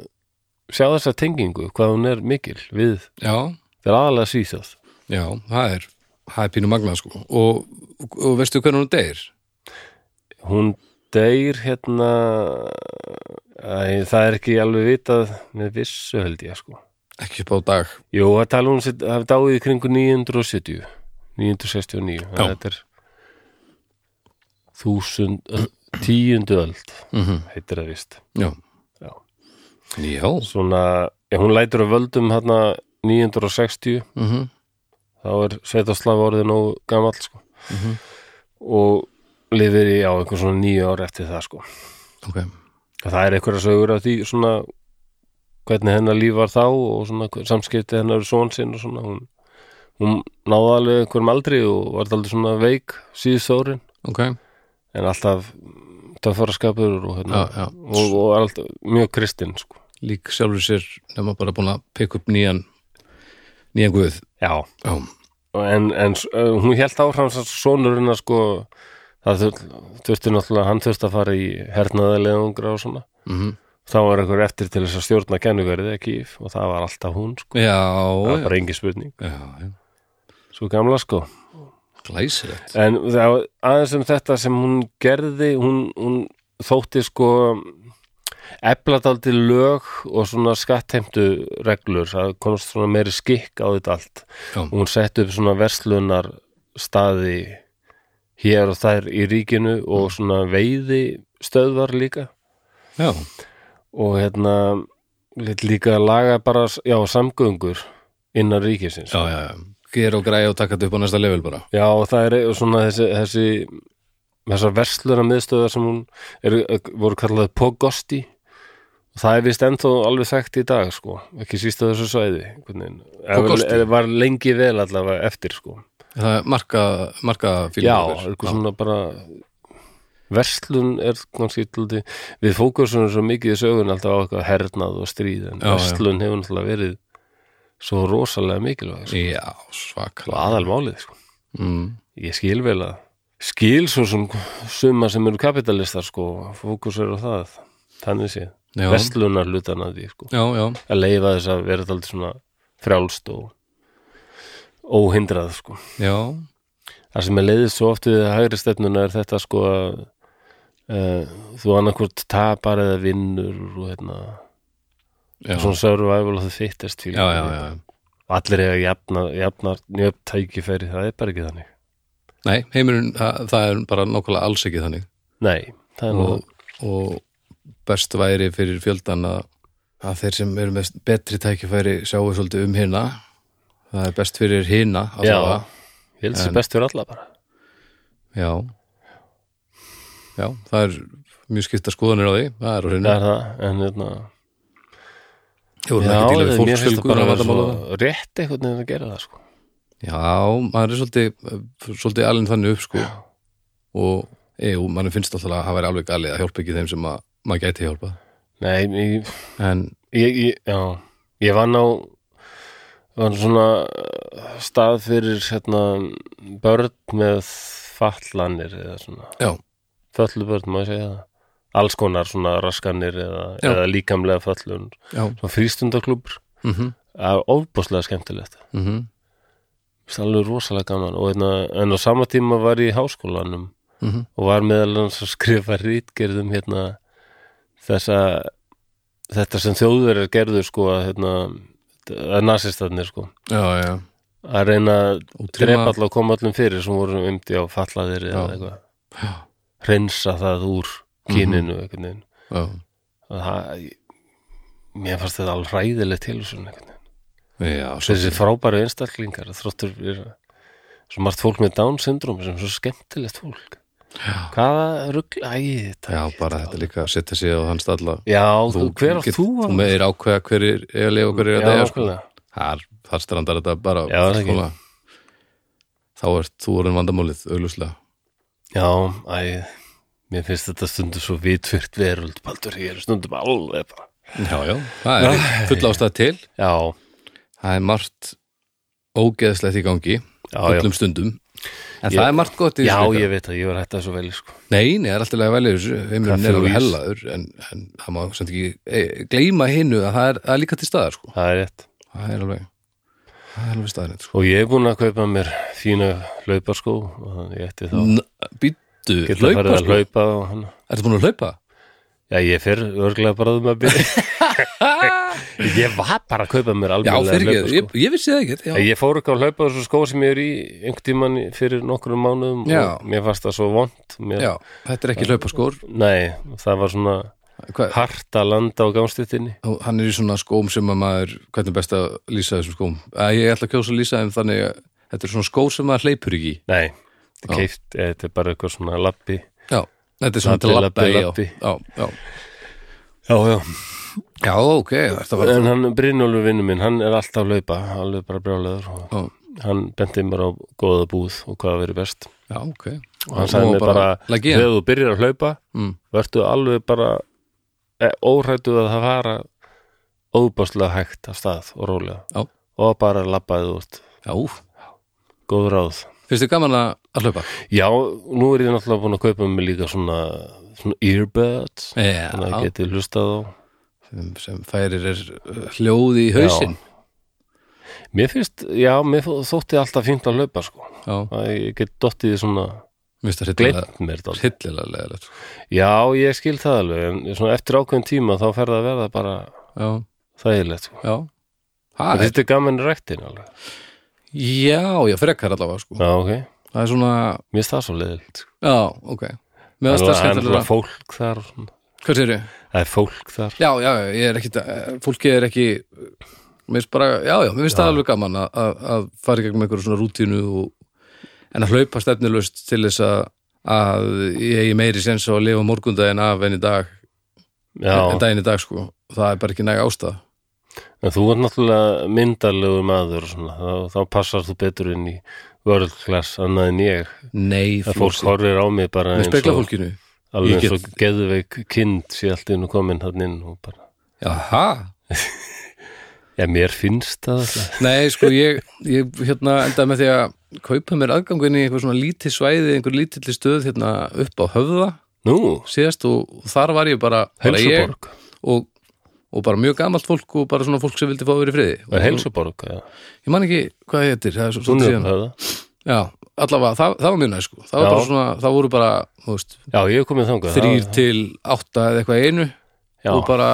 sjá þessa tengingu, hvað hún er mikil við,
Já,
það er aðalega svíþjóð
já, það er það er pínu magnað sko og, og, og veistu hvernig hún deyr?
hún deyr hérna æ, það er ekki alveg vitað með vissu held ég sko
Ekki upp á dag
Jú, það tala hún sér, það er dáið í kringu 970 969, þannig að
Já.
þetta er þúsund tíundu öld
mm -hmm.
heitir það vist
Já
Já.
Já
svona, ef hún lætur að völdum hérna 960
mm -hmm.
þá er Svetoslav orðið nógu gamall sko
Mhm.
og lifir í á einhver svona nýju ár eftir það sko
Ok
Og það er einhverja sögur af því svona hvernig hennar líf var þá og svona hver- samskipti hennar við son sinn og svona hún, hún náði alveg einhverjum aldri og var aldrei svona veik síðust árin
Ok
en alltaf töffaraskapur og, hérna,
Já, já
og, og er alltaf mjög kristinn sko.
Lík sjálfur sér nema bara búin að pikk upp nýjan nýjan guð
Já,
Já
en, en s- eh, hún hélt áfram svo sonurinn að sko það þur- þurfti náttúrulega hann þurfti að fara í hernaðarleðungra og svona
mm
þá var einhver eftir til þess að stjórna kennuverði ekki og það var alltaf hún sko, það var
Já,
bara engi spurning
já, já.
svo gamla sko
Glæsilegt
En það, aðeins um þetta sem hún gerði, hún, hún þótti sko efladaldi lög og svona skattheimtu reglur, það komst svona meiri skikk á þetta allt.
Já.
Og Hún setti upp svona verslunar staði hér og þær í ríkinu
Mm.
og svona veiði stöðvar líka
Já,
og hérna lét líka laga bara, já, samgöngur innan ríkisins.
já, já, já. Gera og græja og taka þetta upp á næsta level bara
Já, og það er og svona þessi, þessi þessar versluna miðstöðar sem hún er, voru kallaði Pogosti og það er vist ennþá alveg þekkt í dag sko, ekki síst á þessu svæði hvernig,
Pogosti?
eða var lengi vel allavega eftir sko
Það er marka, marka
Já,
fílingur.
eitthvað svona bara verslun er kannski tildi, við fókusum svo mikið í sögun alltaf á eitthvað hernað og stríð en
Já, já.
verslun hefur náttúrulega verið svo rosalega mikilvæg sko,
Já, svakala
aðalmálið sko
mm.
Ég skil vel að skil svo sem suma sem eru kapitalistar sko, fókus er á það þannig sé,
Já.
vestlunar hlutan að því sko,
Já, já,
að leifa þess að vera alltaf svona frjálst og óhindrað sko
já
það sem er leiðist svo oft við hægri stefnuna er þetta sko að uh, þú annarkvort tapar eða vinnur og hérna
Já,
svona survival of the fittest
já, já, já.
og allir eiga jafnar, jafnar njöfn tækifæri, það er bara ekki þannig
Nei, heimurinn, það, það er bara nákvæmlega alls ekki þannig
nei, það er nú
og, og best væri fyrir fjöldan að, að þeir sem eru með betri tækifæri sjáu svolítið um hina það er best fyrir hina
Já, ég held þessi best fyrir alla bara
já já, það er mjög skipta skoðanir á því það er á hreinu
það er það, en hérna
Ég voru
Já,
ekki díla
mér
við
finnst það
fólksfjölgun
bara
að
vera
vata mála
svo rétt einhvern veginn að gera það sko.
Já, maður er svolítið svolítið alveg þannig upp sko og jú, mann finnst alltaf að hafa verið alveg galið að hjálpa ekki þeim sem að, maður gæti hjálpa
Nei, ég,
en
ég, ég, já, ég vann á vann svona eh, stað fyrir hérna, börn með fallanir eða svona
Já.
föllu börn, maður segja það alls konar svona raskanir eða,
Já.
eða líkamlega föllun
já,
svona frístundaklubur,
mhm mm
það er ofbúslega skemmtilegt
mhm mm
Mér finnst alveg rosalega gaman og einna, en á sama tíma var ég í háskólanum
Mhm.
og var meðal hans að skrifa rítgerðum hérna þessa þetta sem þjóðverðar gerðu sko að hérna að nasistarnir sko
já, já,
að reyna að drepa
útrýma
alltaf og koma allum fyrir sem voru umdi á fallaðir eða
Já.
eitthvað
Já. Mhm.
reynsa það úr kyninu einhvern veginn
já,
að það mér fannst þetta alveg hræðilegt til þessu einhvern veginn
já,
þessi
svolítið
frábæru einstaklingar þróttur er svo margt fólk með Down syndrom sem er svo skemmtilegt fólk
Já.
hvaða rugl, æ, þetta
Já, bara þetta líka að setja sig á hans alla
já, þú, hver á
get-
þú
Þú meðir ákveða hver er eiga að lifa og hver er
já,
að deyja sko.
nákvæmlega.
Þar, þar strandar þetta bara á
Já, það er ekki.
fullkomlega. Þá ert þú orðin vandamálið, auglúslega
já, æ mér finnst þetta stundum svo vitvirt veröld baldur, ég er stundum alveg bara
Já, Ah. já, það er full ástæð til
já,
það er margt ógeðslegt í gangi
já, já,
öllum stundum en það er margt gott í
já,
þessu líka.
ég veit að ég var hætt að svo vel sko.
nei, nei, það er alltaf lega velið þessu heimurinn
Kaffi
er
og
alveg
ís.
hellaður en, en það má samt ekki e, gleyma hinnu að það er, það er líka til staðar sko.
það er rétt
það er alveg það er alveg staðarinn sko.
og ég er búin að kaupa mér fína hlauparskó og ég ætti þá
N- býttu,
geta að
hlaupa
fara að
sko.
hlaupa og hann
ertu búin að hlaupa?
Já, ég fyrr örglega bara um að byrja Ég var bara að kaupa mér
já,
alveg
fyrir ekki, ég, ég vissi það ekki
Ég,
já,
fór ekki að hlaupa þessu skó sem ég er í einhvern tímann fyrir nokkrum mánuðum
Já.
og mér fannst það svo vond mér...
já, þetta er ekki hlaupa skór
Nei, það var svona hart að landa á gangstittinni
hann er í svona skóm sem að maður hvernig er best að lýsa þessum skóm að ég ætla að kjósa að lýsa þeim þannig að þetta er svona skó sem maður hleypur ekki í.
Nei, þetta
Já.
er keift, eða þetta er bara eitthvað svona lappi
Já, þetta er svona
Labbi,
til að labba
labbi,
í,
labbi.
já, já, já.
Já, já
já, ok, þetta var
En hann Brynjólfur vinnu minn, hann er alltaf að hlaupa alveg bara brjálegur og
Já,
hann benti mér á góða búð og hvað verið best
já, ok
og hann sagði mér bara,
Lagi
þegar þú byrjar að hlaupa
Mm.
verður alveg bara e, óhrættu að það fara óbáslega hægt af stað og rólega
Já.
og bara labbaði út,
Já, úf,
góð ráð
finnst þið gaman að að hlaupa?
já, nú er ég náttúrulega búin að kaupa mér líka svona, svona earbuds þannig að
Já,
ég geti hlustað á
sem, sem færir er uh, hljóði í hausinn
mér finnst, já, mér þó- þótti alltaf fínt að hlaupa sko,
Já,
að ég get dottið í svona,
mér finnst það hryllilega
gleymt mér þetta
hryllilega sko. leðilegt
já, ég skil það alveg, en svona eftir ákveðin tíma þá fer það að verða bara
Já,
þægilegt sko.
já
En
Það er,
þetta er gaman rektin alveg
já, já, frekar allavega sko.
Já, ok,
Það er svona,
mér finnst það svo sko. leiðilt
já, ok Mér finnst það skemmtilega
fólk þar og svona.
Hvað sér ég?
Það er fólk þar
Já, já, já, ég er ekkit, eh, fólki er ekki mér finnst bara, já, já, mér finnst það alveg gaman að- að að fara í gegnum einhverju svona rútínu og, en að hlaupa stefnilust til þess að, að ég eigi meiri sens á að lifa morgundaginn af en í dag, en
Já,
daginn í dag sko, það er bara ekki næg ástæð
en þú ert náttúrulega myndarlegu maður og svona, þá, þá passar þú betur inn í world class annað en ég
Nei,
að fólk
flósi,
horfir á mig bara
með
eins
spekla
og
fólkinu
alveg
Ég
eins og geðveik kind sé allt inn og komin hann inn og bara
Jaha,
Já, mér finnst það alltaf.
nei, sko, ég, ég hérna endaði með því að kaupa mér aðgangun í einhver svona lítið svæði, einhver lítilli stöð hérna upp á höfða
Nú,
síðast og, og þar var ég bara, bara ég,
helsuborg
og, og bara mjög gamalt fólk og bara svona fólk sem vildi fá að vera í friði
Það er
og,
helsuborg, já
ég man ekki hvað það heitir það er
Hún
svo, svo
er
síðan,
upphæða.
já, allavega, það, það var mjög næ sko. það, var
Já.
bara svona, það voru bara þú veist,
Já, ég hef komið þangað
þrýr
það-
til átta eða eitthvað í einu
Já.
og bara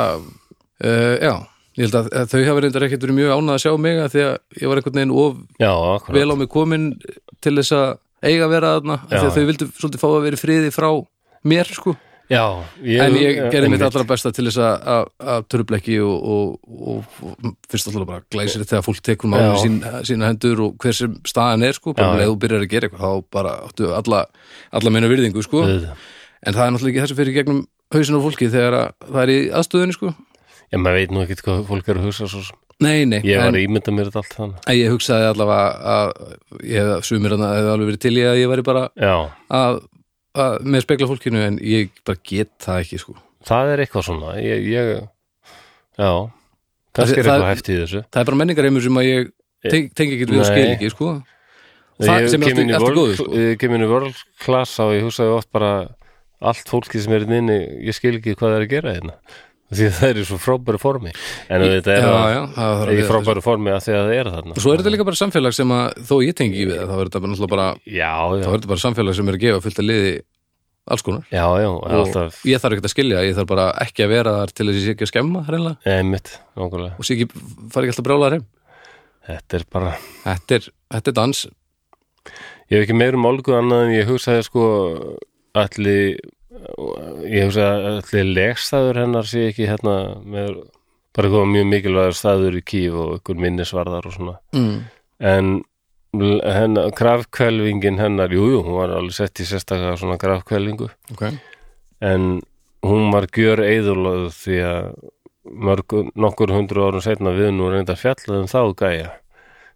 uh, já, ég held að að þau hafa reyndar ekkert verið mjög ánað að sjá mig af því að ég var einhvern veginn of
Já, akkurat
vel á mig komin til þess að eiga að vera þarna af því
Já,
að þau vildu svolítið fá að vera í friði frá mér sko
já, ég,
en ég
já,
gerði mitt
einmitt.
allra besta til þess að- að að trubla ekki og, og, og, og fyrst alltaf bara glæsir þegar fólk tekur málum
Já.
sín, sína hendur og hver sem staðan er sko,
Já,
bara
já.
ef þú byrjar að gera eitthvað þá bara áttu alla, alla meina virðingu sko.
Auðvitað.
en það er náttúrulega ekki það sem fyrir í gegnum hausin á fólki þegar að, það er í aðstöðunni sko.
Já, maður veit nú ekkert hvað fólk er að hugsa svo sem.
nei, nei,
Ég var
en,
að ímynda mér þetta allt þannig.
en ég hugsaði allavega að ég hef sumir hann að hefði alveg verið til í að ég væri bara
Já,
að, að með spekla fólkinu en ég bara get það ekki sko.
það er eitthvað svona. Ég, ég já, kannski
Það-
er eitthvað
það-
hæft í þessu.
það er bara menningareimur sem að ég tengi teng ekki við og
Nei.
skil ekki sko. það
Ég
sem er
kem inn í
alltaf, alltaf
world-
góður sko.
Ég kem inn í world class og ég hugsaði oft bara allt fólki sem er hérna inni, ég skil ekki hvað það er að gera hérna. Því að það er í svo frábæru formi. En þetta er
já,
það-
já, það
í
er
frábæru formi að því að það er þarna.
svo er þetta líka bara samfélag sem að þó ég tengi ekki við það, þá er þetta bara, náttúrulega bara,
Já,
þá
já,
er þetta bara samfélag sem er að gefa fullt að liði alls konar
já, já,
og
alltaf,
ég þarf ekki að skilja, ég þarf bara ekki að vera þar til þess að ég sé ekki að skemma hreinlega
einmitt, nákvæmlega.
og sé ekki, fari ekki alltaf brjálæðar heim
Þetta er bara,
þetta er, þetta er dans
ég hef ekki meira um álgu annað en ég hugsaði sko allir, ég hugsaði allir legstæður hennar sé ekki hérna með bara eitthvað mjög mikilvægur staður í kýf og ykkur minnisvarðar og svona.
mm.
En l- hennar, krafkvelvingin hennar, jú, jú, hún var alveg sett í sérstaklega svona krafkvelvingu.
okay.
en hún var gjör eðurlöð því að mörg, nokkur hundru árum setna við nú reynda fjallaðum þá gæja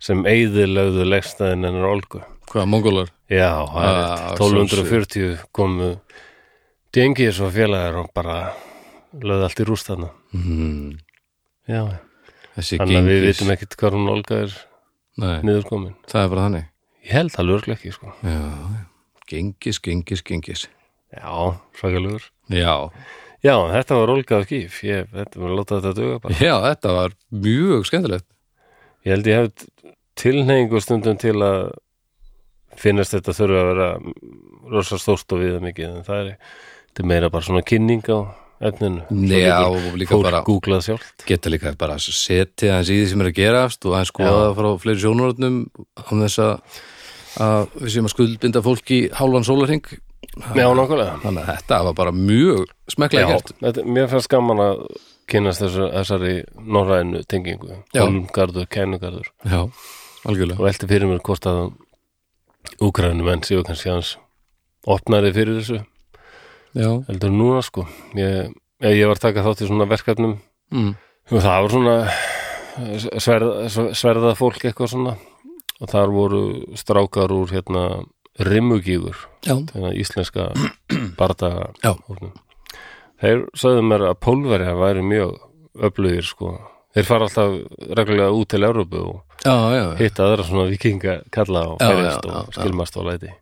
sem eðurlöðu leggstæðin hennar Olgu.
hvað, mongólar
Já, það er
Ah,
rétt. 1240 komu dengið svo félagar og bara löðu allt í rúst þarna.
mm.
Já,
þessi
Mhm. þannig að við
gengis
vitum ekkit hvað hún Olga er
Nei,
niður komin.
það er bara þannig
Ég held það lögurlega ekki, sko.
já, já. gengis, gengis, gengis
Já, svakalugur.
já,
Já, þetta var Olga af Gíf. Ég, þetta var að láta þetta duga bara.
Já, þetta var mjög skemmtilegt
Ég held ég hef tilneyingu stundum til að finnast þetta þurfa að vera rosa stórt og viða mikið en það er, þetta er meira bara svona kynning á efninu. Svo
Já,
getur
og líka
fólk
bara
googlað sjálft.
geta líka bara setið hans í því sem er að gerast og hans skoða frá fleiri sjónurotnum án þess að, að við séum að skuldbinda fólk í hálfan sólarhing
Já, nákvæmlega.
þannig að þetta var bara mjög smekklega
Já,
gert
þetta, mér fannst gaman að kynast þessu, þessari norrænu tengingu.
Já.
Holmgarður, kænugarður
Já, algjörlega
og velti fyrir mér hvort að úgrænu menn séu kannski hans opnari fyrir þessu.
Já,
Heldur en núna sko. Ég, ég var að taka þátt í svona verkefnum
mm.
Og það var svona sverða, sverða fólk eitthvað svona og þar voru strákar úr hérna rimmugífur,
Já.
hérna íslenska bardaga
Já.
hópnum. Þeir sögðu mér að pólverja væri mjög öflugir sko. Þeir fara alltaf reglulega út til Európu og
já, já, já
hitta aðra svona vikinga kalla og
Já,
færjast
já, já,
og
já.
skilmast og læti.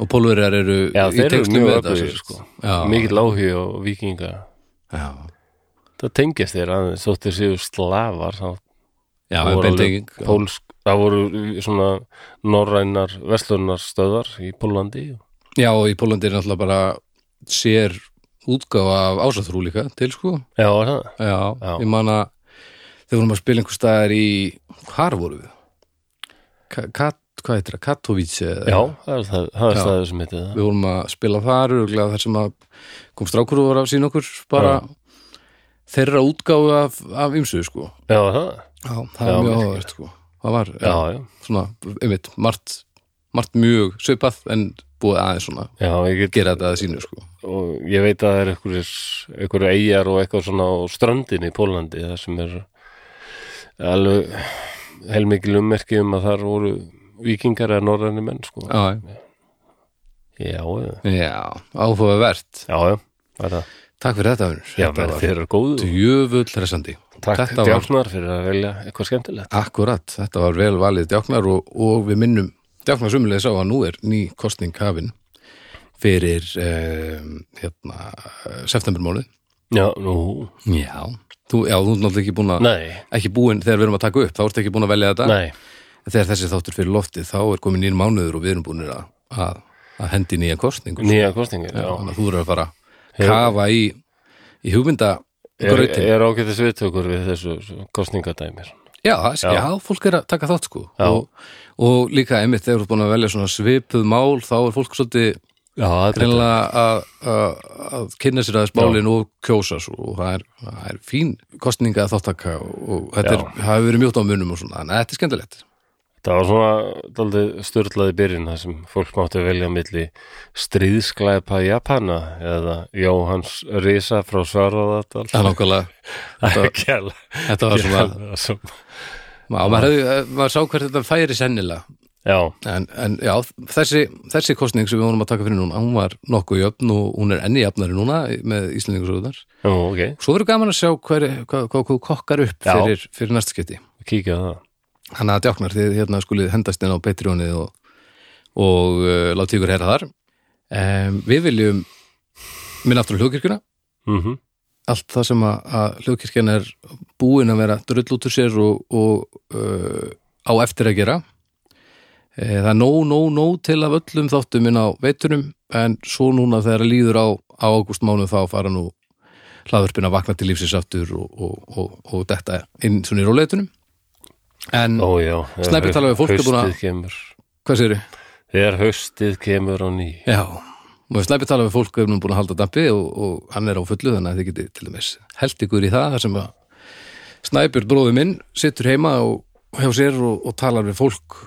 Og pólverjar eru
Já,
í
þeir eru
textum
mjög
við þetta
öflugir
sem-
sko.
Já,
Mikið láhi og vikinga.
já,
Það tengjast þeir aðeins, þóttir séu slafar, þá
já,
Það
en
voru
beint
alveg
engin-
pólsk, það voru svona norrænar verslunarstöðar í Pólandi
Já, og í Pólandi er náttúrulega bara sér útgáfa af ásatrú líka til sko
Já, er það?
Já,
Já.
ég man að þegar vorum að spila einhver staðar í hvar voru við? Ka Kat, hvað heitir það? Katowice eða-
Já, það er, það, það er
Já.
staðið sem heitir það
Við vorum að spila þar örgulega þar sem að kom strákur og var að sína okkur bara þeirra útgáfu af, af ymsu sko
Já, er það?
Já, það var
Já,
mjög
merkilegt.
áhverst sko Það var
Já, já,
svona, einmitt, margt margt mjög svipað en búið aðeins svona
já, ég get
gera þetta að sínu sko
og ég veit að það er einhverjir einhverju eigjar og eitthvað svona á ströndin í Pólandi, það sem er alveg heilmikil ummerki um að þar voru vikingar eða norræni menn, sko Já,
Já,
já, já,
já áhugavert
já, það er það
Takk fyrir þetta, Unur
Já, þér eru góðu
Djöfull hressandi
Takk
Þetta var-
djáknar fyrir að velja eitthvað skemmtilegt
Akkurat, þetta var vel valið djáknar og, og við minnum djáknar sumulega sá að nú er ný kostning hafin fyrir eh, hérna, septembermónuð.
Já, nú,
Já. Þú, já, þú er náttúrulega ekki búin að,
nei,
ekki búin þegar við erum að taka upp, þá ertu ekki búin að velja þetta.
nei,
Þegar þessi þáttur fyrir loftið, þá er komin nýr mánuður og við erum búin að, að, að hendi nýja kostningu.
nýja kostningir, já.
Þannig að þú eru að fara að kafa í, í hugmynda
Er,
gröti.
er ágættis viðtökur við þessu kostningadæmir.
Já, það sé-
Já.
já, fólk er að taka þátt sko og, og líka einmitt þegar þú ert búin að velja svona svipuð mál þá er fólk svolítið
Já, þetta er
greinlega að, að, að kynna sér aðeins málin og kjósa svo og það er, það er fín kostninga þáttaka og, og þetta er, það hefur verið mjótt á munum og svona, þannig að þetta er skemmtilegt
Það var svona daldið störlaði byrjun þar sem fólk mátti velja á milli stríðsklæpa Japana eða Jóhans Risa frá Svarðardal
það er nákvæmlega,
Það er kjæla
þetta var svona
Kjæla, sem-
og maður, hefði, maður sá hvert þetta færi sennilega
Já,
en, en já, þessi, þessi kostning sem við vorum að taka fyrir núna, hún var nokkuð jöfn og hún er enni jöfnari núna með Íslandingursöðunar
já, ok,
svo verður gaman að sjá hver, hvað, hvað, hvað kokkar upp
Já.
fyrir, fyrir næsta skipti
kíkja á það
hann að djáknar þið hérna skulið hendast inn á Patreonið og, og uh, láti ykkur heyra þar um, við viljum minna aftur á hljóðkirkjuna
mm
allt það sem að, að hljóðkirkjan er búin að vera drull út úr sér og, og uh, á eftir að gera e, það er nóg, nóg, nóg til af öllum þáttum inn á veitunum en svo núna þegar líður á, á ágústmánu þá fara nú hlaðvörpin að vakna til lífsins aftur og, og, og, og detta inn svona í róleitunum en
Ó, já
Snæbjörn talaði við fólk, er búin að-
Haustið kemur
hvað segirðu?
Þegar haustið kemur á ný
Já, og slæpi tala við fólk um búin að halda dampi og, og hann er á fullu þannig að þið getið til dæmis held ykkur í það þar sem að Snæbjörn bróði minn situr heima og og hjá sér og, og talar við fólk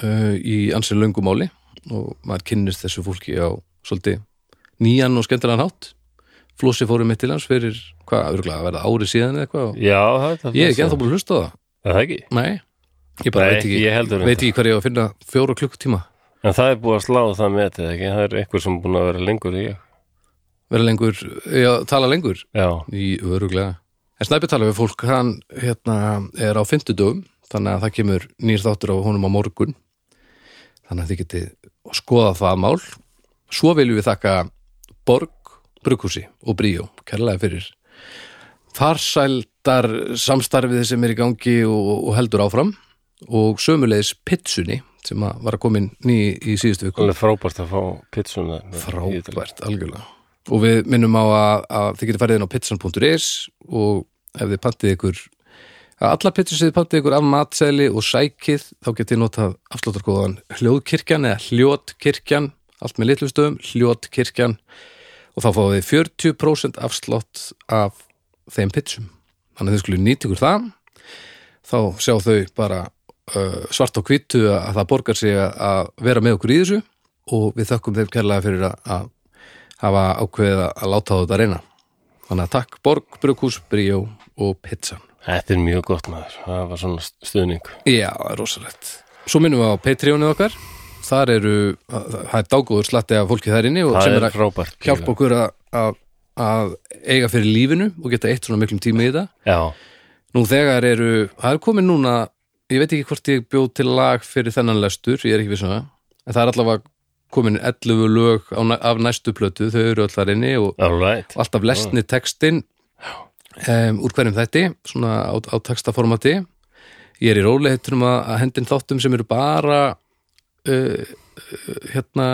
uh, í ansið löngumáli og maður kynnist þessu fólki á svolítið nýjan og skemmtilegan hátt Flossi fórum mitt til hans fyrir hvað, örgulega að verða ári síðan eða eitthvað og
Já, það
ég er ekki ennþá búin að hlusta á það
Er Það ekki
Nei, ég bara
Nei,
veit ekki,
ég heldur um
veit ekki hvað ég á að finna fjóra klukkutíma
En það er búið að slá það með þetta ekki Það er einhver sem er búin að vera lengur í ég
vera lengur, já, tala lengur
Já,
Í öruglega. En Snæbjörn talar við fólk, hann hérna, er á fimmtudum, þannig að það kemur nýr þáttur á honum á morgun. Þannig að þið getið skoða það mál. Svo viljum við þakka Borg, Brukhúsi og Bríó, kærlega fyrir farsældar samstarfið sem er í gangi og, og heldur áfram og sömulegis Pitsunni sem að var að koma inn ný í síðustu viku
alveg frábært að fá pitsuna
frábært, algjörlega og við minnum á að, að þið getur farið inn á pizzan.is og ef þið pantið ykkur að allar pizzur sem þið pantið ykkur af matsæli og sækið þá getið notað afsláttarkóðan hljóðkirkjan eða hljótkirkjan allt með litlu stöðum, hljótkirkjan og þá fáið þið 40% afslátt af þeim pizzum þannig að þið skulle nýta ykkur það þá sjá þau bara uh, svart og hvítu að það borgar sig að- að vera með okkur í þessu og við þökkum þeim kærlega fyrir að, að hafa ákveðið að láta á þetta reyna þannig að takk Borg, Brukhús, Bríó og Pizzan
Þetta er mjög gott maður Það var svona stuðning
Já, það er rosalegt Svo minnum við á Patreonið okkar þar eru, það er dágóður slatti af fólki þær inni og
Það
sem
er
er að
frábært
hjálpa okkur að, að, að eiga fyrir lífinu og geta eitt svona miklum tíma í það
Já,
Nú þegar eru, það er komin núna ég veit ekki hvort ég bjóð til lag fyrir þennan lestur, ég er ekki vissan það en það er allavega komin 11 lög á, næ- af næstu plötu, þau eru allar inni og
all right
og alltaf lesni textin um, úr hverjum þætti svona á, á textaformati ég er í róleitunum að, að hendin þáttum sem eru bara uh, uh, hérna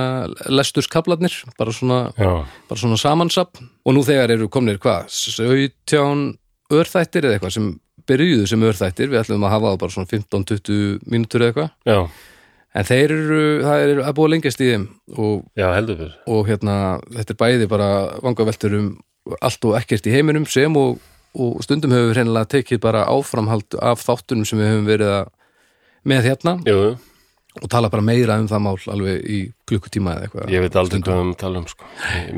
lesturskablarnir, bara svona,
Já,
bara svona samansapp og nú þegar eru komnir hvað 17 örþættir eða eitthvað sem byrjuðu sem örþættir, við ætlum að hafa það bara svona 15-20 mínútur eða eitthvað
já, en,
en þeir eru, það eru að búa lengjast í þeim og
já heldur fyrr
og hérna, þetta er bæði bara vangaveltur um allt og ekkert í heiminum sem og, og stundum höfum við reynilega tekið bara áframhald af þáttunum sem við höfum verið að með hérna
Jú,
og tala bara meira um það mál alveg í klukkutíma eða eitthvað.
ég veit aldrei hvað um tala um sko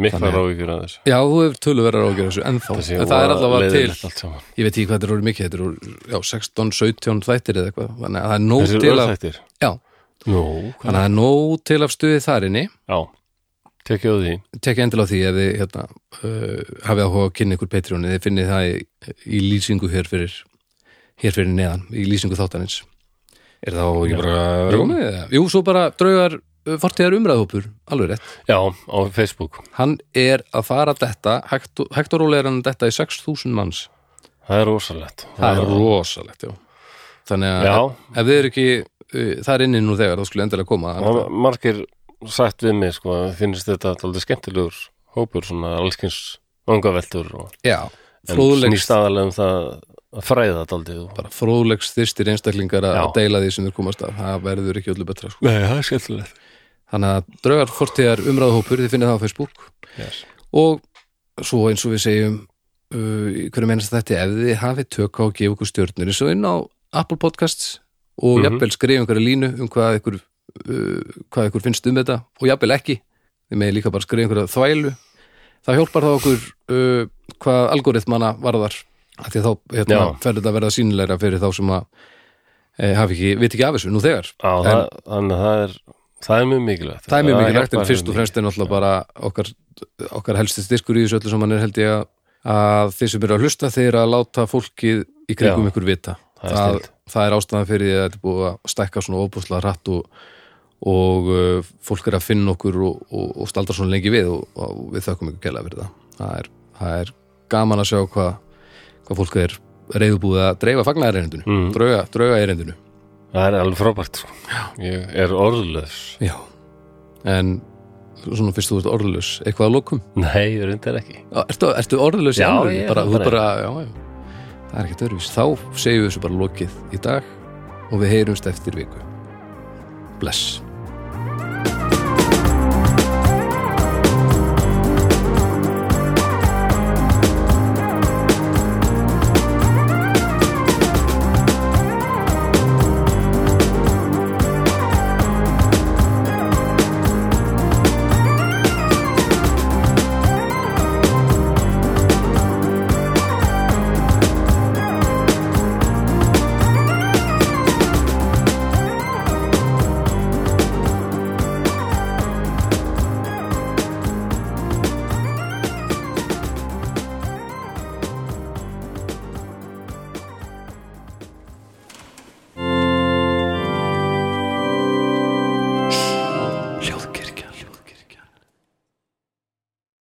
Mikla rávíkur að þessu
Já, þú hefur töluverðar ágjör þessu ennþá.
sé
En það er allavega til,
leiðinlegt allt saman.
ég veit ekki hvað þetta er orðið mikið, þetta er orðið, já, 16, 17 þættir eða eitthvað, þannig að það er nóg
Þessir
til af,
örþættir
já,
Nú,
þannig að það er nóg til af stuði þarinni.
já, tekja á því
tekja endil á því ef þið hérna, uh, hafið áhuga að kynna ykkur Patreon þið finnið það í, í lýsingu hér fyrir hér fyrir neðan, í lýsingu þáttanins er það ekki bara
Jú.
Rómið, eða? Jú, svo bara draugar uh, fortíðar umræðhópur, alveg rétt
Já, á Facebook
hann er að fara þetta, hægt og- hægt og rólega er hann að detta í 6000 manns
Það er rosalegt
það er rosalegt, já þannig að
Já.
ef þið eru ekki uh, það er inni nú þegar, þá skulle endilega koma
Það var margir sagt við mig sko finnst þetta aldrei skemmtilegur hópur svona allskins vangaveltur og
já,
en
fróðlegs
snýst aðalega um það að fræða þetta aldrei og...
bara fróðlegs þyrstir einstaklingar að
Já.
að deila því sem þeir komast að það verður ekki öllu betra sko.
Nei, það er skemmtilegt
þannig að draugar fortíðar umræðuhópur þið finnið það á Facebook
yes.
og svo eins og við segjum uh, í hverju mennast þetta ef þið hafið tök á að gefa okkur stjörnur eins og inn á Apple Podcasts og
Mhm.
jafnvel skrifa einhverja línu um hvað ykkur, uh, hvað ykkur finnst um þetta og jafnvel ekki, þið með líka bara skrifa einhverja þvælu það hjálpar þá okkur uh, hvað algoritmana varðar af því að þá hérna,
Já.
ferður þetta að verða sínilegra fyrir þá sem að e, hafi ekki, veit ekki af þessu nú þegar
á, það, þannig að það er það er hérna- mjög mikilvægt
það er mjög mikilvægt en
hjálpar
fyrst og
mjög
fremst er náttúrulega bara okkar, okkar helsti styrkur í þessu öllu sem hann er held ég að- að þeir sem eru að hlusta þeir að láta fólkið í kringum
Já.
ykkur vita
Það er
það,
snilld.
það er ástæðan fyrir því að þetta er búið að stækka svona óbúslega hratt og, og uh, fólk er að finna okkur og, og, og staldra svona lengi við og, og við þökkum ykkur kæla fyrir það það er, það er gaman að sjá hvað hvað fólk er reyðubúið að dreifa fagnaðareinindinu, mm.
Mm.
drauga, drauga erindinu
Það er alveg frábært sko. Ég er orðlaus
Já, en svona fyrst þú ert orðlaus, eitthvað að lokum?
Nei, ég reyndar ekki
Já, Ertu, ertu orðlaus í
Já,
alveg?
ég er
bara,
það
þú
bara.
bara, já, já. Það er ekkert örfis. Þá segjum við þessu bara lokið í dag og við heyrumst eftir viku. Bless.